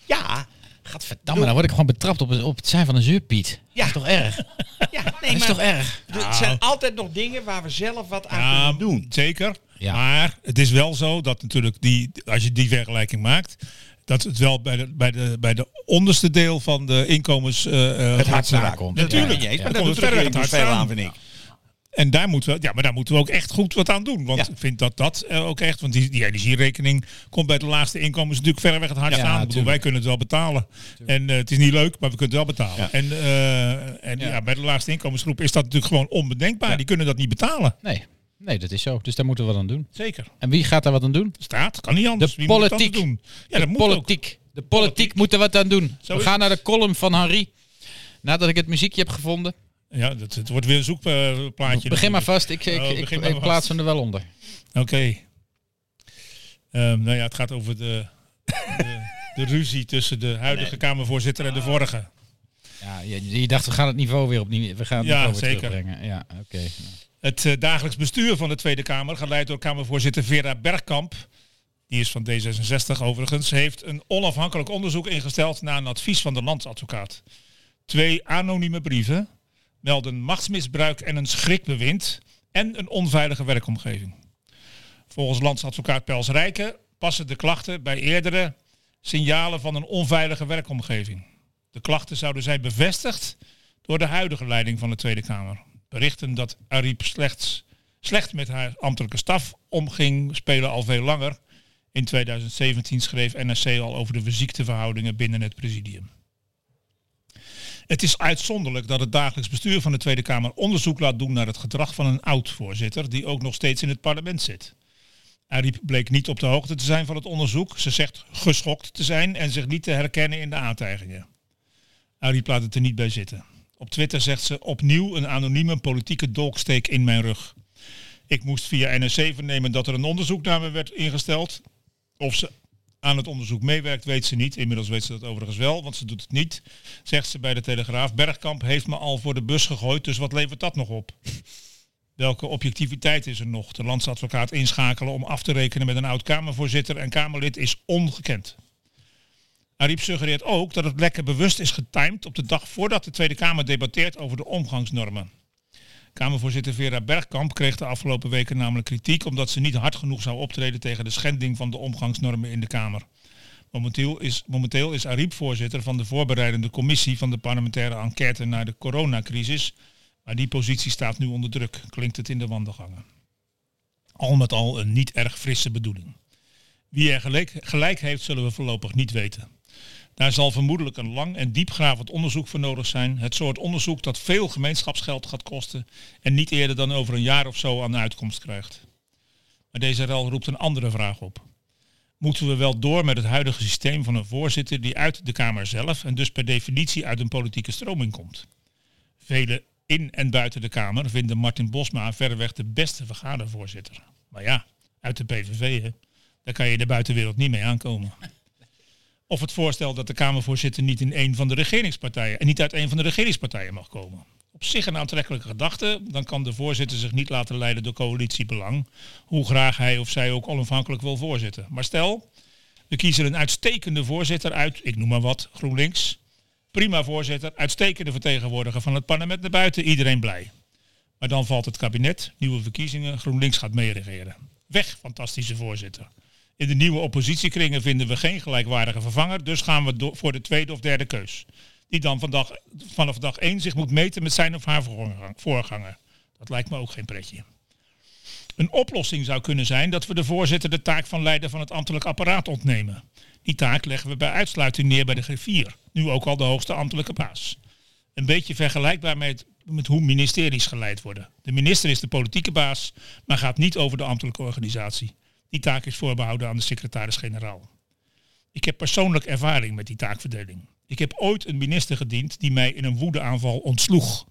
[SPEAKER 3] Ja,
[SPEAKER 1] gadverdamme, dan word ik gewoon betrapt op, het- op het zijn van een zeurpiet. Ja. Dat is toch erg?
[SPEAKER 3] ja
[SPEAKER 1] Dat
[SPEAKER 3] nee,
[SPEAKER 1] is
[SPEAKER 3] maar
[SPEAKER 1] toch erg?
[SPEAKER 3] er zijn altijd nog dingen waar we zelf wat aan
[SPEAKER 2] Nou. Ja,
[SPEAKER 3] kunnen doen.
[SPEAKER 2] Zeker.
[SPEAKER 1] Ja.
[SPEAKER 2] Maar het is wel zo dat natuurlijk die, als je die vergelijking maakt, dat het wel bij de, bij de, bij de onderste deel van de inkomens eh, eh,
[SPEAKER 1] hardst
[SPEAKER 2] gaat.
[SPEAKER 1] aankomt.
[SPEAKER 2] Natuurlijk.
[SPEAKER 1] Ja,
[SPEAKER 3] niet eens,
[SPEAKER 2] Ja,
[SPEAKER 3] maar
[SPEAKER 2] komt
[SPEAKER 3] dat doet
[SPEAKER 2] het
[SPEAKER 3] verder
[SPEAKER 2] natuurlijk
[SPEAKER 3] niet
[SPEAKER 2] hard
[SPEAKER 3] veel aan,
[SPEAKER 2] aan.
[SPEAKER 3] vind ik.
[SPEAKER 2] En daar moeten we, ja, maar daar moeten we ook echt goed wat aan doen. Want
[SPEAKER 3] Ja.
[SPEAKER 2] ik vind dat dat eh, ook echt, want die, die energierekening komt bij de laagste inkomens natuurlijk verreweg het hardst
[SPEAKER 1] Ja,
[SPEAKER 2] aan. Ik bedoel, wij
[SPEAKER 1] tuurlijk.
[SPEAKER 2] kunnen het wel betalen. En eh, het is niet leuk, maar we kunnen het wel betalen. En, eh, en ja. bij de laagste inkomensgroep is dat natuurlijk gewoon onbedenkbaar. Die kunnen dat niet betalen.
[SPEAKER 1] Nee. nee, dat is zo. Dus daar moeten we wat aan doen.
[SPEAKER 2] Zeker.
[SPEAKER 1] En wie gaat daar wat aan doen?
[SPEAKER 2] Staat, kan niet anders.
[SPEAKER 1] De
[SPEAKER 2] Wie moet dat
[SPEAKER 1] politiek.
[SPEAKER 2] dan doen?
[SPEAKER 1] de
[SPEAKER 2] Ja, dat moet ook.
[SPEAKER 1] politiek. De politiek moet er wat aan doen.
[SPEAKER 2] Zo
[SPEAKER 1] we
[SPEAKER 2] is
[SPEAKER 1] gaan
[SPEAKER 2] het.
[SPEAKER 1] naar de column van Henri. Nadat ik het muziekje heb gevonden.
[SPEAKER 2] Ja, dat, het wordt weer een zoekplaatje.
[SPEAKER 1] Begin maar vast. Ik, ik,
[SPEAKER 2] Oh,
[SPEAKER 1] ik,
[SPEAKER 2] begin
[SPEAKER 1] ik
[SPEAKER 2] maar vast.
[SPEAKER 1] plaats hem er wel onder.
[SPEAKER 2] Oké. Ehm, nou ja, het gaat over de, de, de ruzie tussen de huidige Kamervoorzitter en de vorige.
[SPEAKER 1] Ja, je, je dacht, we gaan het niveau weer opnieuw. We gaan het
[SPEAKER 2] Ja,
[SPEAKER 1] niveau weer
[SPEAKER 2] zeker.
[SPEAKER 1] terugbrengen. Ja, oké.
[SPEAKER 2] Het eh, dagelijks bestuur van de Tweede Kamer, geleid door Kamervoorzitter Vera Bergkamp, die is van D66 overigens, heeft een onafhankelijk onderzoek ingesteld naar een advies van de landsadvocaat. Twee anonieme brieven melden machtsmisbruik en een schrikbewind en een onveilige werkomgeving. Volgens landsadvocaat Pels Rijken passen de klachten bij eerdere signalen van een onveilige werkomgeving. De klachten zouden zijn bevestigd door de huidige leiding van de Tweede Kamer. Berichten dat Ariep slechts, slecht met haar ambtelijke staf omging spelen al veel langer. In 2017 schreef NRC al over de ziekteverhoudingen binnen het presidium. Het is uitzonderlijk dat het dagelijks bestuur van de Tweede Kamer onderzoek laat doen naar het gedrag van een oud-voorzitter die ook nog steeds in het parlement zit. Ariep bleek niet op de hoogte te zijn van het onderzoek. Ze zegt geschokt te zijn en zich niet te herkennen in de aantijgingen. Ariep laat het er niet bij zitten. Op Twitter zegt ze opnieuw een anonieme politieke dolksteek in mijn rug. Ik moest via NRC vernemen dat er een onderzoek naar me werd ingesteld. Of ze aan het onderzoek meewerkt, weet ze niet. Inmiddels weet ze dat overigens wel, want ze doet het niet. Zegt ze bij de Telegraaf, Bergkamp heeft me al voor de bus gegooid, dus wat levert dat nog op? Welke objectiviteit is er nog? De landsadvocaat inschakelen om af te rekenen met een oud-Kamervoorzitter en Kamerlid is ongekend. Ariep suggereert ook dat het lekker bewust is getimed op de dag voordat de Tweede Kamer debatteert over de omgangsnormen. Kamervoorzitter Vera Bergkamp kreeg de afgelopen weken namelijk kritiek omdat ze niet hard genoeg zou optreden tegen de schending van de omgangsnormen in de Kamer. Momenteel is, momenteel is Ariep voorzitter van de voorbereidende commissie van de parlementaire enquête naar de coronacrisis, Maar die positie staat nu onder druk, klinkt het in de wandelgangen. Al met al een niet erg frisse bedoeling. Wie er gelijk, gelijk heeft, zullen we voorlopig niet weten. Daar zal vermoedelijk een lang en diepgravend onderzoek voor nodig zijn. Het soort onderzoek dat veel gemeenschapsgeld gaat kosten en niet eerder dan over een jaar of zo aan de uitkomst krijgt. Maar deze rel roept een andere vraag op. Moeten we wel door met het huidige systeem van een voorzitter die uit de Kamer zelf en dus per definitie uit een politieke stroming komt? Velen in en buiten de Kamer vinden Martin Bosma verreweg de beste vergadervoorzitter. Maar ja, uit de PVV, hè? daar kan je de buitenwereld niet mee aankomen. Of het voorstel dat de Kamervoorzitter niet in een van de regeringspartijen en niet uit een van de regeringspartijen mag komen. Op zich een aantrekkelijke gedachte, dan kan de voorzitter zich niet laten leiden door coalitiebelang, hoe graag hij of zij ook onafhankelijk wil voorzitten. Maar stel, we kiezen een uitstekende voorzitter uit, ik noem maar wat, GroenLinks. Prima voorzitter, uitstekende vertegenwoordiger van het parlement naar buiten, iedereen blij. Maar dan valt het kabinet, nieuwe verkiezingen, GroenLinks gaat meeregeren. Weg, fantastische voorzitter. In de nieuwe oppositiekringen vinden we geen gelijkwaardige vervanger, dus gaan we voor de tweede of derde keus. Die dan vandaag, vanaf dag 1 zich moet meten met zijn of haar voorganger. Dat lijkt me ook geen pretje. Een oplossing zou kunnen zijn dat we de voorzitter de taak van leider van het ambtelijk apparaat ontnemen. Die taak leggen we bij uitsluiting neer bij de griffier, nu ook al de hoogste ambtelijke baas. Een beetje vergelijkbaar met, met hoe ministeries geleid worden. De minister is de politieke baas, maar gaat niet over de ambtelijke organisatie. Die taak is voorbehouden aan de secretaris-generaal. Ik heb persoonlijk ervaring met die taakverdeling. Ik heb ooit een minister gediend die mij in een woedeaanval ontsloeg.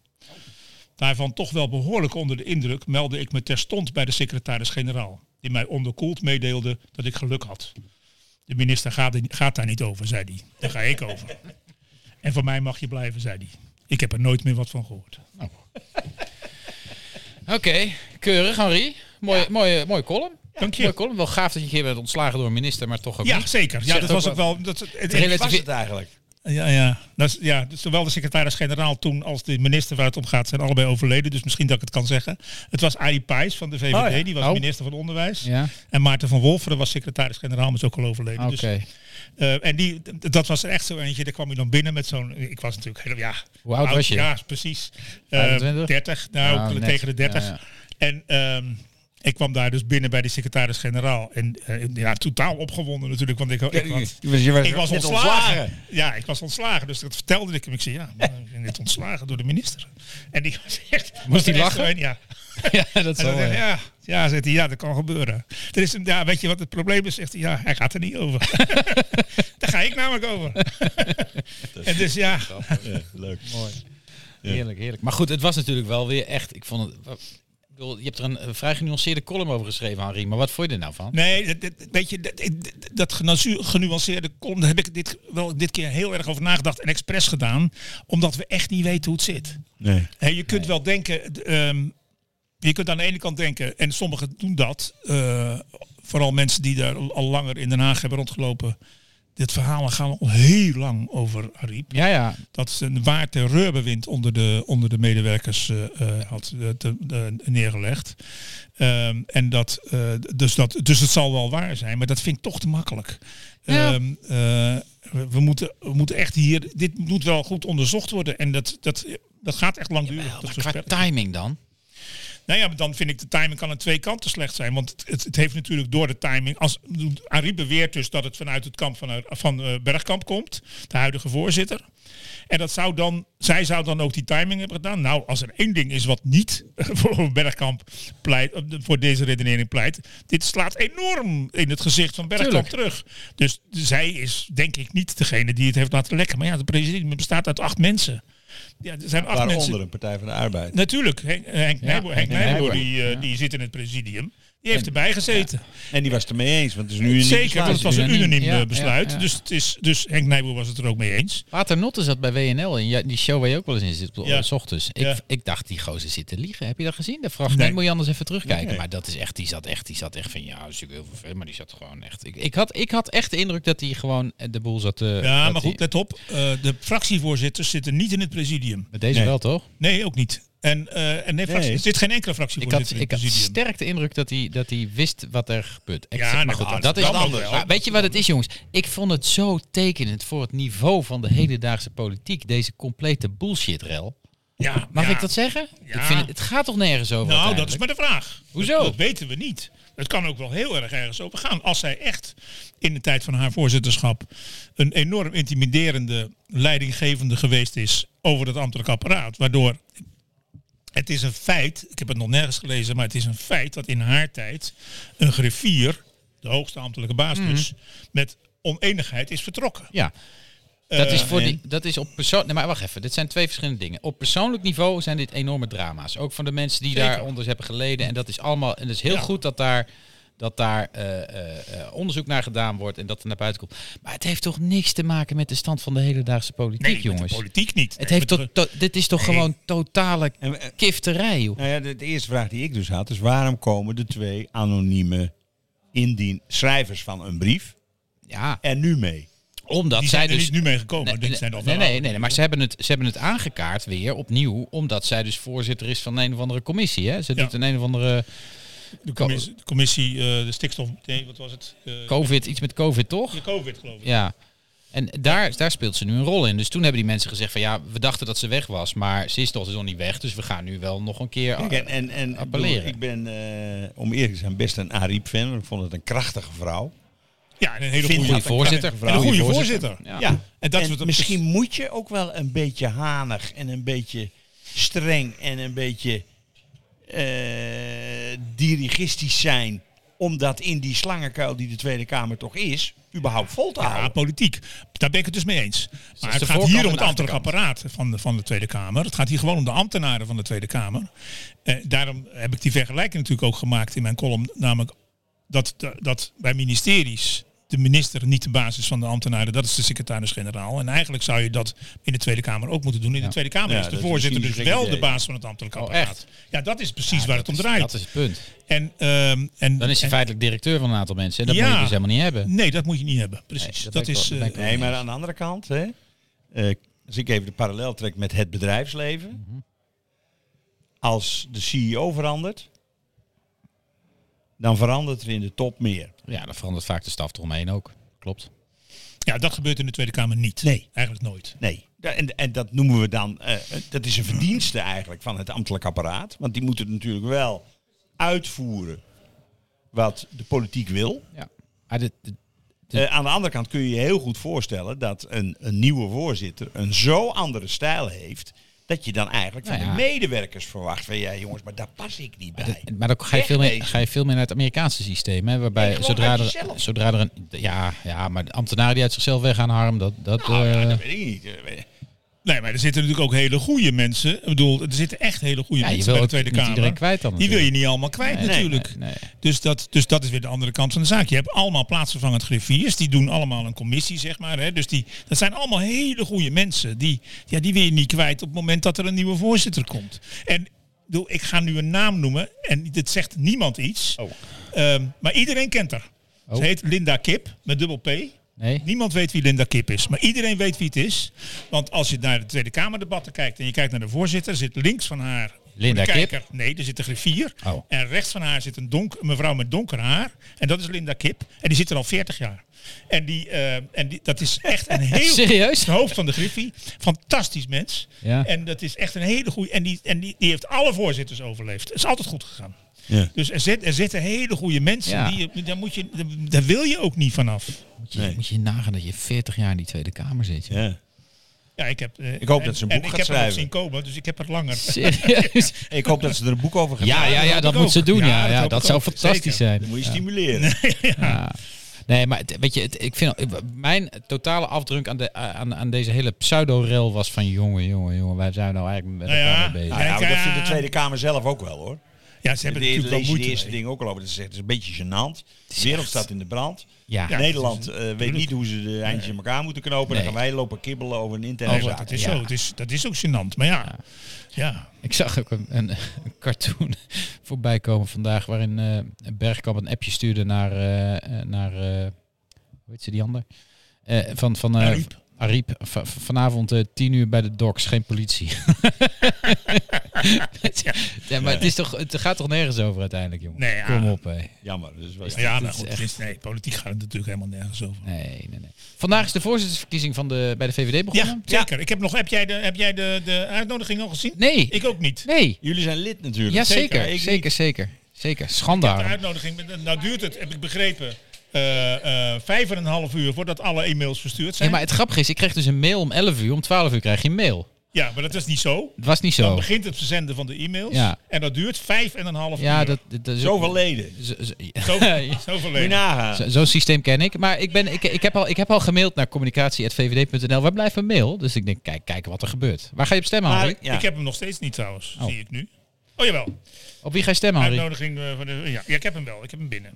[SPEAKER 2] Daarvan toch wel behoorlijk onder de indruk meldde ik me terstond bij de secretaris-generaal, die mij onderkoeld meedeelde dat ik geluk had. De minister gaat, gaat daar niet over, zei hij. Daar ga ik over. En voor mij mag je blijven, zei hij. Ik heb er nooit meer wat van gehoord. Nou.
[SPEAKER 1] Oké, okay, keurig, Henri. Mooie, ja. mooie, mooie column. Dank je. Leuk, wel gaaf dat je een keer bent ontslagen door een minister, maar toch ook
[SPEAKER 2] ja,
[SPEAKER 1] niet.
[SPEAKER 2] Zeker. Ja, dat was ook wel... Dat,
[SPEAKER 3] het, relatief... was het eigenlijk?
[SPEAKER 2] Ja, ja. Dat is, ja dus zowel de secretaris-generaal toen als de minister waar het om gaat zijn allebei overleden. Dus misschien dat ik het kan zeggen. Het was Arie Pijs van de VVD, oh, ja. die was oh. minister van Onderwijs. Ja. En Maarten van Wolferen was secretaris-generaal, maar is ook al overleden.
[SPEAKER 1] Oké. Okay. Dus,
[SPEAKER 2] uh, en die, dat was er echt zo eentje. Daar kwam hij dan binnen met zo'n. Ik was natuurlijk heel. Ja,
[SPEAKER 1] Hoe oud, oud was je?
[SPEAKER 2] Ja, precies. Uh, 30, nou, nou tegen de 30. Ja, en. Um, ik kwam daar dus binnen bij de secretaris-generaal. En uh, ja, totaal opgewonden natuurlijk. Want ik, ik, was,
[SPEAKER 3] je was,
[SPEAKER 2] ik was
[SPEAKER 3] ontslagen. ontslagen.
[SPEAKER 2] Ja, ik was ontslagen. Dus dat vertelde ik hem. Ik zei, ja, maar ik ben net ontslagen door de minister. En die was echt...
[SPEAKER 1] Moest hij lachen?
[SPEAKER 2] Een, ja.
[SPEAKER 1] ja, dat zal
[SPEAKER 2] ja. ja. Ja, zegt hij, ja, dat kan gebeuren. Er is een, ja, weet je wat het probleem is? Zegt hij, ja, hij gaat er niet over. Daar ga ik namelijk over. en dus ja.
[SPEAKER 3] ja leuk.
[SPEAKER 1] Mooi. Ja. Heerlijk, heerlijk. Maar goed, het was natuurlijk wel weer echt... Ik vond het je hebt er een eh, vrij genuanceerde column over geschreven, Harry. Maar wat vond je er nou van?
[SPEAKER 2] Nee, dat, weet je, dat, dat genuanceerde column, daar heb ik dit, wel dit keer heel erg over nagedacht en expres gedaan. Omdat we echt niet weten hoe het zit.
[SPEAKER 3] Nee.
[SPEAKER 2] Hey, je kunt nee. wel denken, um, je kunt aan de ene kant denken, en sommigen doen dat. Uh, vooral mensen die daar al langer in Den Haag hebben rondgelopen. Dit verhaal gaan we al heel lang over, Ariep.
[SPEAKER 1] Ja, ja.
[SPEAKER 2] Dat ze een waar terreurbewind onder de, onder de medewerkers uh, had uh, te, uh, neergelegd. Um, en dat, dus dat, dus het zal wel waar zijn, maar dat vind ik toch te makkelijk. Ja. Um, we, moeten, we moeten echt hier, dit moet wel goed onderzocht worden. En dat, dat, dat gaat echt lang duren. Ja,
[SPEAKER 1] maar qua timing dan?
[SPEAKER 2] Nou ja, maar dan vind ik de timing kan aan twee kanten slecht zijn. Want het, het heeft natuurlijk door de timing. Als Arie beweert dus dat het vanuit het kamp van, van uh, Bergkamp komt, de huidige voorzitter. En dat zou dan, zij zou dan ook die timing hebben gedaan. Nou, als er één ding is wat niet voor Bergkamp pleit, eh, voor deze redenering pleit, dit slaat enorm in het gezicht van Bergkamp Tuurlijk. terug. Dus zij is denk ik niet degene die het heeft laten lekken. Maar ja, de president bestaat uit acht mensen.
[SPEAKER 3] Ja, er zijn acht Waaronder mensen. een Partij van de Arbeid.
[SPEAKER 2] Natuurlijk. Henk, eh, Henk, ja, Nijboer, Henk Nijboer, die, uh, ja. die zit in het presidium. Die heeft en, erbij gezeten.
[SPEAKER 3] Ja. En die was het ermee eens, want het is nu een
[SPEAKER 2] Zeker, besluit. want het was een unaniem besluit. Dus, het is, dus Henk Nijboer was het er ook mee eens.
[SPEAKER 1] Paternotte zat bij WNL, in die show waar je ook wel eens in zit, op ja. ochtends. Ik, ik dacht, die gozer zit te liegen. Heb je dat gezien? De vraag, nee. moet je anders even terugkijken. Nee. Maar dat is echt, die zat echt, die zat echt van, ja, dat is natuurlijk heel veel, maar die zat gewoon echt... Ik, ik, had, ik had echt de indruk dat hij gewoon eh, de boel zat te...
[SPEAKER 2] ja, maar goed, let op. Uh, de fractievoorzitters zitten niet in het presidium.
[SPEAKER 1] Met deze
[SPEAKER 2] nee.
[SPEAKER 1] wel, toch?
[SPEAKER 2] Nee, ook niet. En, uh, en nee, fractie, er zit geen enkele fractievoorzitter
[SPEAKER 1] ik had,
[SPEAKER 2] in
[SPEAKER 1] Ik had sterk de indruk dat hij, dat hij wist wat er gebeurt. Exact. Ja, maar goed, nou, dat, is anders. Maar weet je wat het is, jongens? Ik vond het zo tekenend voor het niveau van de hedendaagse politiek. Deze complete bullshit-rel.
[SPEAKER 2] Ja,
[SPEAKER 1] Mag
[SPEAKER 2] ja.
[SPEAKER 1] ik dat zeggen?
[SPEAKER 2] Ja.
[SPEAKER 1] Ik vind het, het gaat toch nergens over?
[SPEAKER 2] Nou, dat is
[SPEAKER 1] uiteindelijk?
[SPEAKER 2] maar de vraag.
[SPEAKER 1] Hoezo?
[SPEAKER 2] Dat, dat weten we niet. Het kan ook wel heel erg ergens over gaan. Als zij echt in de tijd van haar voorzitterschap een enorm intimiderende leidinggevende geweest is over het ambtelijk apparaat. Waardoor het is een feit, ik heb het nog nergens gelezen, maar het is een feit dat in haar tijd een griffier, de hoogste ambtelijke baas
[SPEAKER 1] Mhm.
[SPEAKER 2] dus, met oneenigheid is vertrokken.
[SPEAKER 1] Ja. Dat is,
[SPEAKER 2] Eh,
[SPEAKER 1] voor
[SPEAKER 2] en-
[SPEAKER 1] die, dat is op persoon. Nee, maar wacht even. Dit zijn twee verschillende dingen. Op persoonlijk niveau zijn dit enorme drama's. Ook van de mensen die
[SPEAKER 2] Zeker.
[SPEAKER 1] daaronder hebben geleden. En dat is allemaal. En het is heel
[SPEAKER 2] Ja.
[SPEAKER 1] goed dat daar, dat daar eh, eh, eh, onderzoek naar gedaan wordt. En dat er naar buiten komt. Maar het heeft toch niks te maken met de stand van de hedendaagse politiek,
[SPEAKER 2] Nee, met
[SPEAKER 1] jongens.
[SPEAKER 2] de politiek niet.
[SPEAKER 1] het
[SPEAKER 2] Nee,
[SPEAKER 1] heeft
[SPEAKER 2] met
[SPEAKER 1] toch,
[SPEAKER 2] de-
[SPEAKER 1] to- dit is toch gewoon totale
[SPEAKER 3] En, eh,
[SPEAKER 1] kifterij, joh.
[SPEAKER 3] Nou ja, de, de eerste vraag die ik dus had is waarom komen de twee anonieme indien schrijvers van een brief
[SPEAKER 1] Ja,
[SPEAKER 3] er nu mee?
[SPEAKER 1] omdat
[SPEAKER 2] die
[SPEAKER 1] zij
[SPEAKER 2] zijn er
[SPEAKER 1] dus
[SPEAKER 2] niet nu mee gekomen.
[SPEAKER 1] Nee,
[SPEAKER 2] die
[SPEAKER 1] nee,
[SPEAKER 2] Nou, zijn al
[SPEAKER 1] nee,
[SPEAKER 2] wel
[SPEAKER 1] nee, nee, maar ze hebben, het, ze hebben het aangekaart weer opnieuw, omdat zij dus voorzitter is van een of andere commissie. Hè? Ze
[SPEAKER 2] Ja.
[SPEAKER 1] doet een, een of andere
[SPEAKER 2] De commissie, de, commissie, eh, de stikstof, nee, wat was het? Eh,
[SPEAKER 1] COVID, iets met COVID toch?
[SPEAKER 2] de COVID geloof ik.
[SPEAKER 1] Ja. En daar, daar speelt ze nu een rol in. Dus toen hebben die mensen gezegd van ja, we dachten dat ze weg was, maar ze is toch dus nog niet weg, dus we gaan nu wel nog een keer.
[SPEAKER 3] Kijk, en, en, en ik bedoel,
[SPEAKER 1] Oh, Appelleren.
[SPEAKER 3] ik ben, eh, om eerlijk te zijn, best een Ariep-fan. Ik vond het een krachtige vrouw.
[SPEAKER 2] Ja, en een hele
[SPEAKER 3] Vind
[SPEAKER 2] goede
[SPEAKER 1] goede
[SPEAKER 3] dat
[SPEAKER 1] voorzitter.
[SPEAKER 3] een
[SPEAKER 2] En een
[SPEAKER 3] Goeie
[SPEAKER 2] goede voorzitter.
[SPEAKER 1] Ja.
[SPEAKER 2] En dat is wat-
[SPEAKER 3] misschien moet je ook wel een beetje hanig en een beetje streng en een beetje eh, dirigistisch zijn. Om dat in die slangenkuil die de Tweede Kamer toch is, überhaupt vol te
[SPEAKER 2] Ja,
[SPEAKER 3] houden.
[SPEAKER 2] Ah, politiek. Daar ben ik het dus mee eens. Maar
[SPEAKER 1] de
[SPEAKER 2] het gaat
[SPEAKER 1] voorkant
[SPEAKER 2] hier
[SPEAKER 1] en
[SPEAKER 2] om het
[SPEAKER 1] de
[SPEAKER 2] ambtelijk apparaat van de, van de Tweede Kamer. Het gaat hier gewoon om de ambtenaren van de Tweede Kamer. Eh, daarom heb ik die vergelijking natuurlijk ook gemaakt in mijn column. Namelijk dat, dat bij ministeries de minister niet de basis van de ambtenaren, dat is de secretaris-generaal. En eigenlijk zou je dat in de Tweede Kamer ook moeten doen. In de Tweede Kamer
[SPEAKER 3] Ja,
[SPEAKER 2] is de
[SPEAKER 3] dat is
[SPEAKER 2] voorzitter dus
[SPEAKER 3] misschien
[SPEAKER 2] wel
[SPEAKER 3] een
[SPEAKER 2] de
[SPEAKER 3] gek
[SPEAKER 2] baas van het ambtelijk
[SPEAKER 1] Oh,
[SPEAKER 2] apparaat.
[SPEAKER 1] echt?
[SPEAKER 2] Ja, dat is precies waar het om draait.
[SPEAKER 1] Dat is het punt.
[SPEAKER 2] en, ehm, en,
[SPEAKER 1] Dan is ze
[SPEAKER 2] en-
[SPEAKER 1] feitelijk directeur van een aantal mensen. En dat
[SPEAKER 2] Ja.
[SPEAKER 1] moet je dus helemaal niet hebben.
[SPEAKER 2] Nee, dat moet je niet hebben. Precies.
[SPEAKER 1] Nee, dat
[SPEAKER 2] dat
[SPEAKER 1] ben ik
[SPEAKER 2] is,
[SPEAKER 1] wel-
[SPEAKER 2] eh,
[SPEAKER 1] ben ik wel-
[SPEAKER 3] Nee, maar aan de andere kant, hè, eh, als ik even de parallel trek met het bedrijfsleven. Als de CEO verandert, dan verandert er in de top meer.
[SPEAKER 1] Ja, dan verandert vaak de staf eromheen ook. Klopt.
[SPEAKER 2] Ja, dat gebeurt in de Tweede Kamer niet. Nee. Eigenlijk nooit.
[SPEAKER 3] Nee. Da- En, en dat noemen we dan, eh, dat is een verdienste eigenlijk van het ambtelijk apparaat. Want die moeten natuurlijk wel uitvoeren wat de politiek wil.
[SPEAKER 1] Ja. Maar dit, dit-
[SPEAKER 3] Eh, aan de andere kant kun je je heel goed voorstellen dat een, een nieuwe voorzitter een zo andere stijl heeft. Dat je dan eigenlijk van
[SPEAKER 1] Nou ja.
[SPEAKER 3] de medewerkers verwaart van ja jongens, maar daar pas ik niet bij.
[SPEAKER 1] Dat- maar dan ga je, veel meer,
[SPEAKER 3] Wegwezen.
[SPEAKER 1] ga je veel meer naar het Amerikaanse systeem. Hè,
[SPEAKER 3] Nee,
[SPEAKER 1] waarbij
[SPEAKER 3] gewoon
[SPEAKER 1] zodra
[SPEAKER 3] uit
[SPEAKER 1] er,
[SPEAKER 3] jezelf.
[SPEAKER 1] zodra er een. Ja, ja, maar de ambtenaren die uit zichzelf weggaan, Harm, dat. dat
[SPEAKER 3] Nou ja,
[SPEAKER 1] eh,
[SPEAKER 3] dat weet ik niet. Eh, weet-
[SPEAKER 2] Nee, maar er zitten natuurlijk ook hele goede mensen. Ik bedoel, er zitten echt hele goede
[SPEAKER 1] Ja, je
[SPEAKER 2] mensen
[SPEAKER 1] wil
[SPEAKER 2] bij de
[SPEAKER 1] ook
[SPEAKER 2] Tweede
[SPEAKER 1] niet
[SPEAKER 2] Kamer.
[SPEAKER 1] iedereen kwijt dan
[SPEAKER 2] Die wil je
[SPEAKER 1] natuurlijk.
[SPEAKER 2] niet allemaal kwijt
[SPEAKER 1] Nee,
[SPEAKER 2] natuurlijk.
[SPEAKER 1] nee, nee.
[SPEAKER 2] Dus, dat, dus dat is weer de andere kant van de zaak. Je hebt allemaal plaatsvervangend griffiers. Die doen allemaal een commissie, zeg maar. Hè. Dus die, dat zijn allemaal hele goede mensen. Die, ja, die wil je niet kwijt op het moment dat er een nieuwe voorzitter komt. En ik bedoel, ik ga nu een naam noemen. En dit zegt niemand iets. Ehm, maar iedereen kent haar. Ze
[SPEAKER 1] Oh.
[SPEAKER 2] heet Linda Kip, met dubbel P.
[SPEAKER 1] nee.
[SPEAKER 2] Niemand weet wie Linda Kip is, maar iedereen weet wie het is. Want als je naar de Tweede Kamerdebatten kijkt en je kijkt naar de voorzitter, zit links van haar
[SPEAKER 1] Linda
[SPEAKER 2] de
[SPEAKER 1] Kip?
[SPEAKER 2] Nee, er zit een griffier.
[SPEAKER 1] Oh.
[SPEAKER 2] En rechts van haar zit een, donk, een mevrouw met donker haar. En dat is Linda Kip. En die zit er al 40 jaar. En, die, eh, en die, dat is echt een heel...
[SPEAKER 1] Serieus?
[SPEAKER 2] Het hoofd van de Griffie. Fantastisch mens.
[SPEAKER 1] Ja.
[SPEAKER 2] En dat is echt een hele goede... En, die, en die, die heeft alle voorzitters overleefd. Het is altijd goed gegaan.
[SPEAKER 3] Ja.
[SPEAKER 2] Dus er, zit, er zitten hele goede mensen.
[SPEAKER 1] Ja.
[SPEAKER 2] Die, daar, moet je, daar wil je ook niet vanaf.
[SPEAKER 1] Moet je, moet je nagaan dat je 40 jaar in die Tweede Kamer zit. joh.
[SPEAKER 3] Ja.
[SPEAKER 2] Ja, ik, heb, eh,
[SPEAKER 3] Ik hoop
[SPEAKER 2] en-
[SPEAKER 3] dat ze een
[SPEAKER 2] en
[SPEAKER 3] boek gaat
[SPEAKER 2] Ik heb het
[SPEAKER 3] schrijven.
[SPEAKER 2] ook zien komen, dus ik heb het langer.
[SPEAKER 1] Serieus?
[SPEAKER 3] Ik hoop dat ze er een boek over gaan
[SPEAKER 1] Ja,
[SPEAKER 3] maken.
[SPEAKER 1] ja, ja,
[SPEAKER 2] hoop
[SPEAKER 1] dat
[SPEAKER 2] ik
[SPEAKER 1] moet
[SPEAKER 2] ook.
[SPEAKER 1] ze doen.
[SPEAKER 2] Ja,
[SPEAKER 1] Ja,
[SPEAKER 2] dat
[SPEAKER 1] ja,
[SPEAKER 2] hoop
[SPEAKER 1] dat
[SPEAKER 2] ik
[SPEAKER 1] zou
[SPEAKER 2] ook.
[SPEAKER 1] fantastisch
[SPEAKER 2] Zeker.
[SPEAKER 1] zijn.
[SPEAKER 3] Dat moet je
[SPEAKER 1] Ja.
[SPEAKER 3] stimuleren. Nou
[SPEAKER 1] Ja. Nee, maar het- weet je, het- ik vind, mijn totale afdruk aan, de, aan, aan deze hele pseudo-rel was van jongen, jongen, jongen, wij zijn nou eigenlijk met
[SPEAKER 2] Nou ja.
[SPEAKER 1] elkaar mee bezig.
[SPEAKER 3] Nou ja, maar dat
[SPEAKER 2] Kijk,
[SPEAKER 3] vindt de
[SPEAKER 2] eh,
[SPEAKER 3] Tweede Kamer zelf ook wel hoor.
[SPEAKER 2] Ja, ze hebben
[SPEAKER 3] de,
[SPEAKER 2] natuurlijk wel
[SPEAKER 3] lees je de
[SPEAKER 2] moeite.
[SPEAKER 3] eerste
[SPEAKER 2] mee.
[SPEAKER 3] ding ook al over. Dat ze zegt, het is een beetje gênant. De wereld staat in de brand.
[SPEAKER 1] Ja.
[SPEAKER 2] Ja.
[SPEAKER 3] Nederland eh, weet niet hoe ze de eindjes in elkaar moeten knopen.
[SPEAKER 1] Nee. Oh,
[SPEAKER 3] Dan gaan wij lopen kibbelen over een interne
[SPEAKER 2] Nee,
[SPEAKER 1] Over-
[SPEAKER 3] zaak.
[SPEAKER 2] dat is
[SPEAKER 1] Ja.
[SPEAKER 2] zo. Het is, dat is ook gênant. Maar ja, ja.
[SPEAKER 1] Ik zag ook een, een, een cartoon voorbij komen vandaag waarin eh Bergkamp een appje stuurde naar, eh, eh, naar eh, hoe heet ze die ander? Eh, van van eh,
[SPEAKER 2] Ariep.
[SPEAKER 1] Ariep, va- va- vanavond eh, tien uur bij de docs, geen politie. ja, maar het, is toch, het gaat toch nergens over uiteindelijk, jongen?
[SPEAKER 2] Nee, ja.
[SPEAKER 1] Kom op, hé.
[SPEAKER 3] Jammer. Dus wel-
[SPEAKER 2] Ja,
[SPEAKER 1] dit
[SPEAKER 2] nou
[SPEAKER 1] is
[SPEAKER 2] goed,
[SPEAKER 1] echt-
[SPEAKER 2] het is- nee, politiek gaat het natuurlijk helemaal nergens over.
[SPEAKER 1] Nee, nee, nee. Vandaag is de voorzittersverkiezing van de, bij de VVD
[SPEAKER 2] Ja,
[SPEAKER 1] begonnen?
[SPEAKER 2] zeker. Ik heb, nog, heb jij, de, heb jij de, de uitnodiging al gezien?
[SPEAKER 1] Nee.
[SPEAKER 2] Ik ook niet.
[SPEAKER 1] Nee.
[SPEAKER 3] Jullie zijn lid natuurlijk.
[SPEAKER 1] Ja,
[SPEAKER 2] Zeker,
[SPEAKER 1] zeker.
[SPEAKER 2] ik
[SPEAKER 1] Zeker,
[SPEAKER 2] niet.
[SPEAKER 1] zeker, zeker.
[SPEAKER 2] Ik heb de
[SPEAKER 1] Schandaal.
[SPEAKER 2] uitnodiging. Nou duurt het, heb ik begrepen, eh, eh, vijf en een half uur voordat alle e-mails verstuurd
[SPEAKER 1] Ja,
[SPEAKER 2] zijn.
[SPEAKER 1] maar het grappige is, ik kreeg dus een mail om 11 uur. Om 12 uur krijg je een mail.
[SPEAKER 2] Ja, maar dat is niet zo.
[SPEAKER 1] Het was niet
[SPEAKER 2] Dan
[SPEAKER 1] zo.
[SPEAKER 2] begint het verzenden van de e-mails.
[SPEAKER 1] Oh. Ja.
[SPEAKER 2] En dat duurt vijf en een half
[SPEAKER 1] Ja,
[SPEAKER 2] uur.
[SPEAKER 1] dat, dat, dat is ook-
[SPEAKER 3] Zoveel leden.
[SPEAKER 1] zo- zo-
[SPEAKER 2] Zo, zoveel
[SPEAKER 3] Moet je
[SPEAKER 2] leden.
[SPEAKER 3] nagaan.
[SPEAKER 1] Zo- Zo'n systeem ken ik. Maar ik, ben, ik, ik, heb al, ik heb al gemaild naar communicatie.vvd.nl. Waar blijft mijn mail? Dus ik denk, kijk, kijk wat er gebeurt. Waar ga je op stemmen,
[SPEAKER 3] Maar-
[SPEAKER 1] Henri?
[SPEAKER 3] ja.
[SPEAKER 2] Ik heb hem nog steeds niet trouwens, zie ik nu. Oh jawel,
[SPEAKER 1] Op wie ga je stemmen, Henri?
[SPEAKER 2] uitnodiging eh, van de... Ja, ja, ik heb hem wel, ik heb hem binnen.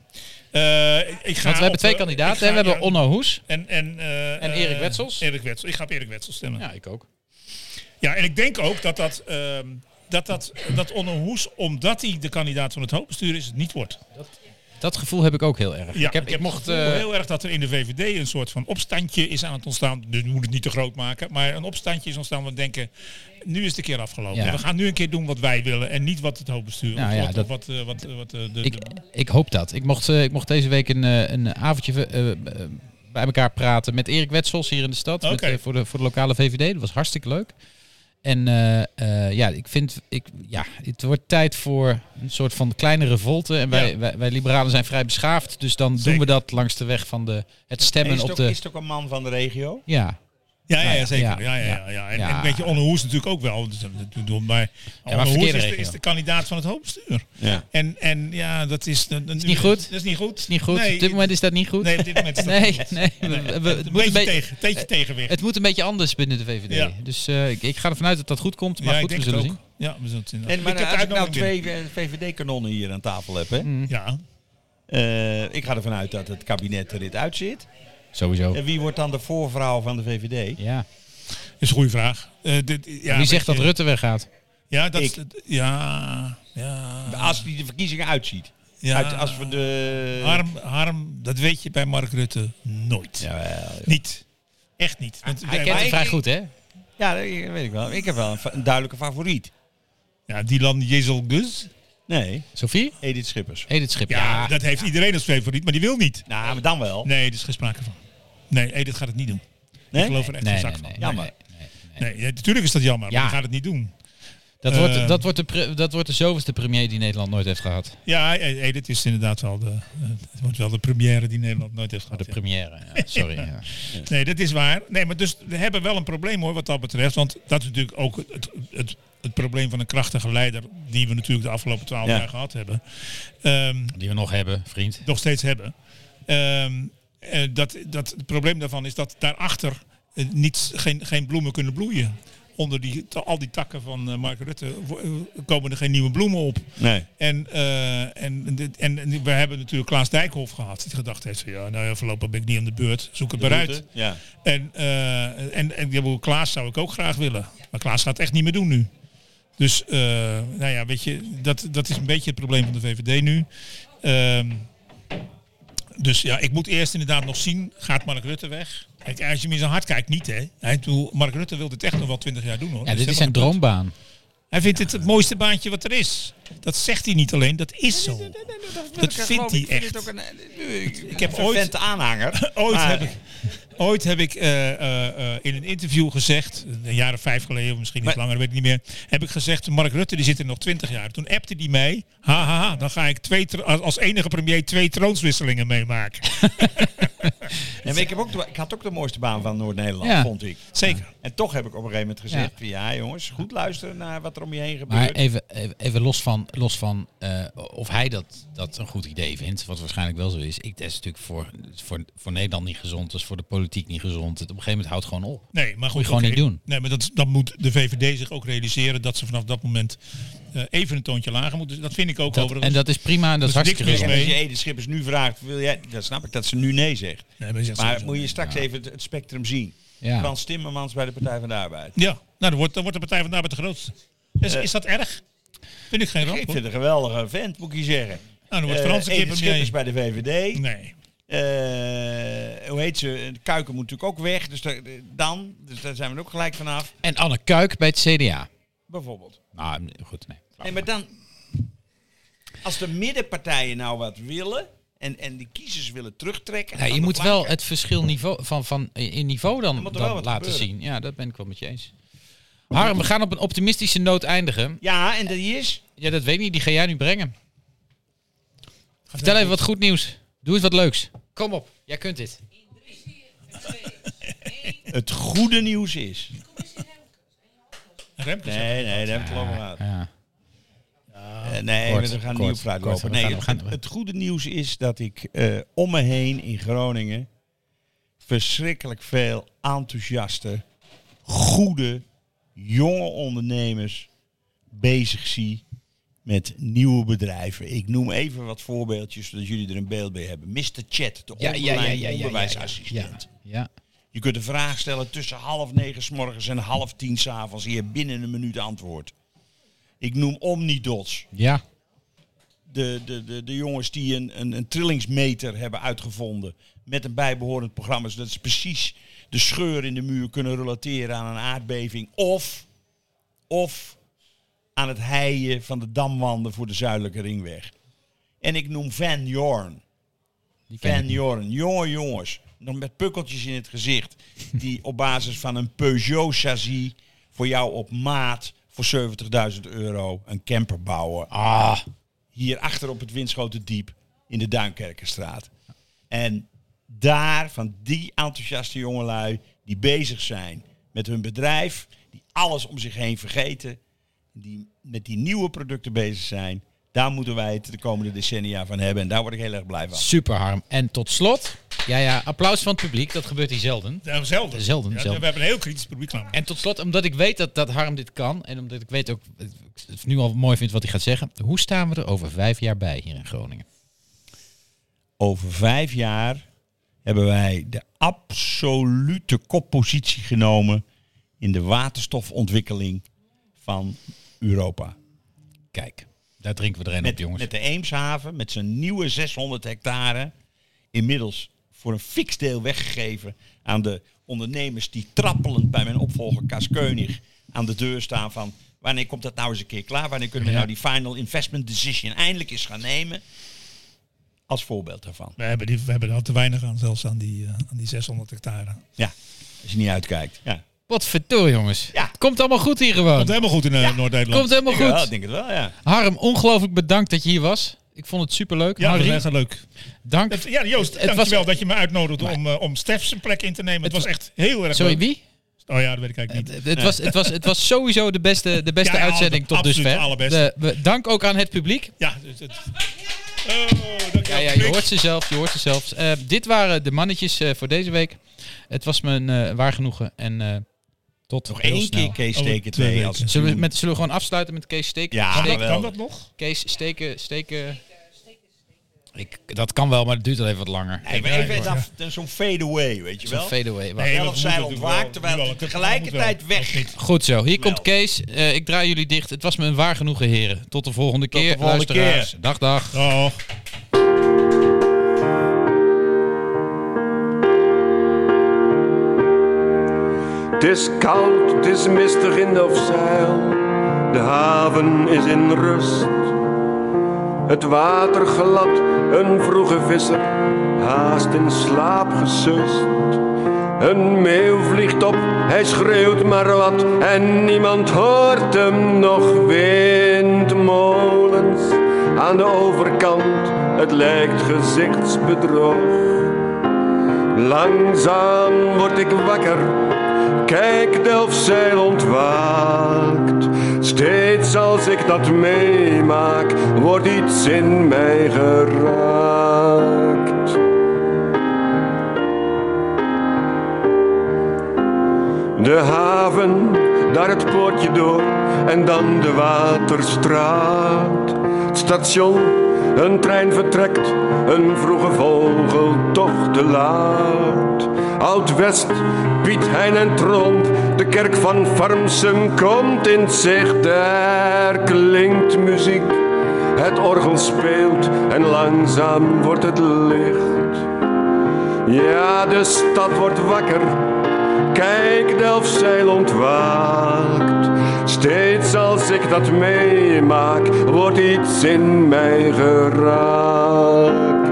[SPEAKER 2] Eh, ik- ik
[SPEAKER 1] Want
[SPEAKER 2] ga
[SPEAKER 1] we
[SPEAKER 2] op,
[SPEAKER 1] hebben twee
[SPEAKER 2] eh,
[SPEAKER 1] kandidaten.
[SPEAKER 2] ik
[SPEAKER 1] hè?
[SPEAKER 2] ga-
[SPEAKER 1] we hebben
[SPEAKER 2] ja,
[SPEAKER 1] Onno Hoes.
[SPEAKER 2] En, en, eh,
[SPEAKER 1] En Erik
[SPEAKER 2] eh,
[SPEAKER 1] Wetsels?
[SPEAKER 2] Erik Wetsels. Ik ga op Erik Wetsels stemmen. Ja,
[SPEAKER 1] Ja, ik ook.
[SPEAKER 2] en ik denk ook dat dat, ehm, dat, dat, dat Onno Hoes, omdat hij de kandidaat van het hoofdbestuur is, het niet wordt.
[SPEAKER 1] Dat gevoel heb ik ook heel erg.
[SPEAKER 2] Ja,
[SPEAKER 1] ik heb, ik
[SPEAKER 2] het
[SPEAKER 1] mocht,
[SPEAKER 2] gevoel
[SPEAKER 1] eh,
[SPEAKER 2] heel erg dat er in de VVD een soort van opstandje is aan het ontstaan. Dus we moeten het niet te groot maken, maar een opstandje is ontstaan. We denken, nu is de keer afgelopen.
[SPEAKER 1] Ja.
[SPEAKER 2] We gaan nu een keer doen wat wij willen en niet wat het hoofdbestuur.
[SPEAKER 1] Nou
[SPEAKER 2] of
[SPEAKER 1] ja,
[SPEAKER 2] wat,
[SPEAKER 1] dat-
[SPEAKER 2] wat, eh, wat, eh, wat, eh, de,
[SPEAKER 1] ik,
[SPEAKER 2] de-
[SPEAKER 1] ik hoop dat. Ik mocht, eh, ik mocht deze week een, eh, een avondje eh, eh, bij elkaar praten met Erik Wetsels hier in de stad. Met,
[SPEAKER 2] Oké.
[SPEAKER 1] eh, voor, de, voor de lokale VVD. Dat was hartstikke leuk. En eh, eh, ja, ik vind, ik, ja, het wordt tijd voor een soort van kleine revolte. En wij,
[SPEAKER 2] Ja.
[SPEAKER 1] wij, wij liberalen zijn vrij beschaafd. Dus dan doen we
[SPEAKER 2] Zeker.
[SPEAKER 1] dat langs de weg van de, het
[SPEAKER 3] Is
[SPEAKER 1] stemmen
[SPEAKER 3] het,
[SPEAKER 1] op
[SPEAKER 3] ook,
[SPEAKER 1] de...
[SPEAKER 3] is het ook een man van de regio?
[SPEAKER 1] Ja,
[SPEAKER 2] ja, ja,
[SPEAKER 1] Nou ja,
[SPEAKER 2] ja, zeker.
[SPEAKER 1] ja,
[SPEAKER 2] Ja, ja, ja,
[SPEAKER 1] ja.
[SPEAKER 2] En,
[SPEAKER 1] Ja.
[SPEAKER 2] en weet je, Onno Hoes natuurlijk ook wel. Dus, eh, dat doen- Maar Onno Hoes
[SPEAKER 1] verkeerde
[SPEAKER 2] is de,
[SPEAKER 1] regio.
[SPEAKER 2] is de kandidaat van het hoofdbestuur.
[SPEAKER 3] Ja.
[SPEAKER 2] En, en ja, dat is... Dat is
[SPEAKER 1] niet goed.
[SPEAKER 2] Dat is niet goed.
[SPEAKER 1] is niet goed.
[SPEAKER 2] Nee,
[SPEAKER 1] op dit moment is dat niet goed.
[SPEAKER 2] Nee, op dit moment is dat
[SPEAKER 1] nee,
[SPEAKER 2] niet goed.
[SPEAKER 1] nee, we- we- we- het moet
[SPEAKER 2] Een beetje
[SPEAKER 1] een be-
[SPEAKER 2] tegen, teentje tegenwicht.
[SPEAKER 1] Het moet een beetje anders binnen de VVD.
[SPEAKER 2] Ja.
[SPEAKER 1] Dus eh, ik, ik ga ervan uit dat dat goed komt. Maar
[SPEAKER 2] ja,
[SPEAKER 1] goed,
[SPEAKER 2] ik
[SPEAKER 1] we
[SPEAKER 2] denk
[SPEAKER 1] zullen
[SPEAKER 2] het
[SPEAKER 1] zien.
[SPEAKER 2] ook. Ja, we zullen het zien.
[SPEAKER 3] En maar
[SPEAKER 2] Ik Mm. heb
[SPEAKER 3] als ik nou
[SPEAKER 2] uitnodiging binnen.
[SPEAKER 3] twee eh, VVD-kanonnen hier aan tafel heb, hè?
[SPEAKER 2] Ja,
[SPEAKER 3] Eh, ik ga ervan uit dat het kabinet er dit uitzit.
[SPEAKER 1] Sowieso.
[SPEAKER 3] En wie wordt dan de voorvrouw van de VVD?
[SPEAKER 1] Ja.
[SPEAKER 2] is een goede vraag. Eh, dit, ja,
[SPEAKER 1] Wie zegt
[SPEAKER 2] weet
[SPEAKER 1] dat
[SPEAKER 2] je,
[SPEAKER 1] Rutte weggaat?
[SPEAKER 2] Ja, dat is-
[SPEAKER 3] Ik.
[SPEAKER 2] ja, ja.
[SPEAKER 3] Als die de verkiezingen uitziet.
[SPEAKER 2] Ja.
[SPEAKER 3] Uit, als we de...
[SPEAKER 2] Harm, Harm, dat weet je bij Mark Rutte nooit.
[SPEAKER 3] Jawel, joh.
[SPEAKER 2] Niet. Echt niet. Want
[SPEAKER 1] Hij
[SPEAKER 2] wij-
[SPEAKER 1] kent
[SPEAKER 2] wij-
[SPEAKER 1] het vrij goed, hè?
[SPEAKER 3] Ja, dat weet ik wel. Ik heb wel een, fa- een duidelijke favoriet.
[SPEAKER 2] Ja, Dylan Jezelgus.
[SPEAKER 3] Nee,
[SPEAKER 1] Sophie?
[SPEAKER 3] Edith Schippers.
[SPEAKER 1] Edith Schip.
[SPEAKER 2] Ja, dat heeft iedereen als favoriet, maar die wil niet.
[SPEAKER 3] Nou, maar dan wel.
[SPEAKER 2] Nee, er is geen sprake van. Nee, Edith gaat het niet doen.
[SPEAKER 3] Nee?
[SPEAKER 2] Ik geloof er echt geen
[SPEAKER 1] nee, nee,
[SPEAKER 2] zak
[SPEAKER 1] nee, nee,
[SPEAKER 2] van.
[SPEAKER 3] Jammer.
[SPEAKER 1] nee, nee.
[SPEAKER 2] Nee, ja, natuurlijk is dat jammer,
[SPEAKER 1] Ja.
[SPEAKER 2] maar die gaat het niet doen.
[SPEAKER 1] Dat, wordt,
[SPEAKER 2] Ehm.
[SPEAKER 1] dat, wordt de pre- dat wordt de zoveelste premier die Nederland nooit heeft gehad.
[SPEAKER 2] Ja, Edith is inderdaad wel de, eh, het wordt wel de première die Nederland nooit heeft gehad.
[SPEAKER 1] De
[SPEAKER 2] ja.
[SPEAKER 1] première. Ja, sorry. ja.
[SPEAKER 2] Nee, dat is waar. Nee, maar dus we hebben wel een probleem hoor, wat dat betreft. Want dat is natuurlijk ook het, het, het probleem van een krachtige leider. die we natuurlijk de afgelopen twaalf
[SPEAKER 3] Ja.
[SPEAKER 2] jaar gehad hebben. Ehm,
[SPEAKER 1] Die we nog hebben, vriend.
[SPEAKER 2] nog steeds hebben. Ehm, eh, dat, dat, het probleem daarvan is dat daarachter eh, niet, geen, geen bloemen kunnen bloeien. Onder die, al die takken van eh, Mark Rutte wo- eh, komen er geen nieuwe bloemen op.
[SPEAKER 3] Nee.
[SPEAKER 2] En, eh, en, dit- en, en we hebben natuurlijk Klaas Dijkhoff gehad. Die gedacht heeft van ja, nou ja, voorlopig ben ik niet aan de beurt. Zoek het maar uit.
[SPEAKER 3] Ja.
[SPEAKER 2] En, eh, en, en ja, bedoel, Klaas zou ik ook graag willen. Maar Klaas gaat het echt niet meer doen nu. Dus, eh, nou ja, weet je, dat, dat is een beetje het probleem van de VVD nu. Ehm, dus ja, ik moet eerst inderdaad nog zien, gaat Mark Rutte weg? Kijk, als je hem in zijn hart kijkt, niet hè. Hij, bedoel, Mark Rutte wil dit echt nog wel twintig jaar doen hoor.
[SPEAKER 1] Ja,
[SPEAKER 2] Dus
[SPEAKER 1] dit is
[SPEAKER 2] helemaal
[SPEAKER 1] zijn
[SPEAKER 2] geen punt.
[SPEAKER 1] droombaan.
[SPEAKER 2] Hij vindt het het mooiste baantje wat er is. Dat zegt hij niet alleen, dat is zo. Dat vindt hij echt. heb
[SPEAKER 3] Ik heb
[SPEAKER 2] ooit-
[SPEAKER 3] ooit... aanhanger.
[SPEAKER 2] Ooit
[SPEAKER 3] Maar-
[SPEAKER 2] heb ik, ooit heb ik eh, eh, eh, in een interview gezegd, een jaar of vijf geleden, of misschien iets
[SPEAKER 3] Maar-
[SPEAKER 2] langer, weet ik niet meer, heb ik gezegd, Mark Rutte die zit er nog twintig jaar. Toen appte die mij, haha, dan ga ik twee, tro- als als enige premier twee troonswisselingen meemaken.
[SPEAKER 3] Ja, maar ik, heb ook de- ik had ook de mooiste baan van Noord-Nederland,
[SPEAKER 1] Ja.
[SPEAKER 3] vond ik.
[SPEAKER 2] Zeker.
[SPEAKER 3] En toch heb ik op een gegeven moment gezegd: van, ja. jongens, goed luisteren naar wat er om je heen
[SPEAKER 1] Maar
[SPEAKER 3] gebeurt.
[SPEAKER 1] even, even- even los van, los van eh, of hij dat, dat een goed idee vindt, wat waarschijnlijk wel zo is. Ik, dat is natuurlijk voor, voor, voor Nederland niet gezond, dat is voor de politiek niet gezond. Het- Op een gegeven moment houdt het gewoon op.
[SPEAKER 2] Nee, maar goed.
[SPEAKER 1] je gewoon
[SPEAKER 2] oké.
[SPEAKER 1] niet doen.
[SPEAKER 2] Nee, maar dat, dan moet de VVD zich ook realiseren dat ze vanaf dat moment eh, even een toontje lager moeten. Dat vind ik ook
[SPEAKER 1] Dat-
[SPEAKER 2] overigens.
[SPEAKER 1] en dat is prima en dat is
[SPEAKER 2] dat is
[SPEAKER 1] hartstikke
[SPEAKER 2] niks
[SPEAKER 1] gezond.
[SPEAKER 2] mis
[SPEAKER 3] En als je
[SPEAKER 2] mee.
[SPEAKER 3] Edith Schippers nu vraagt, wil jij, dan snap ik dat ze nu nee zegt.
[SPEAKER 2] Nee, maar je zegt
[SPEAKER 3] Maar
[SPEAKER 2] sowieso
[SPEAKER 3] moet je
[SPEAKER 2] nee.
[SPEAKER 3] straks even het, het spectrum zien.
[SPEAKER 1] Ja.
[SPEAKER 3] Frans Timmermans bij de Partij van de Arbeid.
[SPEAKER 2] Ja, nou, dan wordt, dan wordt de Partij van de Arbeid de grootste. Is,
[SPEAKER 1] Eh.
[SPEAKER 2] is dat erg? Vind ik geen ramp.
[SPEAKER 3] Ik
[SPEAKER 2] hoor.
[SPEAKER 3] vind het een geweldige vent, moet ik je zeggen.
[SPEAKER 2] nou, dan wordt
[SPEAKER 3] Eh,
[SPEAKER 2] Frans een keer
[SPEAKER 3] Edith Schippers
[SPEAKER 2] premier.
[SPEAKER 3] bij de VVD.
[SPEAKER 2] Nee.
[SPEAKER 3] Eh, hoe heet ze? De kuiken moet natuurlijk ook weg. Dus daar- dan, dus daar zijn we ook gelijk vanaf.
[SPEAKER 1] En Anne Kuik bij het CDA.
[SPEAKER 3] Bijvoorbeeld.
[SPEAKER 1] Nou, goed, nee.
[SPEAKER 3] Nee, maar dan, als de middenpartijen nou wat willen en, en de kiezers willen terugtrekken.
[SPEAKER 1] Nee,
[SPEAKER 3] aan
[SPEAKER 1] je
[SPEAKER 3] de
[SPEAKER 1] moet wel
[SPEAKER 3] flanken.
[SPEAKER 1] het verschil niveau van, van, in niveau dan,
[SPEAKER 3] moet er
[SPEAKER 1] dan
[SPEAKER 3] wel wat
[SPEAKER 1] laten
[SPEAKER 3] gebeuren.
[SPEAKER 1] zien. Ja, dat ben ik wel met je eens. Harm, we gaan op een optimistische noot eindigen.
[SPEAKER 3] Ja, en dat is.
[SPEAKER 1] Ja, dat weet ik niet. Die ga jij nu brengen. Vertel even wat goed nieuws. Doe eens wat leuks. Kom op. Jij kunt dit.
[SPEAKER 3] Het goede nieuws is.
[SPEAKER 2] Remkes.
[SPEAKER 3] Nee, nee, dat heb ik geloof ik laten.
[SPEAKER 1] Ja.
[SPEAKER 3] Eh, nee,
[SPEAKER 1] Kort,
[SPEAKER 3] we gaan
[SPEAKER 1] kort,
[SPEAKER 3] niet op fruit
[SPEAKER 1] kort,
[SPEAKER 3] lopen.
[SPEAKER 1] we
[SPEAKER 3] Nee,
[SPEAKER 1] gaan- we gaan-
[SPEAKER 3] het, het goede nieuws is dat ik eh, om me heen in Groningen verschrikkelijk veel enthousiaste, goede, jonge ondernemers bezig zie met nieuwe bedrijven. Ik noem even wat voorbeeldjes, zodat jullie er een beeld bij hebben. Mr. Chat, de online onderwijsassistent.
[SPEAKER 1] Ja.
[SPEAKER 3] Je kunt een vraag stellen tussen half negen s morgens en half tien s avonds. Je hebt binnen een minuut antwoord. Ik noem Omnidots.
[SPEAKER 1] Ja.
[SPEAKER 3] De, de, de, de jongens die een, een, een trillingsmeter hebben uitgevonden. Met een bijbehorend programma. Zodat ze precies de scheur in de muur kunnen relateren aan een aardbeving. Of, of aan het heien van de damwanden voor de Zuidelijke Ringweg. En ik noem Van Jorn.
[SPEAKER 1] Die ken
[SPEAKER 3] Van
[SPEAKER 1] ik.
[SPEAKER 3] Jorn, jonge jongens, nog met pukkeltjes in het gezicht, die op basis van een Peugeot chassis voor jou op maat voor 70.000 euro een camper bouwen. Ah. Hier achter op het Winschoten Diep in de Duinkerkenstraat. En daar, van die enthousiaste jongelui die bezig zijn met hun bedrijf, die alles om zich heen vergeten, die met die nieuwe producten bezig zijn, daar moeten wij het de komende decennia van hebben. En daar word ik heel erg blij van.
[SPEAKER 1] Super, Harm. En tot slot. Ja, ja. Applaus van het publiek. Dat gebeurt hier zelden.
[SPEAKER 2] Ja, zelden.
[SPEAKER 1] Zelden,
[SPEAKER 2] Ja,
[SPEAKER 1] zelden.
[SPEAKER 2] We hebben een heel kritisch publiek. laat maar.
[SPEAKER 1] En tot slot, omdat ik weet dat, dat Harm dit kan. En omdat ik weet ook, ik het nu al mooi vind wat hij gaat zeggen. Hoe staan we er over vijf jaar bij hier in Groningen?
[SPEAKER 3] Over vijf jaar hebben wij de absolute koppositie genomen in de waterstofontwikkeling van Europa.
[SPEAKER 1] Kijk, daar drinken we er een op,
[SPEAKER 3] Met,
[SPEAKER 1] Nou, jongens.
[SPEAKER 3] met de Eemshaven, met zijn nieuwe 600 hectare, inmiddels voor een fix deel weggegeven aan de ondernemers die trappelend bij mijn opvolger Kas Keunig aan de deur staan van wanneer komt dat nou eens een keer klaar? Wanneer kunnen we
[SPEAKER 1] Ja.
[SPEAKER 3] nou die final investment decision eindelijk eens gaan nemen? Als voorbeeld daarvan.
[SPEAKER 2] We hebben, die, we hebben er al te weinig aan, zelfs aan die, eh, aan die 600 hectare.
[SPEAKER 3] Ja, als je niet uitkijkt. Ja.
[SPEAKER 1] Wat verdoor, jongens.
[SPEAKER 3] Ja.
[SPEAKER 1] Het komt allemaal goed hier gewoon.
[SPEAKER 2] Komt helemaal goed in eh,
[SPEAKER 1] Komt
[SPEAKER 2] Noord-Nederland.
[SPEAKER 1] helemaal
[SPEAKER 3] Ik wel,
[SPEAKER 1] goed.
[SPEAKER 3] ik denk het wel, ja.
[SPEAKER 1] Harm, ongelooflijk bedankt dat je hier was. Ik vond het superleuk.
[SPEAKER 2] Ja, Nou, dat
[SPEAKER 1] Harry,
[SPEAKER 2] is echt leuk.
[SPEAKER 1] dank.
[SPEAKER 2] Dat- ja, Joost,
[SPEAKER 1] Het was-
[SPEAKER 2] dankjewel dat je me uitnodigde om, eh, om Stef zijn plek in te nemen. Het,
[SPEAKER 1] Het
[SPEAKER 2] was echt heel erg
[SPEAKER 1] Sorry,
[SPEAKER 2] leuk.
[SPEAKER 1] wie? Eh,
[SPEAKER 2] Oh ja, dat weet ik eigenlijk niet.
[SPEAKER 1] Het, het was, het, was, het was sowieso de beste, de beste
[SPEAKER 2] Ja, ja,
[SPEAKER 1] uitzending tot
[SPEAKER 2] absoluut
[SPEAKER 1] dusver.
[SPEAKER 2] de allerbeste.
[SPEAKER 1] De- we- dank ook aan het publiek.
[SPEAKER 2] Ja, dus het... Oh, dankjewel.
[SPEAKER 1] Ja, ja, je hoort ze zelf, je hoort ze zelf. Eh, dit waren de mannetjes eh, voor deze week. Het was me een eh, waar genoegen en eh, tot
[SPEAKER 3] Nog
[SPEAKER 1] heel
[SPEAKER 3] één
[SPEAKER 1] snel.
[SPEAKER 3] keer Kees
[SPEAKER 2] Over
[SPEAKER 3] Steken
[SPEAKER 2] twee
[SPEAKER 3] 2.
[SPEAKER 2] weken.
[SPEAKER 3] Als
[SPEAKER 1] Zullen we, met, zullen we gewoon afsluiten met Kees Steken?
[SPEAKER 3] Ja,
[SPEAKER 1] Steken?
[SPEAKER 3] wel.
[SPEAKER 2] Kan dat nog?
[SPEAKER 1] Kees Steken, Steken... Ik, dat kan wel, maar het duurt alleen wat langer.
[SPEAKER 3] Nee, maar ik weet af, zo'n fadeaway, weet je
[SPEAKER 1] Zo'n
[SPEAKER 3] wel.
[SPEAKER 1] fadeaway.
[SPEAKER 2] Nee,
[SPEAKER 3] Elf
[SPEAKER 2] dat
[SPEAKER 3] zij
[SPEAKER 2] moet natuurlijk wel.
[SPEAKER 3] ontwaakt, terwijl
[SPEAKER 2] Jawel,
[SPEAKER 3] het
[SPEAKER 2] dat- dat moet wel.
[SPEAKER 3] tegelijkertijd weg.
[SPEAKER 1] Goed zo, hier komt
[SPEAKER 3] Wel.
[SPEAKER 1] Kees. Eh, ik draai jullie dicht. Het was me een waar genoegen, heren. Tot de volgende keer,
[SPEAKER 3] de volgende
[SPEAKER 1] luisteraars. Dag, dag.
[SPEAKER 2] Oh.
[SPEAKER 5] Het is koud, het is mistig in de zeil. De haven is in rust. Het water glad, een vroege visser, haast in slaap gesust. Een meeuw vliegt op, hij schreeuwt maar wat en niemand hoort hem nog. Windmolens aan de overkant, het lijkt gezichtsbedrog. Langzaam word ik wakker, kijk Delfzijl ontwaakt. Steeds als ik dat meemaak, wordt iets in mij geraakt. De haven, daar het poortje door en dan de waterstraat. Het station, een trein vertrekt, een vroege vogel toch te laat. Oud-West, Piet Hein en Tromp, de kerk van Farmsum komt in zicht. Daar klinkt muziek, het orgel speelt en langzaam wordt het licht. Ja, de stad wordt wakker. Kijk, Delfzijl ontwaakt. Steeds als ik dat meemaak, wordt iets in mij geraakt.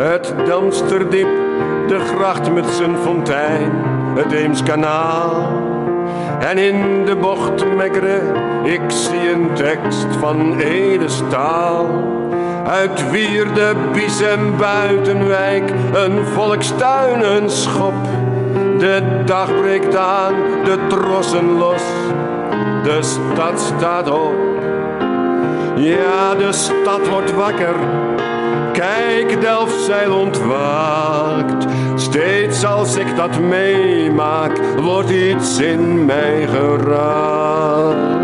[SPEAKER 5] Het Damsterdiep, de gracht met zijn fontein, het Eemskanaal. En in de bocht mekkere, ik zie een tekst van Edestaal. Uit Wierde, Bies en Buitenwijk, een volkstuin, een schop. De dag breekt aan, de trossen los, de stad staat op. Ja, de stad wordt wakker, kijk, Delfzijl ontwaakt. Steeds als ik dat meemaak, wordt iets in mij geraakt.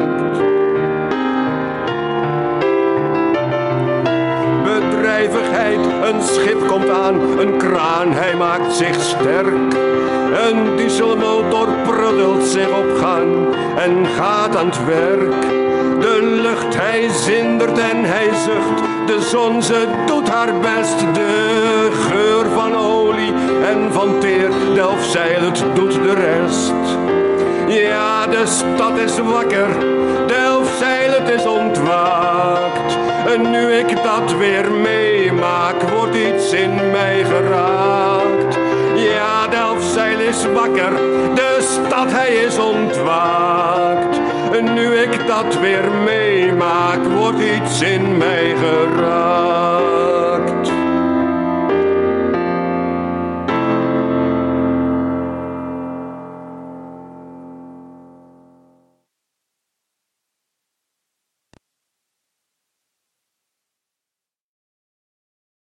[SPEAKER 5] Bedrijvigheid, een schip komt aan, een kraan, hij maakt zich sterk. Een dieselmotor pruddelt zich op gang en gaat aan het werk. De lucht, hij zindert en hij zucht. De zon, ze doet haar best. De geur van olie en van teer. Delfzijl, het doet de rest. Ja, de stad is wakker. Delfzijl, het is ontwaakt. En nu ik dat weer meemaak, wordt iets in mij geraakt. Ja, Delfzijl is wakker. De stad, hij is ontwaakt. En nu ik dat weer meemaak, wordt iets in mij geraakt.